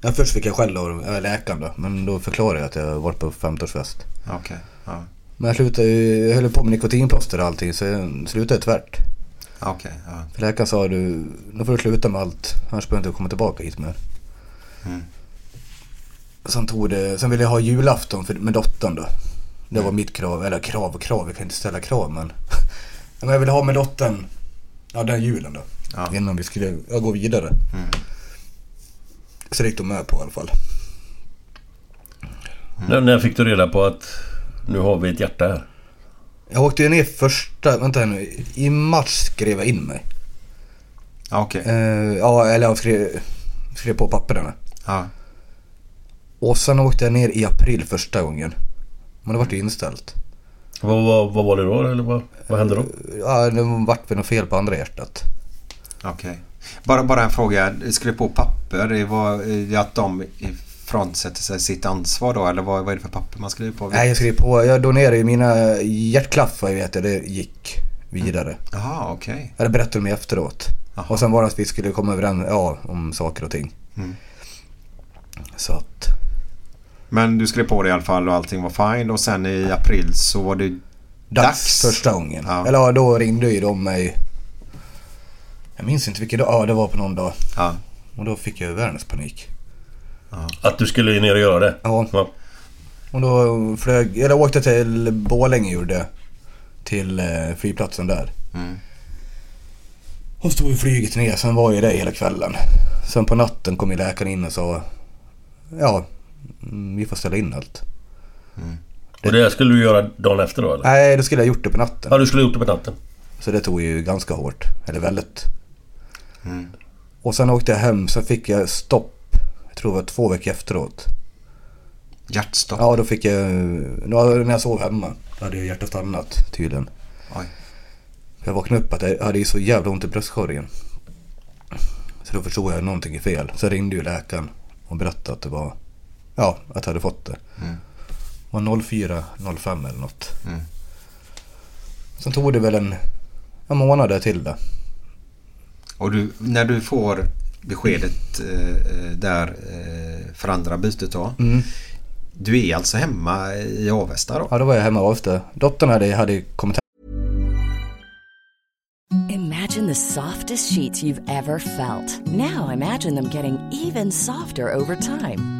Speaker 3: Ja, först fick jag skäll av äh, läkaren då, men då förklarade jag att jag varit på 15-årsfest.
Speaker 2: Okej. ja.
Speaker 3: Men jag slutade ju, jag höll på med nikotinplåster och allting så jag slutade tvärt.
Speaker 2: Okej, ja.
Speaker 3: För läkaren sa du, nu får du sluta med allt annars behöver du inte komma tillbaka hit mer.
Speaker 2: Mm.
Speaker 3: Sen, tog det, sen ville jag ha julafton för, med dottern då. Det
Speaker 2: Mm.
Speaker 3: var mitt krav, eller krav och krav, jag kan inte ställa krav men. men jag ville ha med dottern, ja den julen då.
Speaker 2: Ja. Mm.
Speaker 3: Innan vi skulle ja, gå vidare. Så det gick de med på i alla fall.
Speaker 1: När, när fick du reda på att nu har vi ett hjärta här?
Speaker 3: Jag åkte ju ner första, vänta här nu, i mars skrev jag in mig.
Speaker 2: Ja, Okej.
Speaker 3: Eh, ja, eller jag skrev, skrev på papperna.
Speaker 2: Ja.
Speaker 3: Och sen åkte jag ner i april första gången. Men det vart ju inställt.
Speaker 1: Vad, vad, vad var det då? Eller vad, vad hände då?
Speaker 3: Ja, det vart väl något fel på andra hjärtat.
Speaker 2: Okej. Bara, bara en fråga. Skrev på papper. Det var eh, att de frånsätter sig sitt ansvar då? Eller vad, vad är det för papper man skriver på?
Speaker 3: Nej, jag skrev på. Jag donerade ju mina hjärtklaffar, vet jag. Det gick vidare.
Speaker 2: Jaha, okej.
Speaker 3: Eller berättade de mig efteråt.
Speaker 2: Jaha. Mm.
Speaker 3: Och sen var det att vi skulle komma överens ja, om saker och ting. Så att...
Speaker 2: Men du skrev på det i alla fall och allting var fine. Och sen i april så var det
Speaker 3: Dags,
Speaker 2: dags.
Speaker 3: första gången.
Speaker 2: Ja.
Speaker 3: Eller ja, då ringde ju de mig. Jag minns inte vilken dag. Ja, det var på någon dag.
Speaker 2: Ja.
Speaker 3: Och då fick jag ju världens panik.
Speaker 1: Att du skulle ner och göra det?
Speaker 3: Ja. Och då flög, eller åkte till Borlänge gjorde jag. Till eh, flygplatsen där. Och stod i flyget ner, sen var jag där hela kvällen. Sen på natten kom ju läkaren in och sa Ja, mm, vi får ställa in allt.
Speaker 1: Och det skulle du göra dagen efter då eller?
Speaker 3: Nej, då skulle jag ha gjort det på natten.
Speaker 1: Ja, du skulle ha gjort det på natten.
Speaker 3: Så det tog ju ganska hårt. Eller väldigt. Och sen åkte jag hem, sen fick jag stopp. Jag tror det var två veckor efteråt.
Speaker 2: Hjärtstopp.
Speaker 3: Ja, då fick jag... då- När jag sov hemma. Då hade jag hjärtat stannat tydligen.
Speaker 2: Oj.
Speaker 3: Jag vaknade upp att jag hade ju så jävla ont i bröstkorgen. Så då förstod jag att någonting är fel. Så ringde ju läkaren och berättade att det var... Ja, att jag hade fått det. Det var 04.05 eller något. Sen tog det väl en, en månad där till det.
Speaker 2: Och du, när du får beskedet eh, där eh, för andra bytet då. Du är alltså hemma i Avesta då?
Speaker 3: Ja, då var jag hemma och efter. Dottern hade, hade kommit
Speaker 5: Imagine the softest sheets you've ever felt. Now imagine them getting even softer over time.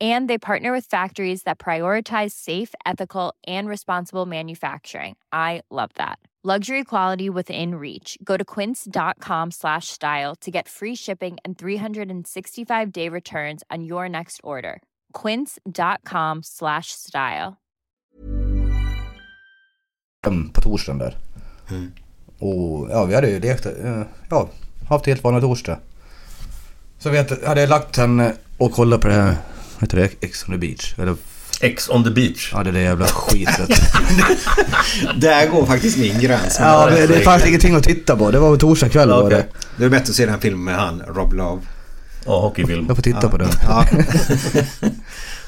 Speaker 6: And they partner with factories that prioritize safe, ethical, and responsible manufacturing. I love that. Luxury quality within reach. Go to quince.com slash style to get free shipping and 365 day returns on your next order. Quince.com slash style.
Speaker 3: hem på torsdagen där. Och ja, vi hade ju lekt, eh, ja, haft helt vanlig torsdag. Så vet, jag- hade jag lagt henne och kollat på det här, vad heter det, Ex on the beach? Eller,
Speaker 1: Ex on the beach.
Speaker 3: ja det är det jävla skitet.
Speaker 2: Där går faktiskt min gräns. med
Speaker 3: ja,
Speaker 2: det.
Speaker 3: det, det fanns ingenting att titta på. Det var väl torsdag kväll var
Speaker 1: Okej.
Speaker 3: det.
Speaker 2: Det är bättre att se den filmen med han, Rob Love.
Speaker 1: Ja, hockeyfilm.
Speaker 3: Jag får titta på den.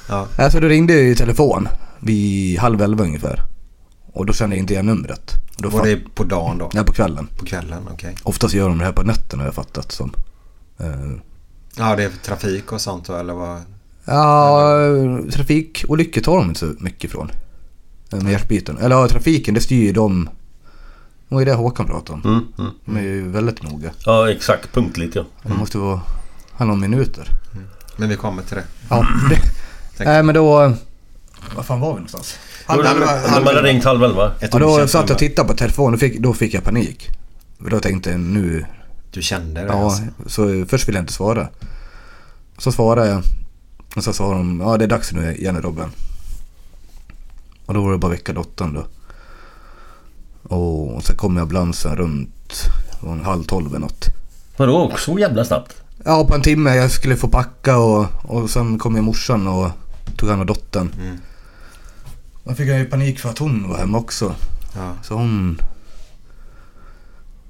Speaker 2: Ja.
Speaker 3: Alltså då ringde jag ju i telefon vid halv elva ungefär. Och då kände jag inte igen numret. Och Då
Speaker 2: Var
Speaker 3: fatt-
Speaker 2: det på dagen då?
Speaker 3: Ja, på kvällen.
Speaker 2: På kvällen, okej.
Speaker 3: Oftast gör de det här på nätterna har jag fattat som. Eh,
Speaker 2: Ja, det är trafik och sånt då, eller vad?
Speaker 3: Ja, trafikolyckor tar de inte så mycket ifrån. Eh, Med hjärtbiten. Eller ja, trafiken, det styr ju de. Det var ju det Håkan pratade om.
Speaker 1: Mm, mm.
Speaker 3: De är ju väldigt noga.
Speaker 1: Ja, exakt. Punktligt ja.
Speaker 3: Det måste vara... handla om minuter.
Speaker 2: Men vi kommer till det.
Speaker 3: Ja, det,
Speaker 2: Tack.
Speaker 3: nej men då... Vad fan var vi någonstans?
Speaker 1: Halv,
Speaker 2: halv-
Speaker 1: när man hade ringt halv elva.
Speaker 2: Ett
Speaker 3: Ja, då
Speaker 2: okänt
Speaker 3: satt jag
Speaker 2: nummer.
Speaker 3: och tittade på telefonen och fick, då fick jag panik. För Då tänkte jag nu...
Speaker 2: Du kände det
Speaker 3: Ja,
Speaker 2: alltså?
Speaker 3: så först ville jag inte svara. Så svarade jag. Och så sa de, ja det är dags nu igen Robin. Och då var det bara att väcka dottern då. Och sen kom ambulansen runt det var en halv tolv eller något.
Speaker 1: Vadå? Så jävla snabbt?
Speaker 3: Ja, på en timme. Jag skulle få packa och, och sen kom ju morsan och tog hand om dottern. Mm. Då fick jag ju panik för att hon var hemma också.
Speaker 2: Ja.
Speaker 3: Så hon...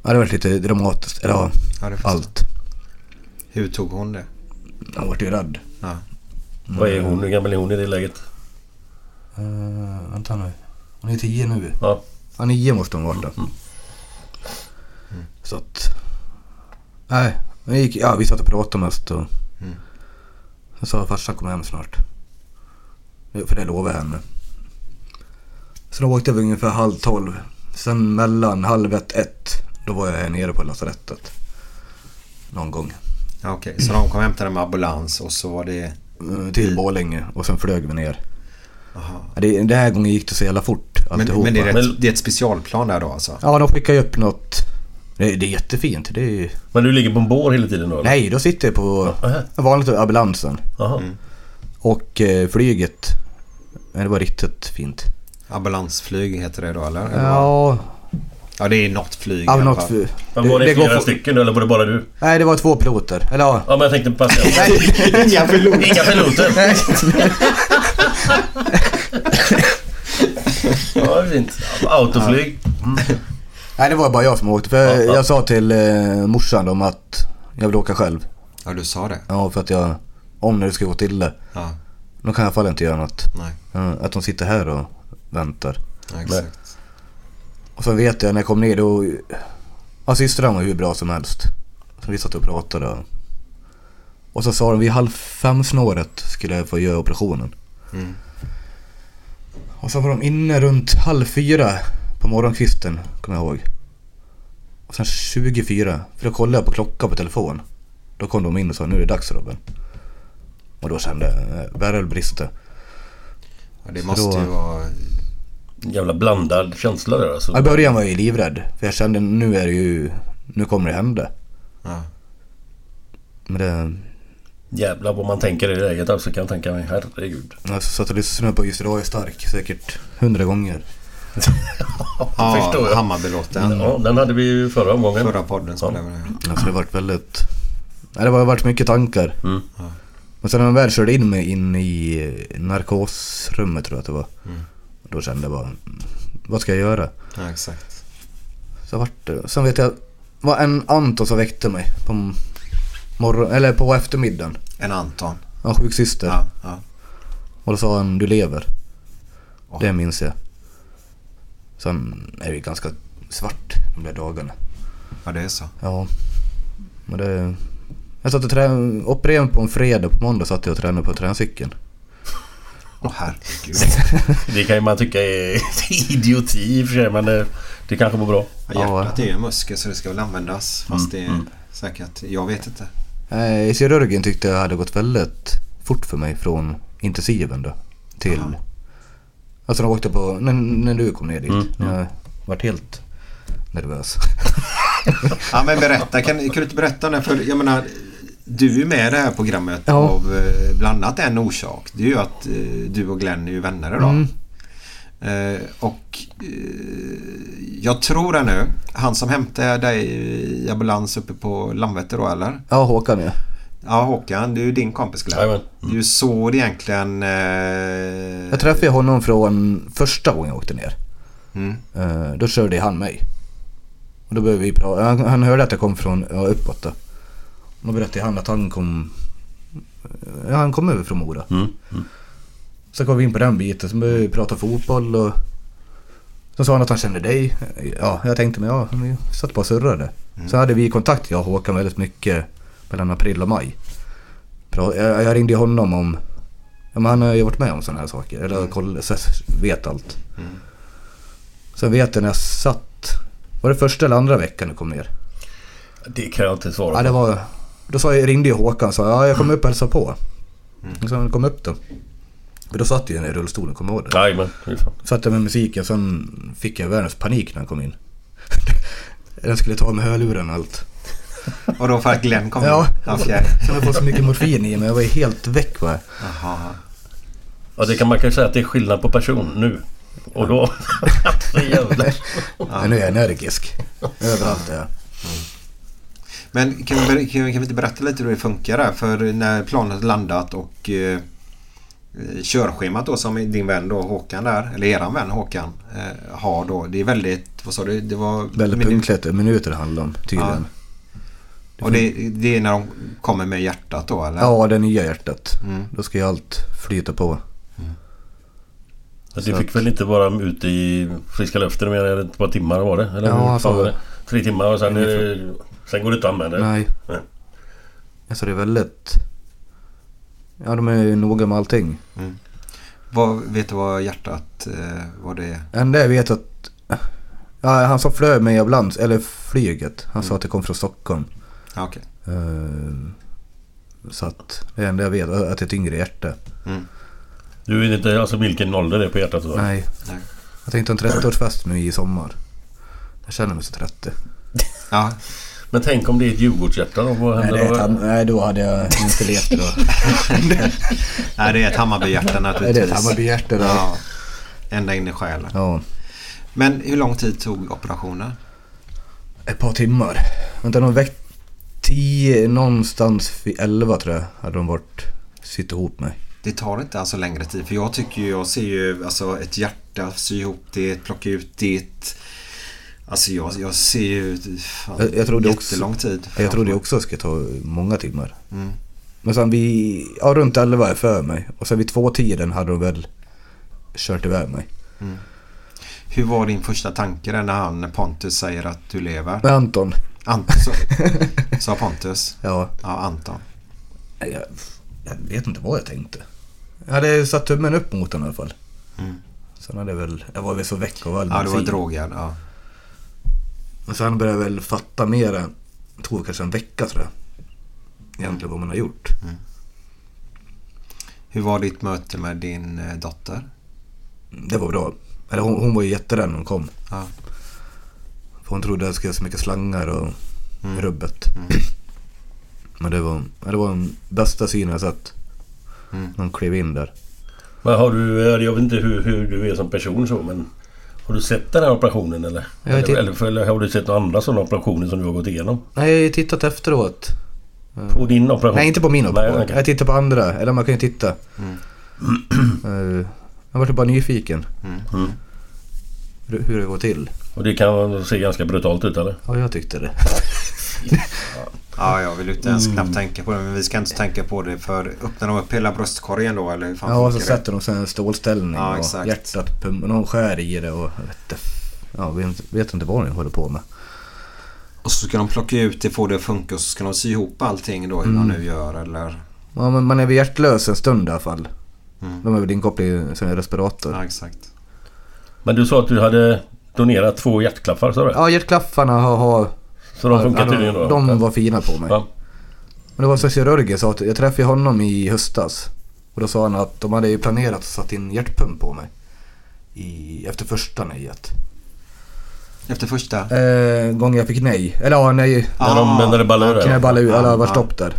Speaker 3: Ja, det var lite dramatiskt. Eller ja,
Speaker 2: Ja, det förstår jag.
Speaker 3: allt.
Speaker 2: Hur tog hon det?
Speaker 3: Jag vart ju rädd.
Speaker 2: Ja.
Speaker 1: Vad är hon? Hur gammal är hon i det läget?
Speaker 3: Uh, vänta nu. Hon är tio nu.
Speaker 1: Ja.
Speaker 3: Ja, nio måste hon vara då.
Speaker 2: Mm. Mm.
Speaker 3: Så att... Nej, men gick, ja, vi satt och pratade mest och... Jag sa farsan kommer hem snart. Jo, För det lovade jag henne. Så då åkte vi ungefär halv tolv. Sen mellan halv ett, ett. Då var jag här nere på lasarettet. Någon gång.
Speaker 2: Ja, Okej, så de kom och hämtade med ambulans och så var det...
Speaker 3: Eh,
Speaker 2: Mm.
Speaker 3: Till Borlänge och sen flög vi ner. Ja, Det, den här gången gick det så jävla fort
Speaker 2: Men,
Speaker 3: alltihopa.
Speaker 2: men det, är ett, det är ett specialplan där då alltså?
Speaker 3: Ja, de skickar ju upp något. Det, det är jättefint. Det är ju...
Speaker 1: Men du ligger på en bår hela tiden då? eller?
Speaker 3: Nej, då sitter jag på
Speaker 1: Aha.
Speaker 3: vanligt ambulansen.
Speaker 1: Aha.
Speaker 3: Och eh, flyget. eh, Det var riktigt fint.
Speaker 2: Ambulansflyg heter det då eller? Eller vad?
Speaker 3: Ja,
Speaker 2: ja det är något flyg
Speaker 3: ja
Speaker 2: i alla
Speaker 3: något...
Speaker 2: fall.
Speaker 3: Det,
Speaker 1: Men var det,
Speaker 3: det går
Speaker 1: flera
Speaker 3: fort.
Speaker 1: stycken då, eller var det bara du?
Speaker 3: Nej, det var två piloter. Eller ja.
Speaker 1: Ja men jag tänkte passa.
Speaker 2: Inga piloter.
Speaker 1: Inga piloter. Ja, det är fint. Autoflyg.
Speaker 3: Nej, det var bara jag som åkte. För
Speaker 1: Ja, ja.
Speaker 3: jag sa till eh, morsan om att jag vill åka själv.
Speaker 2: Ja du sa det?
Speaker 3: Ja, för att jag... Om när det ska gå till det.
Speaker 2: Ja.
Speaker 3: Då kan jag i alla fall inte göra något.
Speaker 2: Nej.
Speaker 3: Ja, Att de sitter här och väntar.
Speaker 2: Ja, exakt.
Speaker 3: Och så vet jag när jag kom ner då... Ja, systrarna var hur bra som helst. Så vi satt och pratade. och- Och så sa de vid halv fem snåret skulle jag få göra operationen. Och så var de inne runt halv fyra på morgonkvisten, kommer jag ihåg. Och sen 24, för då kollade jag på klockan på telefon. Då kom de in och sa nu är det dags Robin. Och då kände jag, eh, värre brister.
Speaker 2: Ja, det måste ju
Speaker 3: Då-
Speaker 2: vara...
Speaker 1: Jävla blandad känsla där alltså.
Speaker 3: Ja, I början var jag ju livrädd. För jag kände nu är det ju... Nu kommer det hända.
Speaker 2: Ja.
Speaker 3: Men det...
Speaker 1: Jävlar vad man tänker i det läget alltså kan jag tänka mig. Herregud.
Speaker 3: Jag satt och lyssnade Alltså, på Just idag är stark säkert hundra gånger.
Speaker 2: Ja,
Speaker 1: förstår jag.
Speaker 2: Hammarbylåten.
Speaker 1: Ja, den hade vi ju förra omgången.
Speaker 2: Förra podden spelade vi den.
Speaker 3: Alltså det vart väldigt... Nej, det har varit mycket tankar. Men sen när man väl körde in mig in i narkosrummet tror jag att det var. Då kände jag bara... Vad ska jag göra?
Speaker 2: Ja, exakt.
Speaker 3: Så vart det. Sen vet jag... Det var en Anton som väckte mig på morgon... Eller på eftermiddagen.
Speaker 2: En Anton.
Speaker 3: En sjuksyster.
Speaker 2: Ja, ja.
Speaker 3: Och då sa han du lever. Det minns jag. Sen är det ganska svart de där dagarna.
Speaker 2: ja, det är så.
Speaker 3: Ja. Men det... Jag satt och tränade, opererade på en fredag, på måndag satt jag och tränade på träningscykeln.
Speaker 2: Åh herregud.
Speaker 1: Det kan ju man tycka är idioti i och för sig men det, det kanske var bra.
Speaker 2: Ja, Hjärtat är ju en muskel så det ska väl användas. Fast
Speaker 3: Mm,
Speaker 2: det är säkert... Jag vet inte.
Speaker 3: Eh, kirurgen tyckte jag hade gått väldigt fort för mig från intensiven då till... Alltså de åkte på, när, när du kom ner dit.
Speaker 2: Mm,
Speaker 3: när Jag vart helt nervös.
Speaker 2: Ja men berätta, kan, kan du inte berätta om det? För jag menar, du är ju med i det här programmet
Speaker 3: Ja.
Speaker 2: av eh, bland annat en orsak. Det är ju att eh, du och Glenn är ju vänner idag.
Speaker 3: Mm.
Speaker 2: Eh, och eh, jag tror det nu, han som hämtade dig eh, i ambulans uppe på Landvetter då eller?
Speaker 3: Ja, Håkan ja.
Speaker 2: Ja Håkan, det är ju din kompis Glenn.
Speaker 1: Jajamän.
Speaker 2: Det är ju så det egentligen... Eh,
Speaker 3: Mm. Jag träffade honom från första gången jag åkte ner. Eh, då körde han mig. Och då började vi prata. Han, han hörde att jag kom från ja, uppåt då. Och då berättade han att han kom... eh, Ja, han kom över från Mora. Så kom vi in på den biten. Så började vi prata fotboll och... Så sa han att han kände dig. Ja, jag tänkte men ja, vi satt bara och surrade. Så hade vi kontakt jag och Håkan väldigt mycket mellan april och maj. Pra- Jag, jag ringde honom om... Ja, men han har ju varit med om sådana här saker. Eller koll, så vet allt. Sen vet jag när jag satt... Var det första eller andra veckan du kom ner?
Speaker 1: Det kan jag inte svara
Speaker 3: Ja,
Speaker 1: på.
Speaker 3: det var... Då sa jag, ringde ju Håkan och sa ja, jag kommer upp och hälsar på. Mm. Sen kom jag upp då. Och då satt jag i den där rullstolen, kommer du ihåg det?
Speaker 1: Jajamän, fy fan.
Speaker 3: Satt jag med musiken, sen fick jag världens panik när han kom in. den skulle ta med hörluren och allt.
Speaker 2: Och då för att Glenn kom
Speaker 3: Ja.
Speaker 2: in. Okej.
Speaker 3: Sen har jag fått så mycket morfin i mig, jag var ju helt väck va.
Speaker 2: Jaha.
Speaker 1: Ja, det kan man kanske säga att det är skillnad på person nu. Och då... Så jävlar.
Speaker 3: Men nu är jag energisk. Överallt är jag.
Speaker 2: Men kan vi, ber- kan, vi- kan vi inte berätta lite hur det funkar där? För när planet landat och eh, eh, körschemat då som din vän då Håkan där, eller eran vän Håkan eh, har då. Det är väldigt, vad sa du? Det var...
Speaker 3: Väldigt
Speaker 2: men-
Speaker 3: punktligt, minuter det handlar om tydligen.
Speaker 2: Och det, det är när de kommer med hjärtat då eller?
Speaker 3: Ja, det nya hjärtat. Då ska ju allt flyta på.
Speaker 1: Ja, Du fick väl inte vara ute i friska luften mer än ett par timmar var det? Eller
Speaker 3: Ja,
Speaker 1: hur fan
Speaker 3: alltså-
Speaker 1: var det? Tre timmar och sen, är det, sen går det inte att använda det.
Speaker 3: Nej.
Speaker 1: Nej.
Speaker 3: Alltså det är väldigt... Ja, de är ju noga med allting.
Speaker 2: Mm. Vad, vet du vad hjärtat, eh, vad det är?
Speaker 3: Det enda jag vet att... Ja, han som flög med i ambulans, eller flyget. Han sa att det kom från Stockholm.
Speaker 2: Ja, okej.
Speaker 3: Eh, Så att det enda jag vet är att det är ett yngre hjärta.
Speaker 7: Du vet inte alltså vilken ålder det är på hjärtat? Så.
Speaker 3: Nej.
Speaker 2: Nej.
Speaker 3: Jag tänkte ha en 30-årsfest nu i sommar. Jag känner mig så 30.
Speaker 2: Ja,
Speaker 7: Men tänk om det är ett Djurgårdshjärta då? Vad
Speaker 3: Nej,
Speaker 7: händer
Speaker 3: det är
Speaker 7: då?
Speaker 3: ett, han- nej, då hade jag inte levt då.
Speaker 2: Nej, det är ett Hammarbyhjärta
Speaker 3: Nej,
Speaker 2: naturligtvis.
Speaker 3: det är ett Hammarbyhjärta där.
Speaker 2: Ja, ända in i själen.
Speaker 3: Ja.
Speaker 2: Men hur lång tid tog operationen?
Speaker 3: Ett par timmar. Vänta, de väckte... Tio, någonstans vid elva tror jag hade de varit. Sitt ihop mig.
Speaker 2: Det tar inte alltså längre tid för jag tycker ju, jag ser ju alltså ett hjärta, sy ihop det, plocka ut det. Alltså jag, jag ser ju fan,
Speaker 3: Jag, jag trodde också...
Speaker 2: jättelång tid. Mm.
Speaker 3: Jag trodde ju också det skulle ta många timmar. Men sen vi... Ja, runt 11 är för mig. Och sen vid tvåtiden hade de väl kört iväg mig.
Speaker 2: Hur var din första tanke där när han Pontus säger att du lever?
Speaker 3: Men Anton.
Speaker 2: Anton sa- sa Pontus.
Speaker 3: Ja.
Speaker 2: Ja, Anton.
Speaker 3: Nej, Jag, jag vet inte vad jag tänkte. Jag hade satt tummen upp mot honom i alla fall. Sen hade jag väl... Jag var väl så väck av all
Speaker 2: Mm. Ja, du var
Speaker 3: bensin.
Speaker 2: drogad. Ja.
Speaker 3: Men sen började jag väl fatta mer än... Jag tror kanske en vecka tror jag. Egentligen vad man har gjort.
Speaker 2: Hur var ditt möte med din eh, dotter?
Speaker 3: Det var bra. Eller hon, hon var ju jätterädd när hon kom.
Speaker 2: Ja.
Speaker 3: För hon trodde att jag skulle ha så mycket slangar och rubbet. Men det var, ja, det var den bästa synen jag sett. När hon klev in där.
Speaker 7: Men har du, eh, jag vet inte hur, hur du är som person så men... Har du sett den här operationen eller?
Speaker 3: Jag vet
Speaker 7: Eller,
Speaker 3: inte.
Speaker 7: eller, för- eller har du sett några andra sådana operationer som du har gått igenom?
Speaker 3: Nej, jag har ju tittat efteråt.
Speaker 7: På din operation?
Speaker 3: Nej, inte på min operation.
Speaker 7: Nej, okej.
Speaker 3: Jag tittar på andra. Eller man kan ju titta. Eh, jag var bara nyfiken. Hur, hur det går till.
Speaker 7: Och det kan se ganska brutalt ut eller?
Speaker 3: Ja, jag tyckte det.
Speaker 2: Ja, jag vill inte
Speaker 3: Mm.
Speaker 2: ens knappt tänka på det. Men vi ska inte tänka på det för öppnar de upp hela bröstkorgen då eller hur fan
Speaker 3: Ja, och så
Speaker 2: funkar det?
Speaker 3: sätter de sig i en stålställning
Speaker 2: Ja,
Speaker 3: och
Speaker 2: exakt.
Speaker 3: hjärtat pumpar. Någon skär i det och jag vet, inte- ja, vet, vet inte vad de håller på med.
Speaker 2: Och så ska de plocka ut det, få det att funka och så ska de sy ihop allting då hur
Speaker 3: Mm.
Speaker 2: de nu gör eller...
Speaker 3: Ja, men man är väl hjärtlös en stund i alla fall. De är väl inkopplade som en respirator.
Speaker 2: Mm. Ja, exakt.
Speaker 7: Men du sa att du hade donerat två hjärtklaffar sa du?
Speaker 3: Ja, hjärtklaffarna har... har
Speaker 7: Så de funkar
Speaker 3: ja, de,
Speaker 7: tydligen då?
Speaker 3: de var fina på mig.
Speaker 7: Ja.
Speaker 3: Men det var så kirurgen sa att jag träffade honom i höstas. Och då sa han att de hade ju planerat att sätta in hjärtpump på mig. I, efter första nejet.
Speaker 2: Efter första.
Speaker 3: Eh, gången jag fick nej. Eller ja, nej.
Speaker 7: När
Speaker 2: Ah,
Speaker 7: de, när det ballar
Speaker 3: När Ah, jag
Speaker 7: ur?
Speaker 3: ballade ur. Eller var
Speaker 2: Ja.
Speaker 3: stopp där.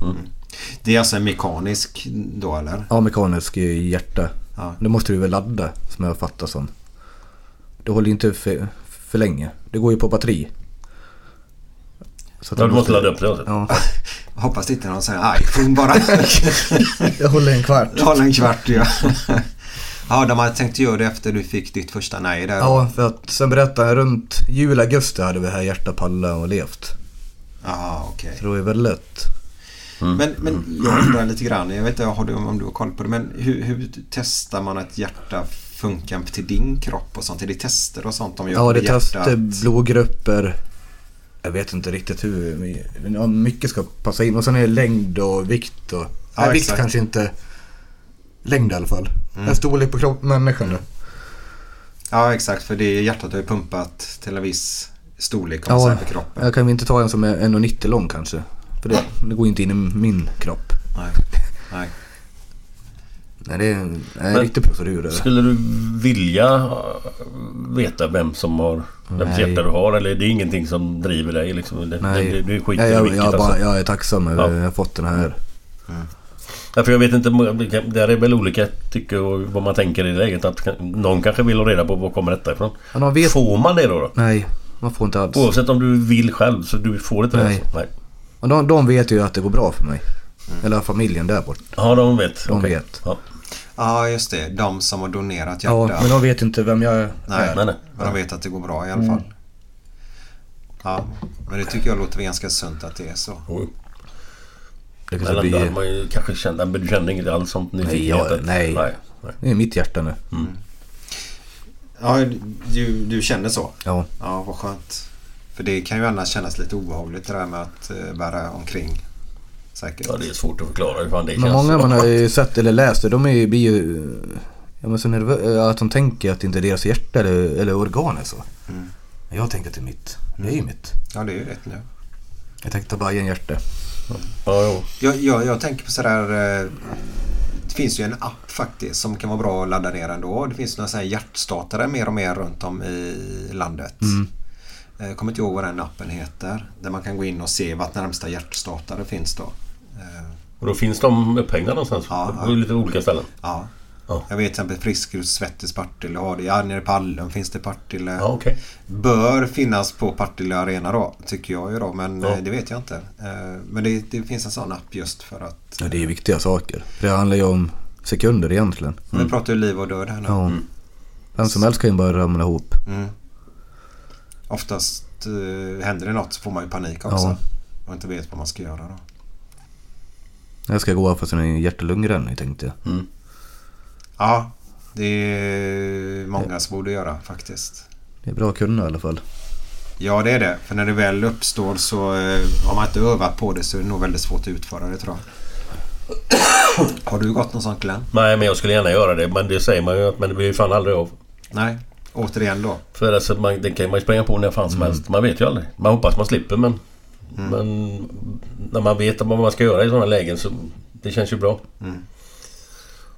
Speaker 2: Det är alltså en mekanisk då eller?
Speaker 3: Ja, mekanisk i hjärta.
Speaker 2: Ja.
Speaker 3: Då måste du väl ladda, som jag fattar som. Det håller ju inte för, för länge. Det går ju på batteri. Så att
Speaker 7: Ja,
Speaker 3: jag
Speaker 7: du måste ladda upp det alltså.
Speaker 3: Ja,
Speaker 2: Hoppas det inte någon säger iPhone bara.
Speaker 3: jag håller en kvart.
Speaker 2: Tala en kvart ja. ja, de hade tänkt göra det efter du fick ditt första nej där.
Speaker 3: Ja, för att sen berättade jag runt jul, augusti hade vi här hjärta, palla och levt.
Speaker 2: Ja, okej.
Speaker 3: Så det var ju väldigt... Mm.
Speaker 2: Men, men jag undrar lite grann. Jag vet inte har du, om du har koll på det. Men hur, hur testar man att hjärta funkar till din kropp och sånt? Är det tester och sånt de gör
Speaker 3: Ja,
Speaker 2: på
Speaker 3: det
Speaker 2: hjärtat?
Speaker 3: tester, blodgrupper. Jag vet inte riktigt hur... men Ja, mycket ska passa in. Och sen är det längd och vikt och...
Speaker 2: Ja,
Speaker 3: nej, vikt
Speaker 2: exakt.
Speaker 3: kanske inte... Längd i alla fall.
Speaker 7: Mm.
Speaker 3: En storlek på kropp, människan då.
Speaker 2: Ja, exakt. För det hjärtat har ju pumpat till en viss storlek om man
Speaker 3: Ja,
Speaker 2: säger, på kroppen.
Speaker 3: jag kan väl inte ta en som är 1,90 lång kanske. För det, det går ju inte in i min kropp.
Speaker 2: Nej. Nej.
Speaker 3: Nej, det är en, en
Speaker 7: Men-
Speaker 3: riktig procedur. det där.
Speaker 7: Skulle du vilja eh, veta vem som har vems
Speaker 3: Nej.
Speaker 7: hjärta du har? Eller är det ingenting som driver dig? Liksom? Det,
Speaker 3: Nej,
Speaker 7: Det, du skiter
Speaker 3: Nej,
Speaker 7: i
Speaker 3: jag,
Speaker 7: vilket
Speaker 3: jag, bara,
Speaker 7: alltså.
Speaker 3: jag är tacksam över
Speaker 7: Ja. Mm.
Speaker 3: att jag har fått den här.
Speaker 7: Ja, för jag vet inte, där är väl olika tycke och vad man tänker i det läget. Att kan- någon kanske vill ha reda på var kommer detta ifrån.
Speaker 3: Ja, de vet-
Speaker 7: Får man det då? då?
Speaker 3: Nej, man får inte alls.
Speaker 7: Oavsett om du vill själv så du får inte det?
Speaker 3: Nej.
Speaker 7: Alltså. Nej.
Speaker 3: Och de, de vet ju att det går bra för mig.
Speaker 7: Mm.
Speaker 3: Eller familjen där borta.
Speaker 7: Ja, de vet.
Speaker 3: De
Speaker 7: Okej.
Speaker 3: vet.
Speaker 7: Ja.
Speaker 2: Ja, just det. De som har donerat
Speaker 3: Ja,
Speaker 2: hjärta.
Speaker 3: men de vet inte vem jag är.
Speaker 2: Nej,
Speaker 7: Nej, nej.
Speaker 2: men de vet att det går bra i alla
Speaker 3: Mm.
Speaker 2: fall. Ja, men det tycker jag låter ganska sunt att det är så.
Speaker 7: Jo.
Speaker 3: Det kanske
Speaker 7: Men ändå hade
Speaker 3: blir...
Speaker 7: man ju kanske känt... Men du kände inget alls om nyfikenheten?
Speaker 3: jag- nej.
Speaker 7: nej.
Speaker 3: Det är mitt hjärta nu.
Speaker 2: Ja, du, du känner så?
Speaker 3: Ja.
Speaker 2: Ja, vad skönt. För det kan ju annars kännas lite obehagligt det där med att eh, bära omkring Säkert.
Speaker 7: Ja, det är svårt att förklara hur fan det
Speaker 3: Men
Speaker 7: känns.
Speaker 3: många man har ju sett eller läst det, de är ju, blir ju... Ja men så nervösa, att de tänker att det inte är deras hjärta eller, eller organ är så.
Speaker 2: Mm.
Speaker 3: Men Jag tänker att det är mitt. Det är ju mitt.
Speaker 2: Ja, det är ju rätt nu.
Speaker 3: Jag tänkte bara ge en hjärta.
Speaker 2: Jag, jag, jag tänker på sådär... eh, Det finns ju en app faktiskt som kan vara bra att ladda ner ändå. Det finns några sådana här hjärtstartare mer och mer runt om i landet.
Speaker 3: Mm.
Speaker 2: Eh, Jag kommer inte ihåg vad den appen heter. Där man kan gå in och se vart närmsta hjärtstartare finns då.
Speaker 7: Och då finns de upphängda någonstans? på lite olika ställen?
Speaker 2: Ja.
Speaker 7: Ja.
Speaker 2: Jag vet till exempel Friskus Svettis Partille har det. Ja, nere i Pallen finns det Partille.
Speaker 7: Ja, okej.
Speaker 2: Bör finnas på Partille Arena då, tycker jag ju då. Men
Speaker 3: Ja.
Speaker 2: eh, det vet jag inte. Eh, Men det, det finns en sån app just för att
Speaker 3: Ja det är ju viktiga saker. För det handlar ju om sekunder egentligen.
Speaker 2: Vi pratar ju liv och död här nu.
Speaker 3: Mm. Ja. Vem som helst kan ju bara ramla ihop.
Speaker 2: Mm. Oftast eh, händer det något så får man ju panik också.
Speaker 3: Ja.
Speaker 2: Och inte vet vad man ska göra då.
Speaker 3: Jag ska gå av för sin hjärt och lungräddning tänkte jag.
Speaker 2: Mm. Ja, det är många som borde göra faktiskt.
Speaker 3: Det är bra att kunna i alla fall.
Speaker 2: Ja, det är det. För när det väl uppstår så eh, har man inte övat på det så är det nog väldigt svårt att utföra det tror jag. Har du gått någon sån Glenn?
Speaker 7: Nej, men jag skulle gärna göra det. Men det säger man ju att men det blir ju fan aldrig av.
Speaker 2: Nej, återigen då.
Speaker 7: För alltså, man, det kan man ju spränga på när fan som
Speaker 3: Mm.
Speaker 7: helst. Man vet ju aldrig. Man hoppas man slipper men... Men när man vet vad man ska göra i sådana lägen så... Det känns ju bra.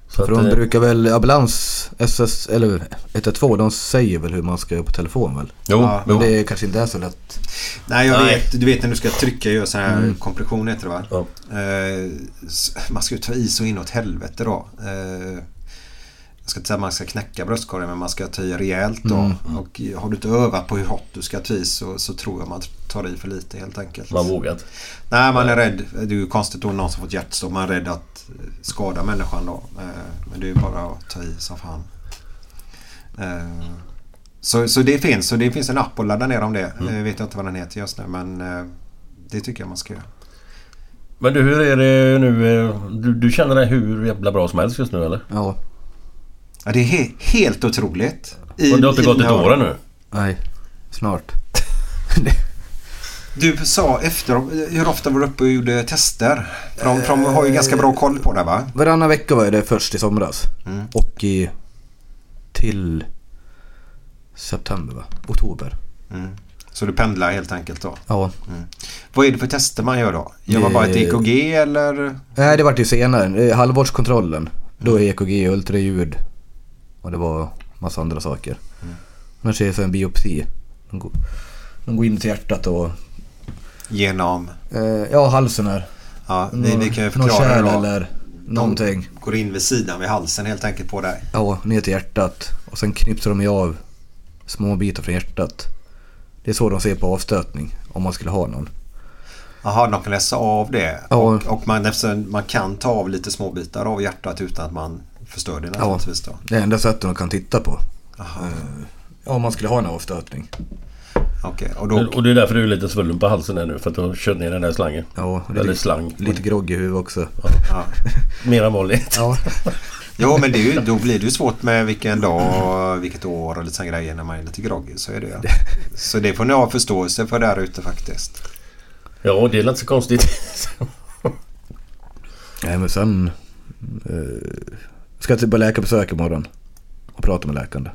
Speaker 7: Så
Speaker 3: För
Speaker 7: att,
Speaker 3: de
Speaker 7: eh,
Speaker 3: brukar väl, ambulans, SS, eller 112, de säger väl hur man ska göra på telefon väl?
Speaker 7: Jo,
Speaker 3: men
Speaker 7: jo.
Speaker 3: det kanske inte är så lätt.
Speaker 2: Nej, jag
Speaker 3: Nej.
Speaker 2: vet. Du vet när du ska trycka och göra så här
Speaker 3: Mm.
Speaker 2: kompression heter det va? Eh, s- man ska ju ta i så inåt helvete då. Eh, jag ska inte säga att man ska knäcka bröstkorgen men man ska ta i rejält då.
Speaker 7: Mm.
Speaker 2: Och har du inte övat på hur hårt du ska ta i så, så tror jag man tar i för lite helt enkelt.
Speaker 7: Man vågar inte.
Speaker 2: Nej, man är rädd. Det är ju konstigt då någon som fått hjärtstopp. Man är rädd att eh, skada människan då. Eh, Men det är ju bara att ta i som fan. Eh, Så, så det finns. Så det finns en app att ladda ner om det.
Speaker 7: Mm.
Speaker 2: Jag vet inte vad den heter just nu men eh, det tycker jag man ska göra.
Speaker 7: Men du, hur är det nu? eh, Du, du känner dig hur jävla bra som helst just nu eller?
Speaker 3: Ja.
Speaker 2: Ja, det är he- helt otroligt.
Speaker 7: Och det har inte
Speaker 2: i
Speaker 7: gått
Speaker 2: den
Speaker 7: ett
Speaker 2: här-
Speaker 7: år ännu?
Speaker 3: Nej, snart.
Speaker 2: Du sa efteråt, hur ofta var du uppe och gjorde tester? För de, för de har ju ganska bra koll på det va?
Speaker 3: Varannan vecka var jag det först i somras.
Speaker 2: Mm.
Speaker 3: Och i... Till... September va? Oktober.
Speaker 2: Mm. Så du pendlar helt enkelt då?
Speaker 3: Ja.
Speaker 2: Mm. Vad är det för tester man gör då? Gör man bara ett
Speaker 3: Eh,
Speaker 2: EKG eller?
Speaker 3: Nej, det vart ju senare. Eh, Halvårskontrollen. Då är EKG, ultraljud och det var massa andra saker.
Speaker 2: Mm.
Speaker 3: Annars är det så en biopsi. De går, de går in till hjärtat och...
Speaker 2: Genom?
Speaker 3: Eh, ja, halsen här.
Speaker 2: Ja, vi, vi kan ju
Speaker 3: Någon
Speaker 2: förklara
Speaker 3: kärl
Speaker 2: det då.
Speaker 3: eller någonting.
Speaker 2: Går in vid sidan vid halsen helt enkelt på dig.
Speaker 3: Ja, ner till hjärtat. Och sen knipsar de ju av små bitar från hjärtat. Det är så de ser på avstötning, om man skulle ha någon.
Speaker 2: Jaha, de kan läsa av det.
Speaker 3: Ja.
Speaker 2: Och, och man, eftersom man kan ta av lite småbitar av hjärtat utan att man förstör det
Speaker 3: Ja,
Speaker 2: naturligtvis då.
Speaker 3: det är enda sättet de kan titta på. Eh,
Speaker 2: Jaha.
Speaker 3: Ja, om man skulle ha en avstötning.
Speaker 2: Okej, och
Speaker 7: Och, det är därför du är lite svullen på halsen här nu för att du har kört ner den där slangen.
Speaker 3: Ja, och det är
Speaker 7: Eller
Speaker 3: lite-
Speaker 7: slang.
Speaker 3: Lite grogg i huvudet också.
Speaker 2: Ja.
Speaker 7: Mer än vanligt.
Speaker 3: Ja.
Speaker 2: Jo, men det är ju, då blir det ju svårt med vilken dag och vilket år och lite sådana grejer när man är lite groggy. Så är det ju. Så det får ni ha förståelse för där ute faktiskt.
Speaker 7: Ja, det är inte så konstigt.
Speaker 3: Nej men sen... Eh, ska jag till bara läkarbesök imorgon. Och prata med läkaren.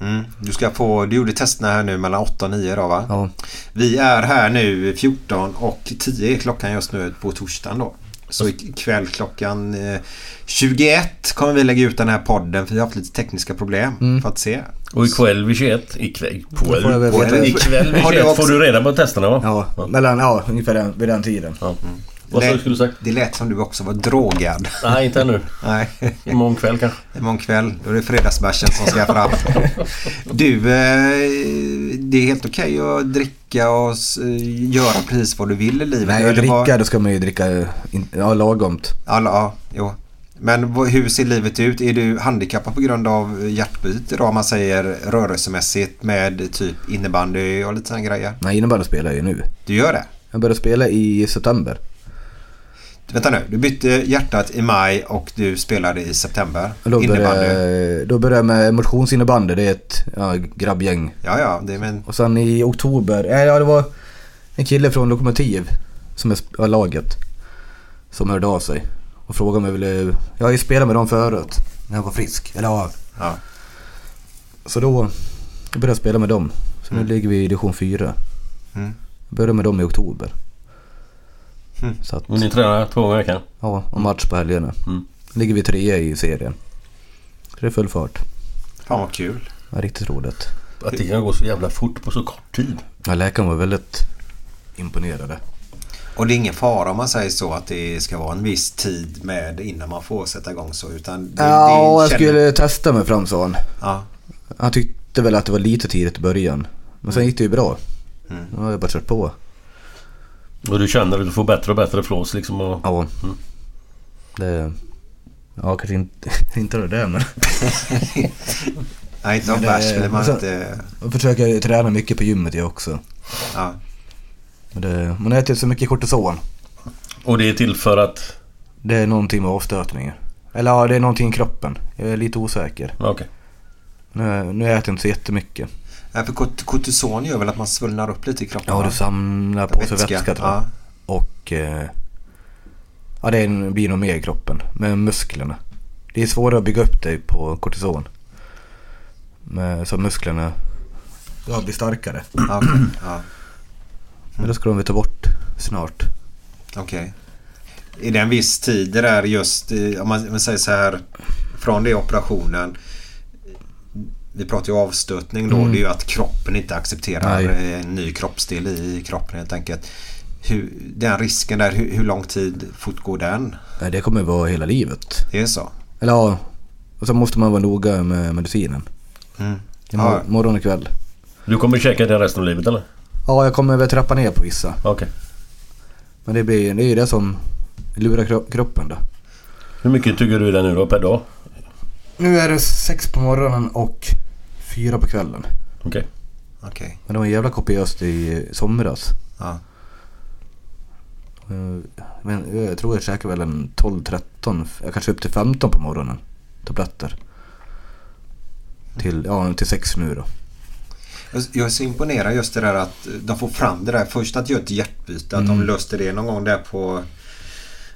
Speaker 2: Mm. Du ska få, du gjorde testerna här nu mellan 8 och 9 då va?
Speaker 3: Ja.
Speaker 2: Vi är här nu 14 och 10 är klockan just nu på torsdagen då. Så
Speaker 7: Mm.
Speaker 2: ikväll klockan eh, 21 kommer vi lägga ut den här podden för vi har haft lite tekniska problem
Speaker 7: Mm.
Speaker 2: för att se.
Speaker 7: Och ikväll vid 21... Ikväll?
Speaker 3: Då får jag väl
Speaker 7: ikväll
Speaker 3: veta-
Speaker 7: ikväll vid
Speaker 3: Har du
Speaker 7: 21
Speaker 3: också-
Speaker 7: får du reda på testerna va?
Speaker 3: Ja, mellan, ja ungefär den, vid den tiden.
Speaker 7: Ja. Vad sa du skulle sagt?
Speaker 2: Det lät som du också var drogad.
Speaker 7: Nej, inte ännu.
Speaker 2: Nej.
Speaker 7: Imorgon kväll kanske.
Speaker 2: Imorgon kväll, då är det fredagsbärsen som ska fram. Du, eh, det är helt okej att dricka och s- göra precis vad du vill i livet.
Speaker 3: Nej,
Speaker 2: Eller vad-
Speaker 3: dricka då ska man ju dricka in, ja, lagomt.
Speaker 2: Alla, ja, jo. Men vad- hur ser livet ut? Är du handikappad på grund av hjärtbyte då? Om man säger rörelsemässigt med typ innebandy och lite sådana grejer.
Speaker 3: Nej, innebandy spelar jag ju nu.
Speaker 2: Du gör det?
Speaker 3: Jag började spela i september.
Speaker 2: Vänta nu, du bytte hjärtat i maj och du spelade i september.
Speaker 3: Och Då
Speaker 2: Innebandy.
Speaker 3: började, då började jag med motionsinnebandy. Det är ett ja, grabbgäng.
Speaker 2: Ja, ja, det är men...
Speaker 3: Och sen i oktober, eh, ja det var en kille från Lokomotiv som är sp- ja, laget. som hörde av sig och frågade om jag ville... Jag har ju spelat med dem förut när jag var frisk. Eller ja. Så då började jag spela med dem. Så nu ligger vi i division 4.
Speaker 2: Mm.
Speaker 3: Jag började med dem i oktober. Så att,
Speaker 1: Och ni tränar två gånger i veckan?
Speaker 3: Ja, och match på helgerna.
Speaker 1: Mm.
Speaker 3: Ligger vi trea i serien. Så det är full fart.
Speaker 2: Fan vad kul.
Speaker 3: Ja, riktigt roligt.
Speaker 1: Att det kan gå så jävla fort på så kort tid.
Speaker 3: Ja, läkaren var väldigt imponerade.
Speaker 2: Och det är ingen fara om man säger så att det ska vara en viss tid med innan man får sätta igång så. Utan det,
Speaker 3: Ja,
Speaker 2: det
Speaker 3: jag
Speaker 2: känner-
Speaker 3: skulle testa mig fram sa han.
Speaker 2: Ja.
Speaker 3: Han tyckte väl att det var lite tidigt i början. Men sen gick det ju bra.
Speaker 2: Mm.
Speaker 3: Nu har jag bara kört på.
Speaker 1: Och du känner att du får bättre och bättre flås liksom? Och...
Speaker 3: Ja.
Speaker 2: Mm.
Speaker 3: Det... Ja, kanske inte, inte det där men...
Speaker 2: Nej, inte av
Speaker 3: Men det-
Speaker 2: bärs blir man
Speaker 3: så-
Speaker 2: inte...
Speaker 3: Jag försöker träna mycket på gymmet jag också.
Speaker 2: Ja.
Speaker 3: Men det, man äter så mycket kortison.
Speaker 1: Och det är till för att...
Speaker 3: Det är någonting med avstötningar. Eller ja, det är någonting i kroppen. Jag är lite osäker.
Speaker 1: Okej.
Speaker 3: Nu, nu äter jag inte så jättemycket.
Speaker 2: Ja, för kort- kortison gör väl att man svullnar upp lite i kroppen?
Speaker 3: Ja,
Speaker 2: va?
Speaker 3: du samlar på sig
Speaker 2: Vätska,
Speaker 3: vätska tror jag.
Speaker 2: ja.
Speaker 3: Och... Eh, ja, det är en- blir nog mer i kroppen. Med musklerna. Det är svårare att bygga upp dig på kortison. Men, så musklerna... Ja, blir starkare.
Speaker 2: Ja, Okej. Ja.
Speaker 3: Men det ska de väl ta bort snart.
Speaker 2: Okej. Är det en viss tid det där just eh, om man, man säger så här från det operationen. Vi pratar ju avstötning då.
Speaker 3: Mm.
Speaker 2: Det är ju att kroppen inte accepterar
Speaker 3: Nej.
Speaker 2: eh, en ny kroppsdel i kroppen helt enkelt. Hur, den risken där, hur, hur lång tid fortgår den?
Speaker 3: Nej, Eh, Det kommer vara hela livet.
Speaker 2: Det är så?
Speaker 3: Eller ja, och så måste man vara noga med medicinen.
Speaker 2: Mm.
Speaker 3: Imorgon,
Speaker 2: Ja.
Speaker 3: morgon och kväll.
Speaker 1: Du kommer käka det resten av livet eller?
Speaker 3: Ja, jag kommer väl trappa ner på vissa.
Speaker 1: Okej.
Speaker 3: Men det, blir, det är ju det som lurar kro- kroppen då.
Speaker 1: Hur mycket tuggar du i dig nu då per dag?
Speaker 3: Nu är det sex på morgonen och fyra på kvällen.
Speaker 1: Okej.
Speaker 2: Okej.
Speaker 3: Men det var jävla kopiöst i somras.
Speaker 2: Ja.
Speaker 3: Eh, Men jag tror jag käkade väl en 12-13, f- kanske upp till 15 på morgonen. Tabletter. Till, ja, till sex nu då.
Speaker 2: Jag- Jag är så imponerad just det där att de får fram det där. Först att göra ett hjärtbyte. Att de
Speaker 3: Mm.
Speaker 2: löste det någon gång där på...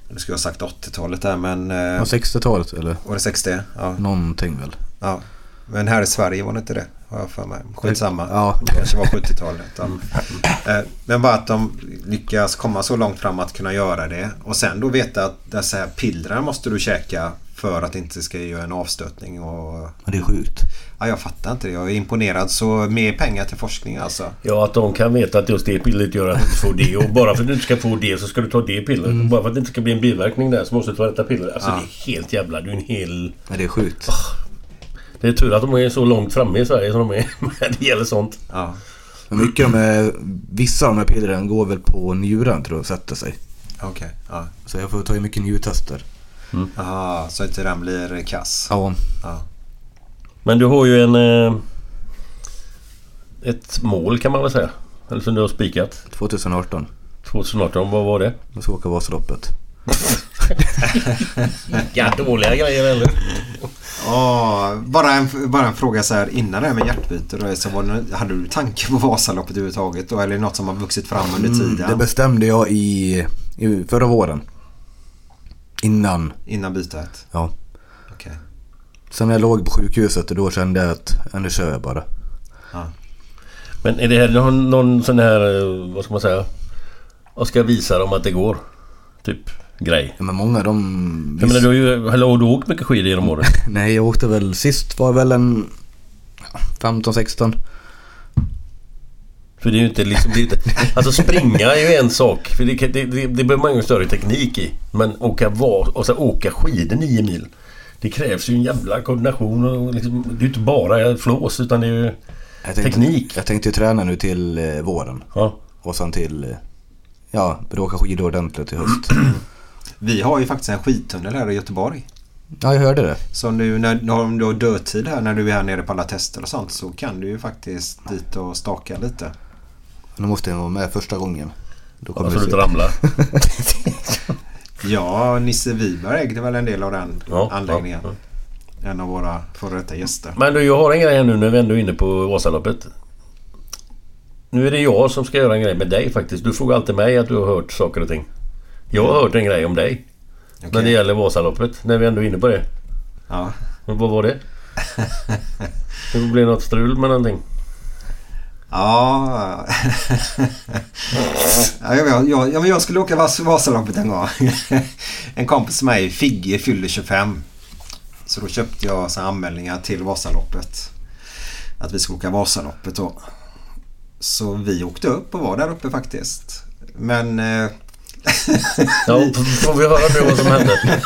Speaker 2: Nu ska jag ha sagt 80-talet där men...
Speaker 3: På
Speaker 2: Eh,
Speaker 3: 60-talet eller
Speaker 2: var det 60? Ja.
Speaker 3: Mm. någonting väl.
Speaker 2: Ja. Men här i Sverige var det inte det, har jag för mig. Skitsamma.
Speaker 3: Ja.
Speaker 2: Det kanske var 70-talet. Ja. Eh, Men bara att de lyckas komma så långt fram att kunna göra det. Och sen då veta att dessa här pillren måste du käka för att inte ska göra en avstötning. Och...
Speaker 3: Men det är sjukt.
Speaker 2: Ja, jag fattar inte det. Jag är imponerad. Så mer pengar till forskning alltså.
Speaker 1: Ja, att de kan veta att just det pillret gör att du inte får det. Och bara för att du inte ska få det så ska du ta det pillret. Och Bara för att det inte ska bli en biverkning där så måste du ta detta piller. Alltså det är helt jävla... Du är en hel...
Speaker 3: Men det är sjukt.
Speaker 1: Det är tur att de är så långt framme i Sverige som de är när det gäller sånt.
Speaker 2: Ja.
Speaker 3: Men mycket av de här, vissa av de här pillren går väl på njuren tror jag och sätter sig.
Speaker 2: Okej. Ja.
Speaker 3: Så jag får ta i mycket njurtester.
Speaker 2: Aha, så inte den blir kass.
Speaker 3: Ja.
Speaker 2: Ja.
Speaker 1: Men du har ju en... Eh, ett mål kan man väl säga. Eller som du har spikat.
Speaker 3: 2018.
Speaker 1: 2018, vad var det?
Speaker 3: Jag ska åka Vasaloppet.
Speaker 1: Ja, dåliga grejer eller?
Speaker 2: Ja, bara, en, bara en fråga så här innan det här med hjärtbyte. Då, så var det, hade du tanke på Vasaloppet överhuvudtaget? Då, eller är det något som har vuxit fram under
Speaker 1: Mm,
Speaker 2: tiden?
Speaker 3: Det bestämde jag i, i förra våren. Innan.
Speaker 2: Innan bytet?
Speaker 3: Ja.
Speaker 2: Okej.
Speaker 3: Sen när jag låg på sjukhuset då kände jag att ja, nu kör jag bara.
Speaker 2: Ja.
Speaker 1: Men är det här någon, någon sån här... eh, Vad ska man säga? Jag ska visa dem att det går. Typ grej.
Speaker 3: Ja, men många de...
Speaker 1: Jag menar, du har ju... Hallå, har du åkt mycket skidor genom åren?
Speaker 3: Nej jag åkte väl sist var väl en 15-16.
Speaker 1: För det är ju inte liksom... Det, är inte- alltså springa är ju en sak. För det, kan- det, det, det behöver man ingen större teknik i. Men åka, va, alltså, åka skidor nio mil. Det krävs ju en jävla koordination och liksom, Det är ju inte bara flås utan det är ju...
Speaker 3: Jag tänkte,
Speaker 1: Teknik.
Speaker 3: Jag tänkte ju träna nu till eh, våren.
Speaker 1: Ja.
Speaker 3: Och sen till... eh, Ja, börja åka skidor ordentligt i höst.
Speaker 2: Vi har ju faktiskt en skidtunnel här i Göteborg.
Speaker 3: Ja, jag hörde det.
Speaker 2: Så nu när, om du har dödtid här när du är här nere på alla tester och sånt så kan du ju faktiskt dit och staka lite.
Speaker 3: Nu måste jag vara med första gången. Då kommer
Speaker 1: Alltså
Speaker 3: vi
Speaker 1: du
Speaker 3: se.
Speaker 1: inte ramlar.
Speaker 2: Ja, Nisse Wiberg ägde väl en del av den
Speaker 1: Ja,
Speaker 2: anläggningen.
Speaker 1: ja,
Speaker 2: En av våra före detta gäster.
Speaker 1: Men du, jag har en grej här nu när vi ändå är inne på Vasaloppet. Nu är det jag som ska göra en grej med dig faktiskt. Du frågar alltid mig att du har hört saker och ting. Jag har hört en grej om dig. När det gäller Vasaloppet. När vi ändå är inne på det.
Speaker 2: Ja.
Speaker 1: Men vad var det? det blev något strul med någonting.
Speaker 2: Ja, ja jag, vet, jag, jag, jag skulle åka Vas- Vasaloppet en gång. en kompis med mig, Figge, fyllde 25. Så då köpte jag så här anmälningar till Vasaloppet. Att vi skulle åka Vasaloppet då. Så vi åkte upp och var där uppe faktiskt. Men... eh,
Speaker 1: Ja, får vi höra nu vad som hände?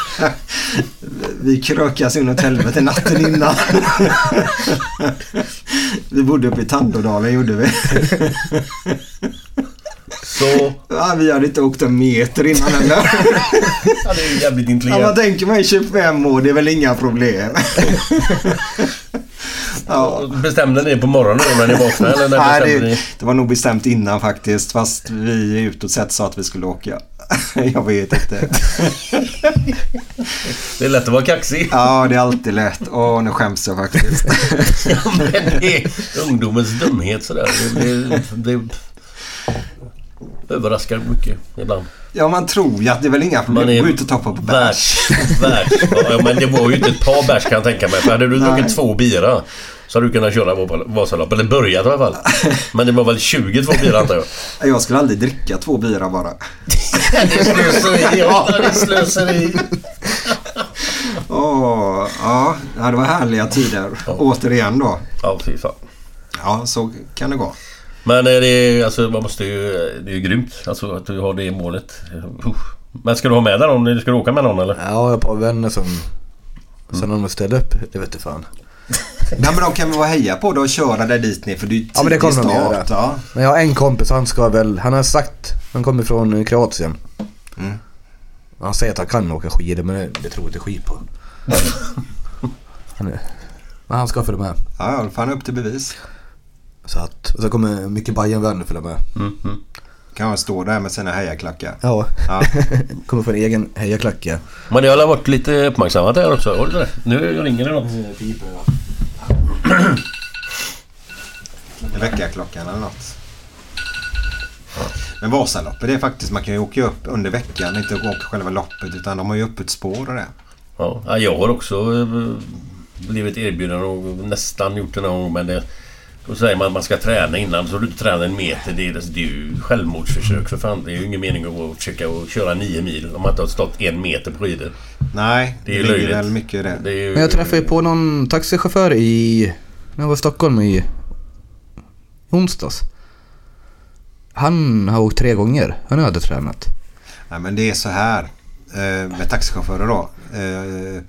Speaker 2: Vi krökas inåt helvete natten innan. vi bodde uppe i Tandådalen gjorde vi.
Speaker 1: Så...
Speaker 2: Ja, vi hade inte åkt en meter innan heller.
Speaker 1: Ja, det är ju jävligt
Speaker 2: Ja,
Speaker 1: intelligent.
Speaker 2: man tänker mig 25 år, det är väl inga problem.
Speaker 1: Ja. Bestämde ni på morgonen då när ni vaknade? Eller när
Speaker 2: Nej,
Speaker 1: bestämde
Speaker 2: det,
Speaker 1: ni?
Speaker 2: det var nog bestämt innan faktiskt. Fast vi utåt sett sa att vi skulle åka. Jag vet inte.
Speaker 1: Det är lätt att vara kaxig.
Speaker 2: Ja, det är alltid lätt. Åh, nu skäms jag faktiskt.
Speaker 1: Ja, men det är ungdomens dumhet sådär. Det, det, det överraskar mycket ibland.
Speaker 2: Ja, man tror ju att det är väl inga problem.
Speaker 1: Man är
Speaker 2: Gå ut och toppa på
Speaker 1: bärs. Bärs. Ja, men det var ju inte ett par bärs kan jag tänka mig. För hade du druckit två bira så hade du kunnat köra Vas- Vasaloppet. Eller börjat i alla fall. Men det var väl 22 bira antar jag.
Speaker 2: Jag skulle aldrig dricka två bira bara.
Speaker 1: Det är slöseri. Ja, det är slöseri.
Speaker 2: Åh, ja, det var härliga tider. Återigen då.
Speaker 1: Ja, fy fan.
Speaker 2: Ja, så kan det gå.
Speaker 1: Men eh, det är, alltså, man måste ju, det är ju grymt alltså, att du har det målet. Uff. Men ska du ha med dig någon? Ska du åka med någon eller?
Speaker 3: Ja, jag har ett par vänner som...
Speaker 1: Mm.
Speaker 3: Sen om de ställer upp, det vet du fan.
Speaker 2: Nej, men de kan väl vara heja på dig och köra dig dit ner för det är ju tidig
Speaker 3: Ja men det kommer de
Speaker 2: start.
Speaker 3: göra.
Speaker 2: Ja.
Speaker 3: Men jag har en kompis, han ska väl... Han har sagt... Han kommer från Kroatien.
Speaker 2: Mm.
Speaker 3: Han säger att han kan åka skidor men det- det tror jag inte skit på. han är, men han ska följa med.
Speaker 2: Ja, ja, fan upp till bevis.
Speaker 3: Så att... Och så kommer mycket Bajen-vänner följa med.
Speaker 2: Kan han stå där med sina hejaklackar.
Speaker 3: Ja.
Speaker 2: Ja.
Speaker 3: kommer få en egen hejaklack ja.
Speaker 1: Men det har varit lite uppmärksammat här också. Håll det. Nu ringer det någon.
Speaker 2: Väckarklockan eller något. Men Vasaloppet det är faktiskt, man kan ju åka upp under veckan, inte åka själva loppet utan de har ju öppet spår och det.
Speaker 1: Ja, ja, jag har också eh, blivit erbjuden och nästan gjort det någon gång men det... Då säger man att man ska träna innan så du inte tränar en meter. Det är, det är ju självmordsförsök för fan. Det är ju ingen mening att gå och försöka och köra nio mil om man inte har stått en meter på skidor.
Speaker 2: Nej,
Speaker 1: Det
Speaker 2: det,
Speaker 1: är ju
Speaker 2: ligger
Speaker 1: löjligt.
Speaker 2: väl mycket i det.
Speaker 1: Det är ju...
Speaker 3: Men jag träffade ju på någon taxichaufför i... När jag var i Stockholm i... Onsdags. Han har åkt tre gånger. Han har aldrig tränat.
Speaker 2: Nej, men det är så här eh, med taxichaufförer då. Eh,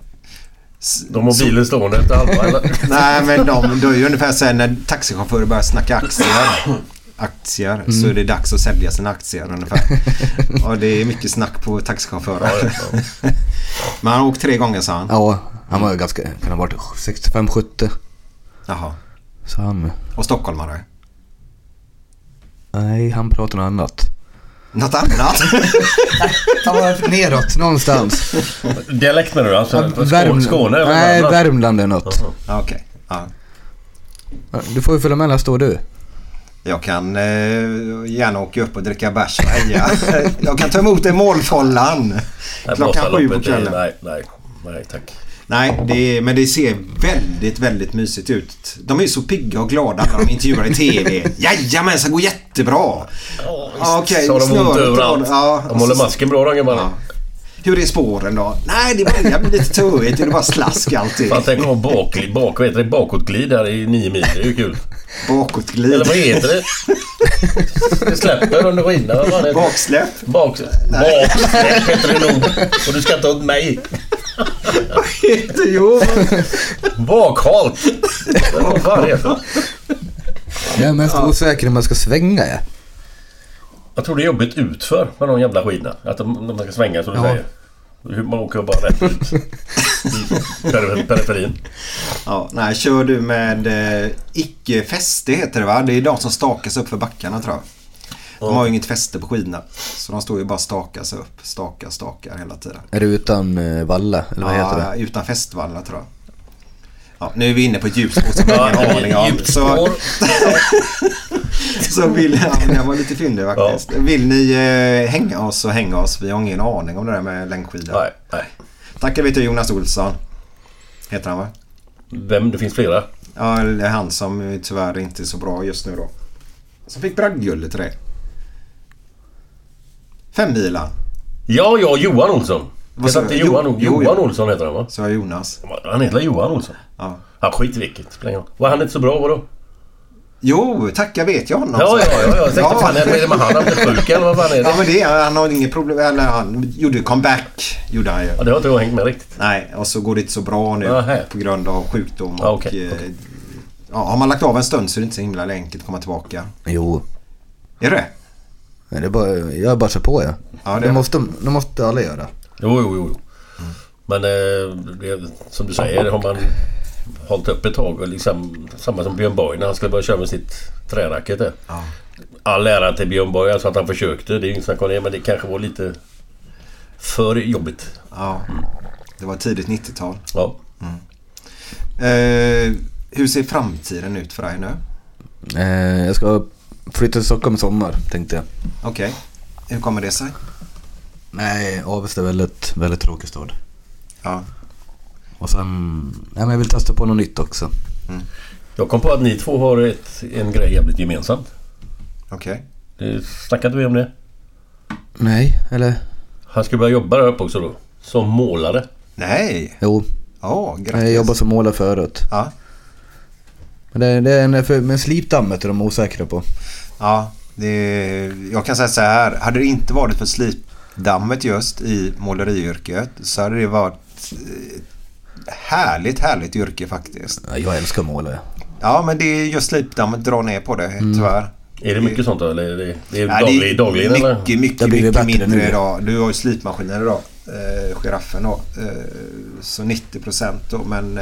Speaker 2: s-
Speaker 1: De har
Speaker 2: så-
Speaker 1: bilen stående efter halva eller?
Speaker 2: Nej men de, det är ju ungefär så här när taxichaufförer börjar snacka aktier. Aktier, så är det dags att sälja sina aktier ungefär. Och det är mycket snack på taxichaufförer. Men han har åkt tre gånger sa han.
Speaker 3: Ja, han var ju ganska... Kan ha varit 65-70.
Speaker 2: Jaha.
Speaker 3: Så han...
Speaker 2: Och stockholmare.
Speaker 3: Nej, han pratar något annat.
Speaker 2: Något annat?
Speaker 3: Han var neråt någonstans.
Speaker 1: Dialekt menar du alltså? Skå-
Speaker 3: Värmland.
Speaker 1: Skåne eller
Speaker 3: Nej,
Speaker 1: Värmland?
Speaker 3: Värmland är något.
Speaker 2: Ja, Okej. Ja.
Speaker 3: Du får ju följa med nästa år du.
Speaker 2: Jag kan eh, gärna åka upp och dricka bärs och heja. Jag kan ta emot en målfållan.
Speaker 1: Nej,
Speaker 2: Klockan sju på
Speaker 1: Vasaloppet, det är-
Speaker 2: kvällen.
Speaker 1: Nej, nej, nej tack.
Speaker 2: Nej, det är, men det ser väldigt, väldigt mysigt ut. De är så pigga och glada när de intervjuar i TV. Jajamän, så går jättebra! Ja, Okej,
Speaker 1: så har de ont
Speaker 2: snöret
Speaker 1: överallt.
Speaker 2: drar- ja,
Speaker 1: de håller
Speaker 2: så-
Speaker 1: masken bra de gubbarna.
Speaker 2: Ja. Hur är spåren då? Nej, det börjar bli lite töigt. Det är bara slask allting.
Speaker 1: Fan tänk att ha bakglid, bak, vad heter det, bakåtglid där i nio mil. Det är ju kul.
Speaker 2: Bakåtglid.
Speaker 1: Eller vad heter det? Det släpper under skidorna. vad fan heter det?
Speaker 2: Baksläpp.
Speaker 1: Bak, baksläpp heter det nog. Och du ska inte åt mig.
Speaker 2: Jo,
Speaker 1: Bakhalt. Vad fan heter det?
Speaker 3: Jag är mest osäker om jag ska svänga ja.
Speaker 1: Jag tror det är jobbigt utför med de jävla skidorna. Att de, de ska svänga som du
Speaker 3: Ja.
Speaker 1: säger. Hur Man åker bara rätt ut. I perifer- periferin.
Speaker 2: Ja, nej, kör du med eh, icke fäste heter det va? Det är de som stakas upp för backarna tror jag. De har ju inget fäste på skidorna. Så de står ju bara och stakas upp. Stakar, stakar hela tiden.
Speaker 3: Är du utan eh, valla? Eller vad heter det?
Speaker 2: Ja, utan fästvalla tror jag. Ja, nu är vi inne på ett djupspår som jag har
Speaker 1: Ja,
Speaker 2: ingen aning om.
Speaker 1: djupspår.
Speaker 2: Så, Så vill, ja, men jag var lite fyndig faktiskt. Vill ni eh, hänga oss så hänga oss. Vi har ingen aning om det där med längdskidor. Nej,
Speaker 1: nej.
Speaker 2: Tackar vi till Jonas Olsson. Heter han va?
Speaker 1: Vem? Det finns flera.
Speaker 2: Ja, det är han som tyvärr inte är så bra just nu då. Som fick bragdguldet till det. Femmilan.
Speaker 1: Ja, ja, Johan Olsson.
Speaker 2: Vad
Speaker 1: Vad
Speaker 2: sa
Speaker 1: inte
Speaker 2: du?
Speaker 1: Johan,
Speaker 2: Jo-
Speaker 1: jo,
Speaker 2: jo,
Speaker 1: Johan
Speaker 2: ja.
Speaker 1: Olsson heter han va?
Speaker 2: Så jag Jonas.
Speaker 1: Han heter Johan Olsson?
Speaker 2: Ja.
Speaker 1: Ja, skit i vilket. Spelar ingen roll. Var han inte så bra vadå?
Speaker 2: Jo, tacka vet jag honom.
Speaker 1: Ja, ja, ja. ja. Jag tänkte fan, vad är det med han? Han blev sjuk eller vad fan är det?
Speaker 2: Ja men det är han har inget problem. Eller han gjorde comeback. Gjorde han ju.
Speaker 1: Ja, det har inte jag hängt med riktigt.
Speaker 2: Nej, och så går det inte så bra nu
Speaker 1: Nähä.
Speaker 2: på grund av sjukdom och...
Speaker 1: Ja, okej,
Speaker 2: eh,
Speaker 1: okej.
Speaker 2: Ja, har man lagt av en stund så är det inte så himla enkelt att komma tillbaka.
Speaker 3: Jo.
Speaker 2: Är det
Speaker 3: Men det är bara, jag bara kör på jag.
Speaker 2: Ja, det-
Speaker 3: det, måste, det måste alla göra.
Speaker 1: Jo, jo, jo. jo. Mm. Men eh, det, som du säger, har man hållit upp ett tag och liksom samma som Björn Borg när han skulle börja köra med sitt träracket där.
Speaker 2: Ja.
Speaker 1: All ära till Björn Borg, alltså att han försökte. Det är inget snack om det, men det kanske var lite för jobbigt.
Speaker 2: Ja. Det var tidigt 90-tal.
Speaker 1: Ja.
Speaker 2: Eh, hur ser framtiden ut för dig nu?
Speaker 3: Eh, jag ska flytta till Stockholm i sommar tänkte jag.
Speaker 2: Okej. Hur kommer det sig?
Speaker 3: Nej, Avesta är väldigt, väldigt tråkig stad.
Speaker 2: Ja.
Speaker 3: Och sen, nej men jag vill testa på något nytt också.
Speaker 1: Jag kom på att ni två har ett, en grej jävligt gemensamt.
Speaker 2: Okej.
Speaker 1: Det- Snackade vi om det?
Speaker 3: Nej, eller?
Speaker 1: Han skulle börja jobba där uppe också då. Som målare.
Speaker 2: Nej!
Speaker 3: Jo.
Speaker 2: Ja,
Speaker 3: Jag jobbar som målare förut.
Speaker 2: Ja.
Speaker 3: Men det, det är en, för, men slipdammet är de osäkra på.
Speaker 2: Ja, det, jag kan säga så här. Hade det inte varit för slipdammet just i måleriyrket så hade det varit eh, härligt, härligt yrke faktiskt.
Speaker 3: Ja, Jag älskar målare.
Speaker 2: Ja, men det är just slipdammet drar ner på det tyvärr.
Speaker 1: Är det mycket sånt då? Eller är det, Mm. det är
Speaker 2: Nej,
Speaker 1: daglig,
Speaker 2: det är
Speaker 1: dagligen
Speaker 2: mycket,
Speaker 1: eller?
Speaker 2: Mycket,
Speaker 3: Det
Speaker 2: mycket,
Speaker 3: har blivit bättre
Speaker 2: mindre
Speaker 3: nu.
Speaker 2: idag. Du har ju slipmaskiner idag. Eh, giraffen då. Eh, så 90 procent då. Men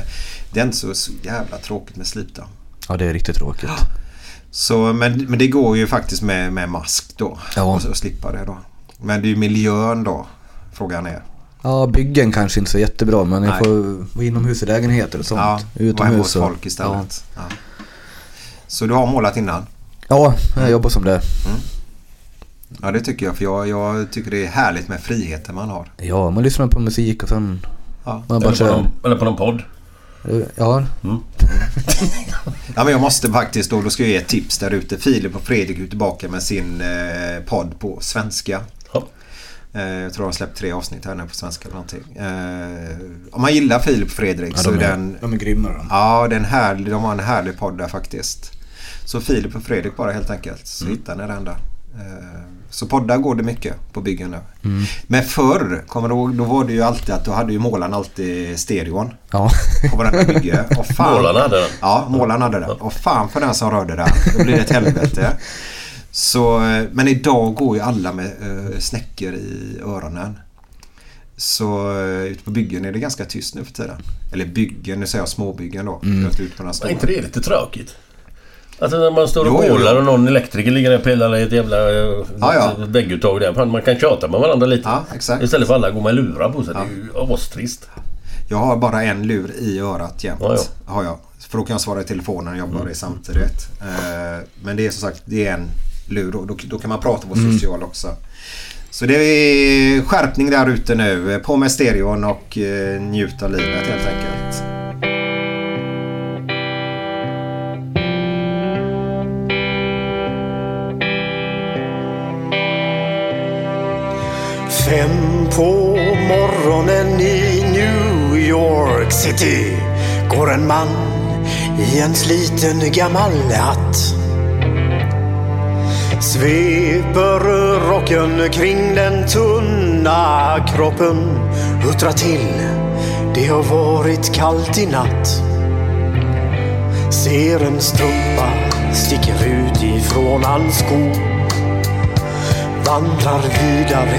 Speaker 2: det är inte så, så jävla tråkigt med slipdamm.
Speaker 3: Ja, det är riktigt tråkigt.
Speaker 2: Så, men, men det går ju faktiskt med, med mask då.
Speaker 3: Ja.
Speaker 2: Och, så slippa det då. Men det är ju miljön då. Frågan är.
Speaker 3: Ja, byggen kanske inte så jättebra men jag
Speaker 2: Nej.
Speaker 3: får vara inomhus i lägenheter och sånt.
Speaker 2: Ja, vara hemma hos
Speaker 3: och-
Speaker 2: folk istället. Ja. Så du har målat innan?
Speaker 3: Ja, ja jag jobbar som det.
Speaker 2: Ja det tycker jag. För jag, jag tycker det är härligt med friheten man har.
Speaker 3: Ja, man lyssnar på musik och sen...
Speaker 2: Ja.
Speaker 3: Man bara
Speaker 1: Eller på,
Speaker 3: kör.
Speaker 1: någon, eller på någon podd.
Speaker 3: Ja,
Speaker 2: Ja, men jag måste faktiskt då, då ska jag ge ett tips där ute. Filip och Fredrik är tillbaka med sin eh, podd på svenska.
Speaker 1: Ja.
Speaker 2: Eh, jag tror de har släppt tre avsnitt här nu på svenska eller någonting. Eh, om man gillar Filip och Fredrik
Speaker 3: ja
Speaker 2: så
Speaker 3: de,
Speaker 2: är
Speaker 3: är,
Speaker 2: den...
Speaker 3: de är grymma de.
Speaker 2: Ja, den här, de har en härlig podd där faktiskt. Så Filip och Fredrik bara helt enkelt. Så hittar ni den där. Eh, Så poddar går det mycket på byggen nu. Men förr, kommer du ihåg, då var det ju alltid att då hade ju målaren alltid stereon
Speaker 3: Ja.
Speaker 2: på varenda bygge. Och fan,
Speaker 1: Målarna hade den.
Speaker 2: Ja, målaren hade den. Och fan för den som rörde den. Då blir det ett helvete. Så, eh, men idag går ju alla med eh, snäckor i öronen. Så eh, ute på byggen är det ganska tyst nu för tiden. Eller byggen, nu säger jag småbyggen då. Jag har inte ut på några
Speaker 1: Är
Speaker 2: stora.
Speaker 1: inte det lite tråkigt? Alltså när man står och
Speaker 2: Jo, jo, jo.
Speaker 1: målar och någon elektriker ligger där och pillar i ett jävla eh,
Speaker 2: Ja, ja.
Speaker 1: vägguttag där. Fan, Man kan tjata med varandra lite.
Speaker 2: Ja, exakt.
Speaker 1: Istället för att alla går med lurar på sig. Det är ju astrist.
Speaker 2: Jag har bara en lur i örat jämt.
Speaker 1: Ja, Mm. ja.
Speaker 2: Har jag. För då kan jag svara i telefonen och jobba det samtidigt. Eh, Men det är som sagt, det är en lur och då, då kan man prata på
Speaker 1: Mm.
Speaker 2: social också. Så det är skärpning där ute nu. eh, På med stereon och eh, njut av livet helt enkelt.
Speaker 8: Fem på morgonen i New York City går en man i en sliten gammal hatt. Sveper rocken kring den tunna kroppen huttra till. Det har varit kallt i natt. Ser en strumpa sticker ut ifrån hans sko vandrar vidare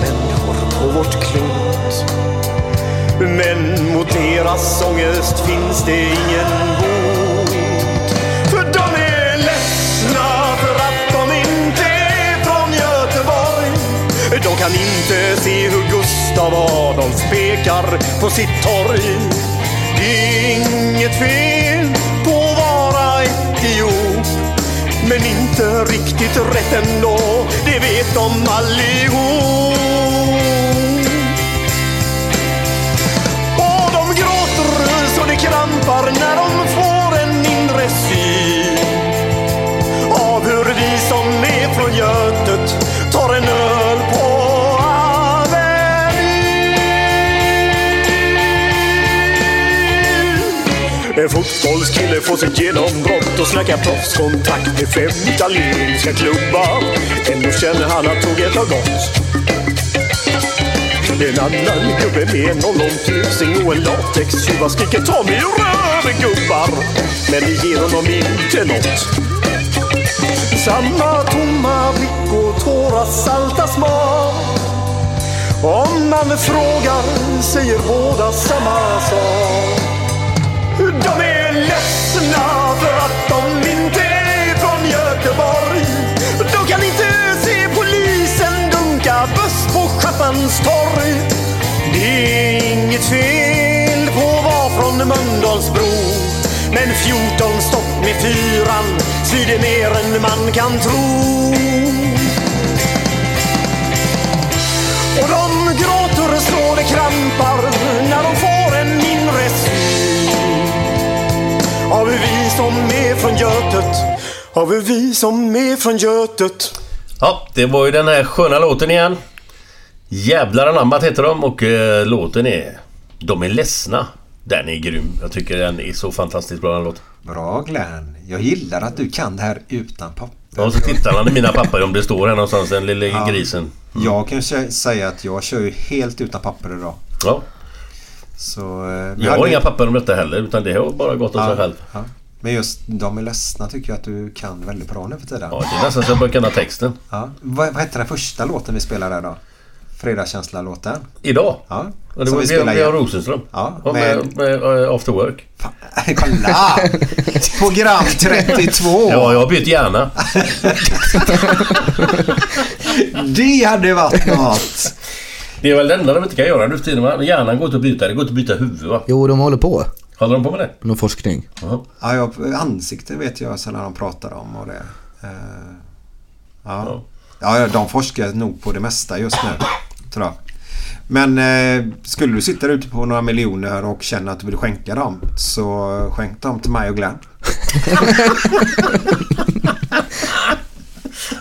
Speaker 8: människor på vårt klot. Men mot deras ångest finns det ingen bot. För de är ledsna för att de inte är från Göteborg. De kan inte se hur Gustav Adolf spekar på sitt torg. Det är inget fel på att vara idiot. Men inte riktigt rätt ändå, det vet de allihop. Och de gråter så det krampar när de får en inre syn av hur vi som är från Götet tar en öl på En fotbollskille får sitt genombrott och snackar proffskontrakt med fem italienska klubbar. Ändå känner han att tåget har gått. En annan gubbe med en ollontusing och en latextjuva skriker ta mig ur röven gubbar. Men det ger honom inte något. Samma tomma blick och tårar salta smak. Om man frågar säger båda samma sak. De är ledsna för att de inte är från Göteborg. De kan inte se polisen dunka buss på Schappans torg. Det är inget fel på att vara från Mölndalsbro. Men 14 stopp med fyran svider mer än man kan tro. Och de gråter så det krampar när de får en inre syn av hur vi som är från Götet, av hur vi som är från Götet
Speaker 1: Ja, det var ju den här sköna låten igen. Jävlar anammat heter de och eh, låten är... De är ledsna. Den är grym. Jag tycker den är så fantastiskt bra den låten.
Speaker 2: Bra Glenn. Jag gillar att du kan det här utan papper.
Speaker 1: Och så tittar han i mina papper om det står här någonstans, den lille grisen.
Speaker 2: Jag kan ju säga att jag kör ju helt utan papper idag.
Speaker 1: Ja.
Speaker 2: Så, eh,
Speaker 1: Jag har inga papper om detta heller, utan det har bara gått av sig
Speaker 2: Ja,
Speaker 1: själv.
Speaker 2: ja. Men just de är ledsna tycker jag att du kan väldigt bra nu för tiden.
Speaker 1: Ja, det är nästan så jag börjar kunna texten.
Speaker 2: Ja. Vad, vad hette den första låten vi spelade här då? Fredagskänsla-låten.
Speaker 1: Idag?
Speaker 2: Ja.
Speaker 1: Och det
Speaker 2: Som
Speaker 1: var
Speaker 2: vi
Speaker 1: vi
Speaker 2: spelar
Speaker 1: spelar Björn
Speaker 2: igen.
Speaker 1: Rosenström.
Speaker 2: Ja,
Speaker 1: Och
Speaker 2: men-
Speaker 1: med, med, eh, After Work.
Speaker 2: Kolla! Program 32!
Speaker 1: Ja, jag har bytt hjärna.
Speaker 2: Det hade varit något!
Speaker 1: Det är väl det enda de inte kan göra nu för tiden va? Hjärnan går inte att byta. Det går inte att byta huvud va?
Speaker 3: Jo, de håller på.
Speaker 1: Håller de på med det?
Speaker 3: Någon forskning.
Speaker 2: Ja, jag, ansikten vet jag sen när de pratar om och det. Eh, ja. Ja. ja, de forskar nog på det mesta just nu. Tror jag. Men eh, skulle du sitta där ute på några miljoner och känna att du vill skänka dem så skänk dem till mig och Glenn.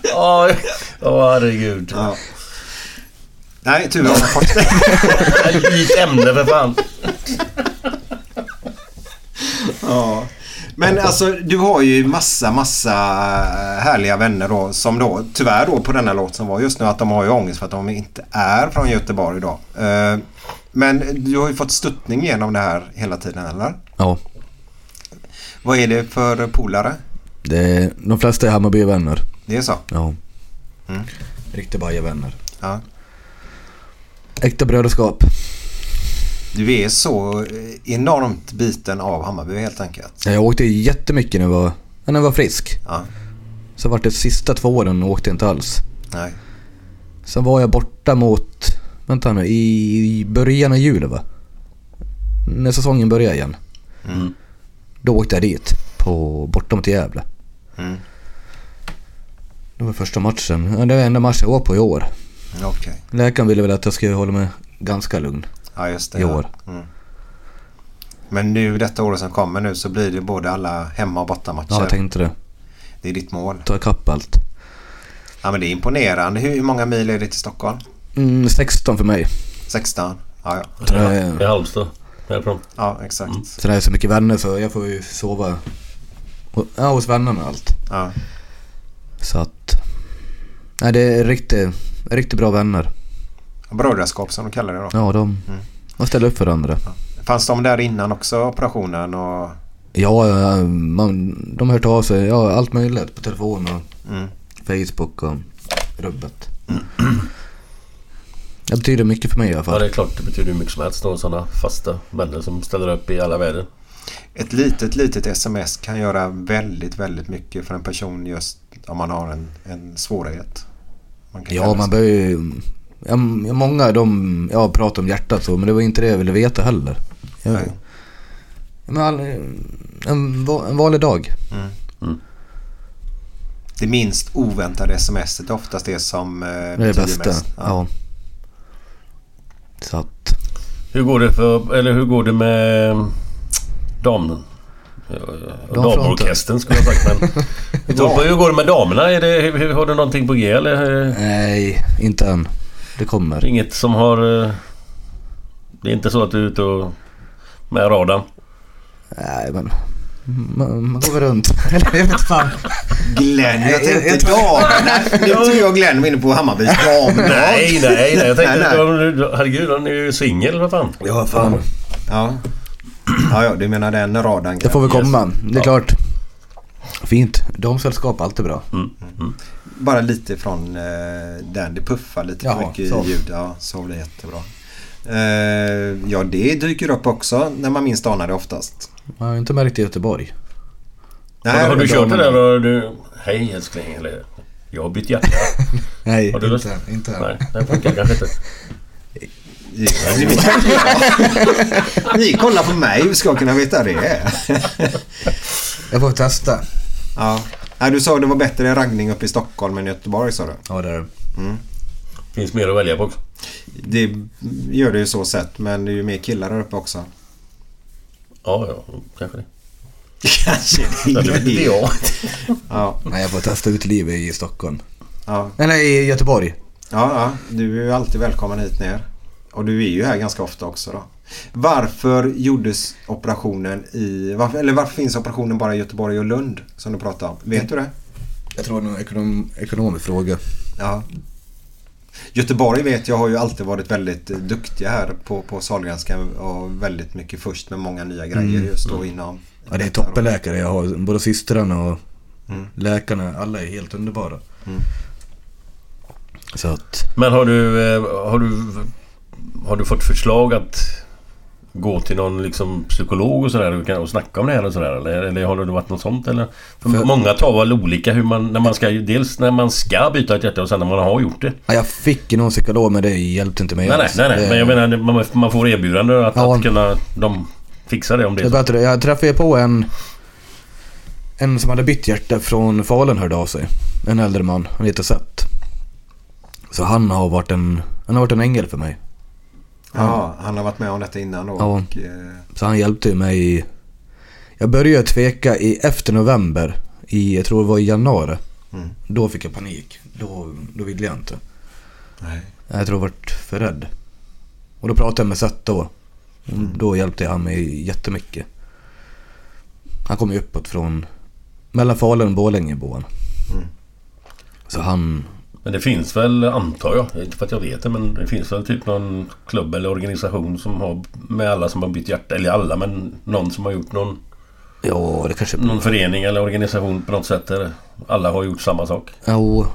Speaker 1: Ja, oh, herregud.
Speaker 2: Ja. Nej, tur att jag fått
Speaker 1: Byt ämne för fan.
Speaker 2: Ja. Men alltså du har ju massa, massa härliga vänner då som då tyvärr då på denna låt som var just nu att de har ju ångest för att de inte är från Göteborg idag. Eh, Men du har ju fått stöttning genom det här hela tiden eller?
Speaker 3: Ja.
Speaker 2: Vad är det för polare?
Speaker 3: Det är, de flesta är Hammarbyvänner.
Speaker 2: Det är så?
Speaker 3: Ja.
Speaker 2: Mm.
Speaker 3: Riktiga Bajarvänner.
Speaker 2: Ja.
Speaker 3: Äkta bröderskap.
Speaker 2: Du är så enormt biten av Hammarby helt enkelt.
Speaker 3: Ja, Jag åkte jättemycket när jag var, när jag var frisk.
Speaker 2: Ja.
Speaker 3: Sen vart det sista två åren och åkte inte alls.
Speaker 2: Nej.
Speaker 3: Sen var jag borta mot, vänta nu, i början av juli va? När säsongen började igen.
Speaker 2: Mm.
Speaker 3: Då åkte jag dit, på, bortom till Gävle.
Speaker 2: Mm.
Speaker 3: Det var första matchen, ja, det var enda matchen jag var på i år.
Speaker 2: Okej.
Speaker 3: Läkaren ville väl att jag skulle hålla mig ganska lugn.
Speaker 2: Ja just det.
Speaker 3: I år.
Speaker 2: Mm. Men nu detta året som kommer nu så blir det både alla hemma och bortamatcher.
Speaker 3: Ja, jag tänkte det.
Speaker 2: Det är ditt mål.
Speaker 3: Ta ikapp allt.
Speaker 2: Ja men det är imponerande. Hur, hur många mil är det till Stockholm?
Speaker 3: Mm, 16 för mig.
Speaker 2: 16? Ja, ja.
Speaker 3: Tror jag är-
Speaker 1: I Halmstad. Härifrån.
Speaker 2: ja exakt.
Speaker 3: Sen är jag så mycket vänner så jag får ju sova ho- ja, hos vännerna och allt.
Speaker 2: Ja.
Speaker 3: Så att... Nej, det är riktigt, riktigt bra vänner.
Speaker 2: Brödraskap som de kallar det då.
Speaker 3: Ja, de,
Speaker 2: Mm.
Speaker 3: de ställer upp för varandra.
Speaker 2: Fanns de där innan också operationen? Och...
Speaker 3: Ja, ja, man, de har hört av sig. Ja, allt möjligt på telefon och
Speaker 2: Mm.
Speaker 3: Facebook och rubbet. Det betyder mycket för mig i alla
Speaker 1: Ja,
Speaker 3: fall.
Speaker 1: det är klart. Det betyder hur mycket som helst. Någon sådana fasta vänner som ställer upp i alla väder.
Speaker 2: Ett litet, litet sms kan göra väldigt, väldigt mycket för en person just om man har en, en svårighet. Man kan
Speaker 3: Ja,
Speaker 2: kalla
Speaker 3: man
Speaker 2: sig-
Speaker 3: börjar ju... Ja, många de ja, pratar om hjärtat så, men det var inte det jag ville veta heller. Jag, Ja, men all, en, va- en vanlig dag.
Speaker 2: Mm. Det minst oväntade sms är oftast det som eh,
Speaker 3: Det är det
Speaker 2: betyder
Speaker 3: bästa.
Speaker 2: mest.
Speaker 3: Ja. Så att,
Speaker 1: Hur går det för... Eller hur går det med... mm, Damen? Ja, ja,
Speaker 3: Damfronten.
Speaker 1: Damorkestern skulle jag ha sagt men... hur, går, hur går det med damerna? Är det, hur, hur, har du någonting på G eller? eh,
Speaker 3: nej, inte än. Det kommer.
Speaker 1: Inget som har... eh, Det är inte så att du är ute och... Med radarn?
Speaker 3: Nej, men... Man, man går väl runt. Eller jag vet fan.
Speaker 2: Glenn, jag
Speaker 3: Nej,
Speaker 2: tänkte
Speaker 3: jag- jag-
Speaker 2: damerna. Nu tror jag Glenn var inne på Hammarbys damlag.
Speaker 1: Nej, nej, nej. Jag tänkte...
Speaker 2: Nej, nej.
Speaker 1: nej. Herregud, han är ju singel vad fan.
Speaker 2: Ja, fan. Ja. ja, ja, du menar den radarn.
Speaker 3: Det får väl
Speaker 2: Glenn.
Speaker 3: komma. Det är klart. Fint. Damsällskap, allt är bra.
Speaker 2: Bara lite från eh, den. Det puffar lite för
Speaker 3: Jaha,
Speaker 2: mycket
Speaker 3: så.
Speaker 2: i ljud. Ja, så blir det jättebra. Eh, ja, det dyker upp också när man minst anar det oftast.
Speaker 3: Man har inte märkt det i Göteborg.
Speaker 1: har, du- har du
Speaker 2: men
Speaker 1: kört det
Speaker 2: damerna-
Speaker 1: där? Har du... Hej älskling. Eller... Jag har bytt jacka.
Speaker 3: Nej,
Speaker 1: Har du lust?
Speaker 3: inte än. Inte än.
Speaker 1: Nej, det funkar kanske inte.
Speaker 2: Ni kollar på mig, hur ska jag kunna veta det?
Speaker 3: Jag får testa.
Speaker 2: ja. Nej, du sa det var bättre raggning uppe i Stockholm än i Göteborg sa du.
Speaker 3: Ja, det är det.
Speaker 1: Finns mer att välja på också.
Speaker 2: Det gör det ju så sett men det är ju mer killar där uppe också.
Speaker 1: Ja, ja. Kanske det.
Speaker 2: Kanske
Speaker 1: Ja, det vet inte jag.
Speaker 2: Ja,
Speaker 3: Nej, jag får testa ut livet i Stockholm.
Speaker 2: ja,
Speaker 3: Nej, nej, i Göteborg.
Speaker 2: ja, ja. Du är ju alltid välkommen hit ner. Och du är ju här ganska ofta också då. Varför gjordes operationen i... Varför, eller varför finns operationen bara i Göteborg och Lund som du pratade om? Vet du det?
Speaker 3: Jag tror det är en ekonom, ekonomisk fråga.
Speaker 2: Ja. Göteborg vet jag har ju alltid varit väldigt eh, duktiga här på, på Sahlgrenska och väldigt mycket först med många nya grejer
Speaker 3: Mm.
Speaker 2: just då inom...
Speaker 3: Ja, det är toppenläkare jag har. Både systrarna och
Speaker 2: Mm.
Speaker 3: läkarna. Alla är helt underbara.
Speaker 2: Mm.
Speaker 3: Så att...
Speaker 1: Men har du, eh, har du... Har du fått förslag att gå till någon liksom psykolog och sådär och kan- och snacka om det här och sådär? Eller, eller har det varit något sånt eller? För
Speaker 3: För-
Speaker 1: Många tar väl olika hur man... När man ska, ju- dels när man ska byta ett hjärta och sen när man har gjort det.
Speaker 3: Ja, jag fick ju någon psykolog men det hjälpte inte mig
Speaker 1: Nej, nej,
Speaker 3: alls.
Speaker 1: nej, nej.
Speaker 3: Det-
Speaker 1: Men jag menar, det- man, man får erbjudande att,
Speaker 3: Ja.
Speaker 1: att kunna... De fixar det om det
Speaker 3: Det
Speaker 1: är
Speaker 3: är
Speaker 1: så.
Speaker 3: bättre. Jag träffade ju på en... En som hade bytt hjärta från Falun hörde av sig. En äldre man. Han heter Seth. Så han har varit en... Han har varit en ängel för mig.
Speaker 2: Ja, han har varit med om detta innan då.
Speaker 3: Ja.
Speaker 2: Och, eh,
Speaker 3: Så han hjälpte ju mig. i- Jag började tveka i efter november. I, jag tror det var i januari.
Speaker 2: Mm.
Speaker 3: Då fick jag panik. Då, då ville jag inte.
Speaker 2: nej.
Speaker 3: Jag tror jag vart för rädd. Och då pratade jag med Seth då. Och Då hjälpte han mig jättemycket. Han kom ju uppåt från... Mellan Falun och Borlänge bor han.
Speaker 2: Mm.
Speaker 3: Så han...
Speaker 1: Men det finns väl, antar jag, inte för att jag vet det, men det finns väl typ någon klubb eller organisation som har med alla som har bytt hjärta, eller alla, men någon som har gjort någon,
Speaker 3: Ja, det kanske...
Speaker 1: någon förening eller organisation på något sätt där alla har gjort samma sak.
Speaker 3: Jo...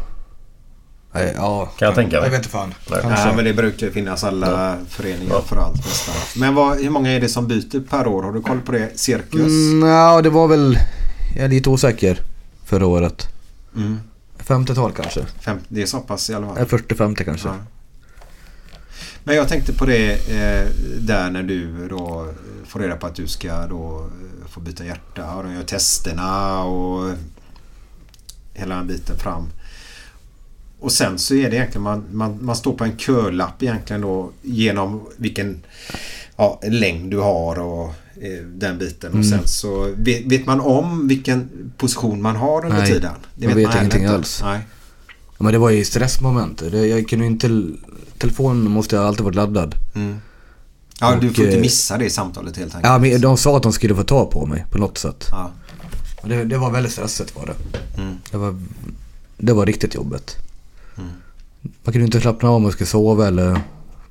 Speaker 3: Nej, ja...
Speaker 1: Kan jag tänka mig.
Speaker 3: Jag vet inte fan.
Speaker 1: Nej.
Speaker 3: Kanske.
Speaker 2: Ja, men det brukar ju finnas alla föreningar
Speaker 1: Ja.
Speaker 2: för allt nästan. Men vad, hur många är det som byter per år? Har du koll på det? Cirkus?
Speaker 3: Mm, ja, det var väl... Jag är lite osäker. Förra året.
Speaker 2: Mm.
Speaker 3: 50-tal kanske.
Speaker 2: Fem, det är så pass i alla fall.
Speaker 3: Nej, 40-50 kanske.
Speaker 2: Ja. Men jag tänkte på det eh, där när du då eh, får reda på att du ska då eh, få byta hjärta och de gör testerna och hela den biten fram. Och sen så är det egentligen man, man, man står på en kölapp egentligen då genom vilken ja, längd du har och eh, den biten. Och
Speaker 3: Mm.
Speaker 2: sen så vet, vet man om vilken position man har under
Speaker 3: Nej,
Speaker 2: tiden?
Speaker 3: jag vet
Speaker 2: man heller
Speaker 3: ingenting
Speaker 2: inte.
Speaker 3: alls.
Speaker 2: Nej.
Speaker 3: Ja, men det var ju stressmoment. Det, jag kunde ju inte... Telefonen måste jag alltid varit laddad.
Speaker 2: Mm. Ja, du
Speaker 3: Och,
Speaker 2: får inte
Speaker 3: eh,
Speaker 2: missa det samtalet helt enkelt.
Speaker 3: Ja, men de sa att de skulle få ta på mig på något sätt.
Speaker 2: Ja.
Speaker 3: Och Det, det var väldigt stressigt var det.
Speaker 2: Mm.
Speaker 3: Det var, det var riktigt jobbigt. Man kunde inte slappna av om man skulle sova eller... Man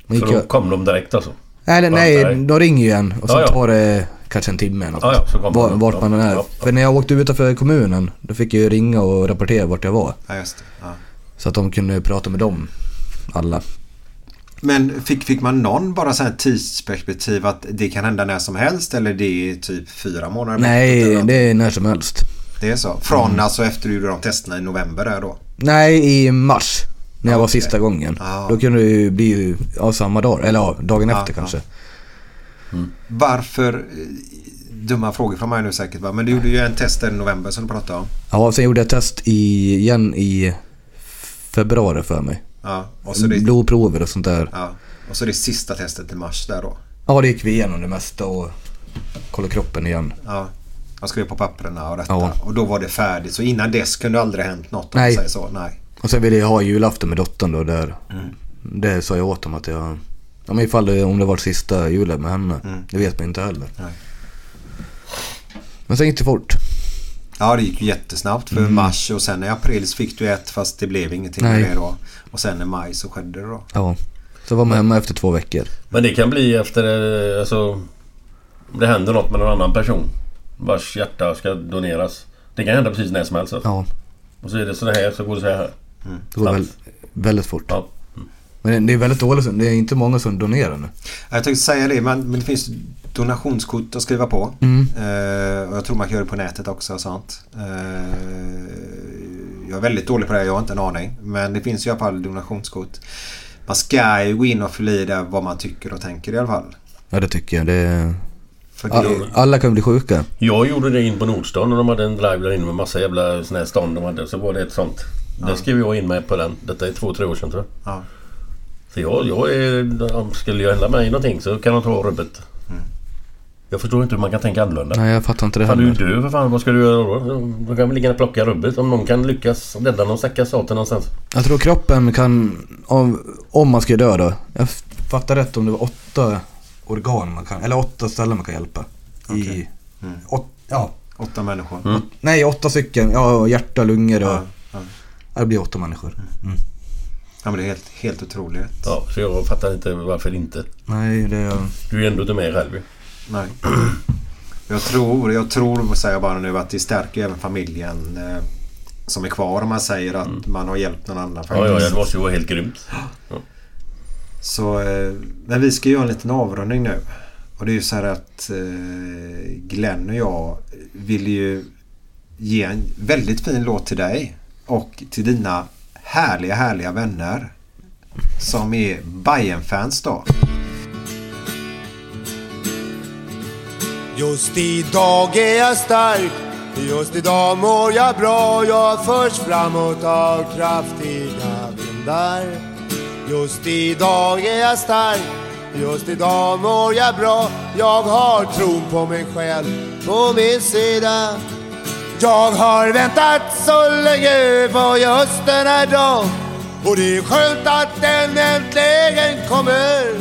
Speaker 1: Så
Speaker 3: gick
Speaker 1: då
Speaker 3: ju,
Speaker 1: kom de direkt alltså?
Speaker 3: nej,
Speaker 1: Ja,
Speaker 3: nej,
Speaker 1: nej.
Speaker 3: de ringer ju en och
Speaker 1: Ja,
Speaker 3: så
Speaker 1: ja.
Speaker 3: tar det kanske en timme eller något.
Speaker 1: Ja, ja, så kommer
Speaker 3: var,
Speaker 1: de.
Speaker 3: vart
Speaker 1: Ja,
Speaker 3: man än är.
Speaker 1: ja, ja.
Speaker 3: För när jag åkte utanför kommunen, då fick jag ju ringa och rapportera vart jag var.
Speaker 2: Ja, just det. Ja.
Speaker 3: Så att de kunde prata med dem, alla.
Speaker 2: Men fick, fick man någon bara så här tidsperspektiv att det kan hända när som helst eller det är typ fyra månader
Speaker 3: Nej, det Mm. är när som helst.
Speaker 2: Det är så? Från alltså efter du gjorde de testerna i november där då?
Speaker 3: Nej, i mars. När jag var sista gången. Då kunde det ju bli ja, samma dag. Eller ja, dagen
Speaker 2: Ja,
Speaker 3: efter
Speaker 2: ja.
Speaker 3: kanske.
Speaker 2: Varför? eh, Dumma frågor från mig nu säkert va? Men du gjorde ju en test där i november som du pratade om.
Speaker 3: Ja, sen gjorde jag test i, igen i februari för mig.
Speaker 2: Ja, och så det-
Speaker 3: Blodprover och sånt där.
Speaker 2: Ja. Och så det sista testet i mars där då.
Speaker 3: Ja, det gick vi igenom det mesta och kollade kroppen igen.
Speaker 2: Ja. Jag skrev på papperna och detta.
Speaker 3: Ja.
Speaker 2: Och då var det färdigt. Så innan dess kunde det aldrig hänt något om
Speaker 3: Nej.
Speaker 2: man säger så. Nej.
Speaker 3: Och sen ville jag ha julafton med dottern då där. Det sa jag åt dem att jag... Ja men ifall det, om det var sista julen med henne. Det vet man inte heller. Men sen gick det fort.
Speaker 2: Ja, det gick ju jättesnabbt för
Speaker 3: Mm.
Speaker 2: mars och sen i april så fick du ett fast det blev ingenting med
Speaker 3: Nej.
Speaker 2: det då. Och sen i maj så skedde det då.
Speaker 3: Ja. Så var man hemma efter två veckor.
Speaker 7: Men det kan bli efter... eh, Alltså, om det händer något med någon annan person vars hjärta ska doneras. Det kan hända precis när som helst. alltså.
Speaker 3: Ja.
Speaker 7: Och så är det så här, så går det så här.
Speaker 3: Det går väl, väldigt fort. Men det är väldigt dåligt. Det är inte många som donerar nu.
Speaker 2: Jag tänkte säga det, men, men det finns donationskort att skriva på.
Speaker 3: Mm.
Speaker 2: Eh, och jag tror man kan göra det på nätet också och sånt. Eh, jag är väldigt dålig på det, här, jag har inte en aning. Men det finns i alla fall donationskort. Man ska ju gå in och fylla i där vad man tycker och tänker i alla fall.
Speaker 3: Ja det tycker jag. Det är...
Speaker 2: För
Speaker 3: All, alla kan bli sjuka.
Speaker 7: Jag gjorde det in på Nordstan och de hade en drive där inne med massa jävla såna här stånd de hade. Så var det ett sånt. Där skrev jag in mig på den. Detta är två, tre år sedan tror
Speaker 2: jag. Ja.
Speaker 7: Så jag, jag är... om Skulle jag hända mig någonting så kan de ta rubbet. Jag förstår inte hur man kan tänka annorlunda.
Speaker 3: Nej jag fattar inte det
Speaker 7: fan, du är
Speaker 3: heller.
Speaker 7: ju död för fan. Vad ska du göra då? Då kan vi lika gärna plocka rubbet. Om någon kan lyckas rädda någon stackars sate någonstans.
Speaker 3: Jag tror kroppen kan, om, om man ska dö då. Jag fattar rätt om det var åtta organ man kan, eller åtta ställen man kan hjälpa. I,
Speaker 2: Mm.
Speaker 3: åt, ja.
Speaker 2: Åtta människor.
Speaker 3: Åt- Nej, åtta stycken. Ja, hjärta, lungor och...
Speaker 2: Ja, ja.
Speaker 3: Det blir åtta människor. Mm.
Speaker 2: Ja, men det är helt, helt otroligt.
Speaker 7: Ja, så jag fattar inte varför inte.
Speaker 3: Nej, det...
Speaker 7: Du är ju ändå inte med själv ju.
Speaker 2: Nej. Jag tror, jag tror säger jag bara nu, att det stärker även familjen eh, som är kvar om man säger att man har hjälpt någon
Speaker 7: Mm.
Speaker 2: annan
Speaker 7: Ja, ja, ja, det måste ju vara helt grymt.
Speaker 2: Så, eh, men vi ska göra en liten avrundning nu. Och det är ju så här att eh, Glenn och jag vill ju ge en väldigt fin låt till dig och till dina härliga, härliga vänner som är Bayern-fans då.
Speaker 9: Just idag är jag stark, just idag mår jag bra. Jag förs framåt av kraftiga vindar. Just idag är jag stark, just idag mår jag bra. Jag har tron på mig själv på min sida. Jag har väntat så länge på just den här dagen. Och det är skönt att den äntligen kommer.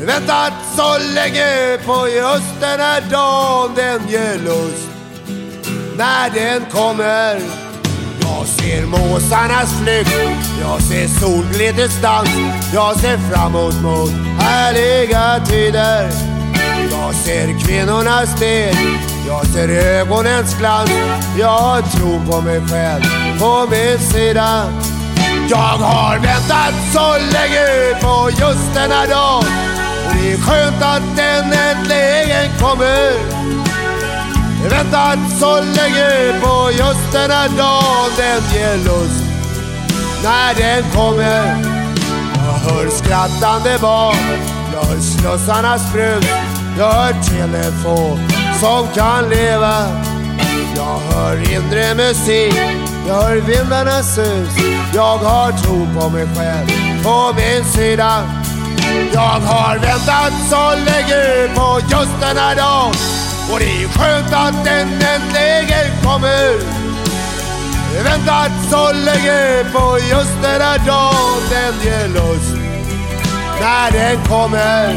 Speaker 9: Väntat så länge på just den här dagen Den ger lust när den kommer Jag ser måsarnas flykt Jag ser solglitters dans Jag ser framåt mot härliga tider Jag ser kvinnornas del Jag ser ögonens glans Jag har tro på mig själv på min sida jag har väntat så länge på just denna dag Och det är skönt att den äntligen kommer Väntat så länge på just denna dag Den ger lust när den kommer Jag hör skrattande barn Jag hör slussarnas brus Jag hör telefon som kan leva jag hör inre musik, jag hör vindarnas sus. Jag har tro på mig själv, på min sida. Jag har väntat så länge på just den här dagen. Och det är skönt att den äntligen kommer. Väntat så länge på just den här dagen. Den ger lust när den kommer.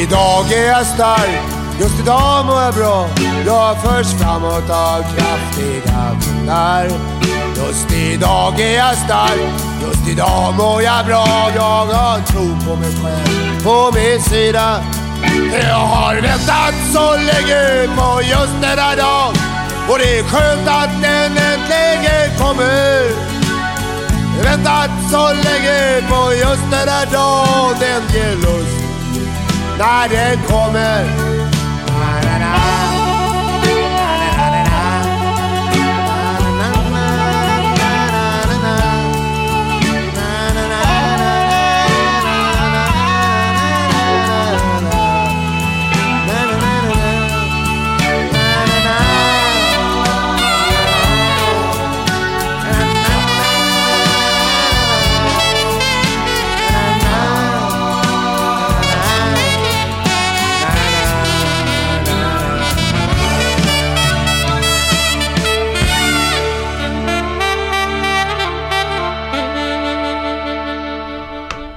Speaker 9: idag är jag stark. Just idag mår jag bra. Jag förs framåt av kraftiga vindar. Just idag är jag stark. Just idag mår jag bra. Jag har tro på mig själv, på min sida. Jag har väntat så länge på just denna dag. Och det är skönt att den äntligen kommer. Väntat så länge på just den här dagen Den ger lust när den kommer Na, na, na. Na, na, na, na.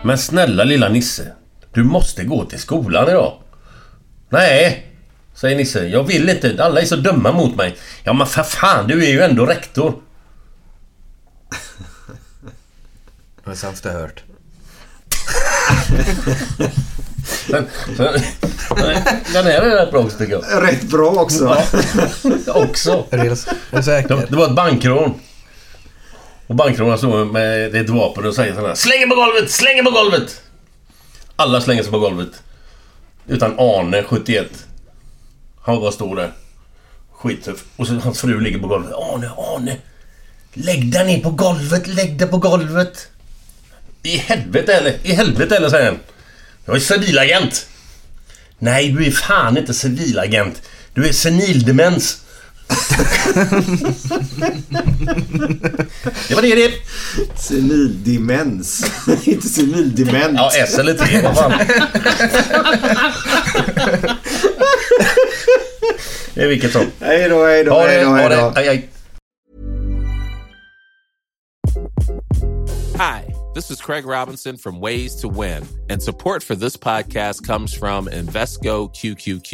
Speaker 1: Men snälla lilla Nisse. Du måste gå till skolan idag. Nej, säger Nisse. Jag vill inte. Alla är så dumma mot mig. Ja men för fan, du är ju ändå rektor.
Speaker 3: Det sämsta jag hört.
Speaker 1: Den, den, den här är rätt bra också tycker jag.
Speaker 8: Rätt bra också.
Speaker 1: Ja, också.
Speaker 3: Är det,
Speaker 1: det, det var ett bankrån. Och bankrånaren står med ett vapen och säger sådär. Slänger på golvet! Slänger på golvet! Alla slänger sig på golvet. Utan Arne, 71. Han bara står där. Skittuff. Och så hans fru ligger på golvet. Arne, Arne! Lägg dig ner på golvet! Lägg dig på golvet! I helvete eller? I helvete eller säger han. Jag är civilagent. Nej, du är fan inte civilagent. Du är senildemens. Det var det det.
Speaker 8: Senildemens. Inte senildement.
Speaker 1: Ja, S eller T. Vad fan. Det är vilket som.
Speaker 8: Hej då, hej då,
Speaker 1: Ha det,
Speaker 8: hej då,
Speaker 1: ha
Speaker 8: hej
Speaker 1: det.
Speaker 8: då.
Speaker 1: Hej, hej.
Speaker 10: Hi, this is Craig Robinson from Ways to Win, and support for this podcast comes from Invesco QQQ.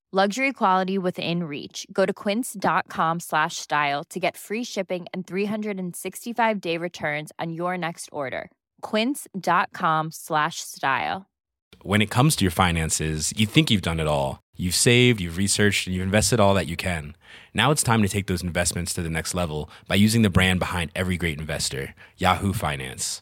Speaker 6: Luxury quality within reach. Go to quince.com slash style to get free shipping and 365 day returns on your next order. Quince.com slash style.
Speaker 11: When it comes to your finances, you think you've done it all. You've saved, you've researched, and you've invested all that you can. Now it's time to take those investments to the next level by using the brand behind every great investor, Yahoo Finance.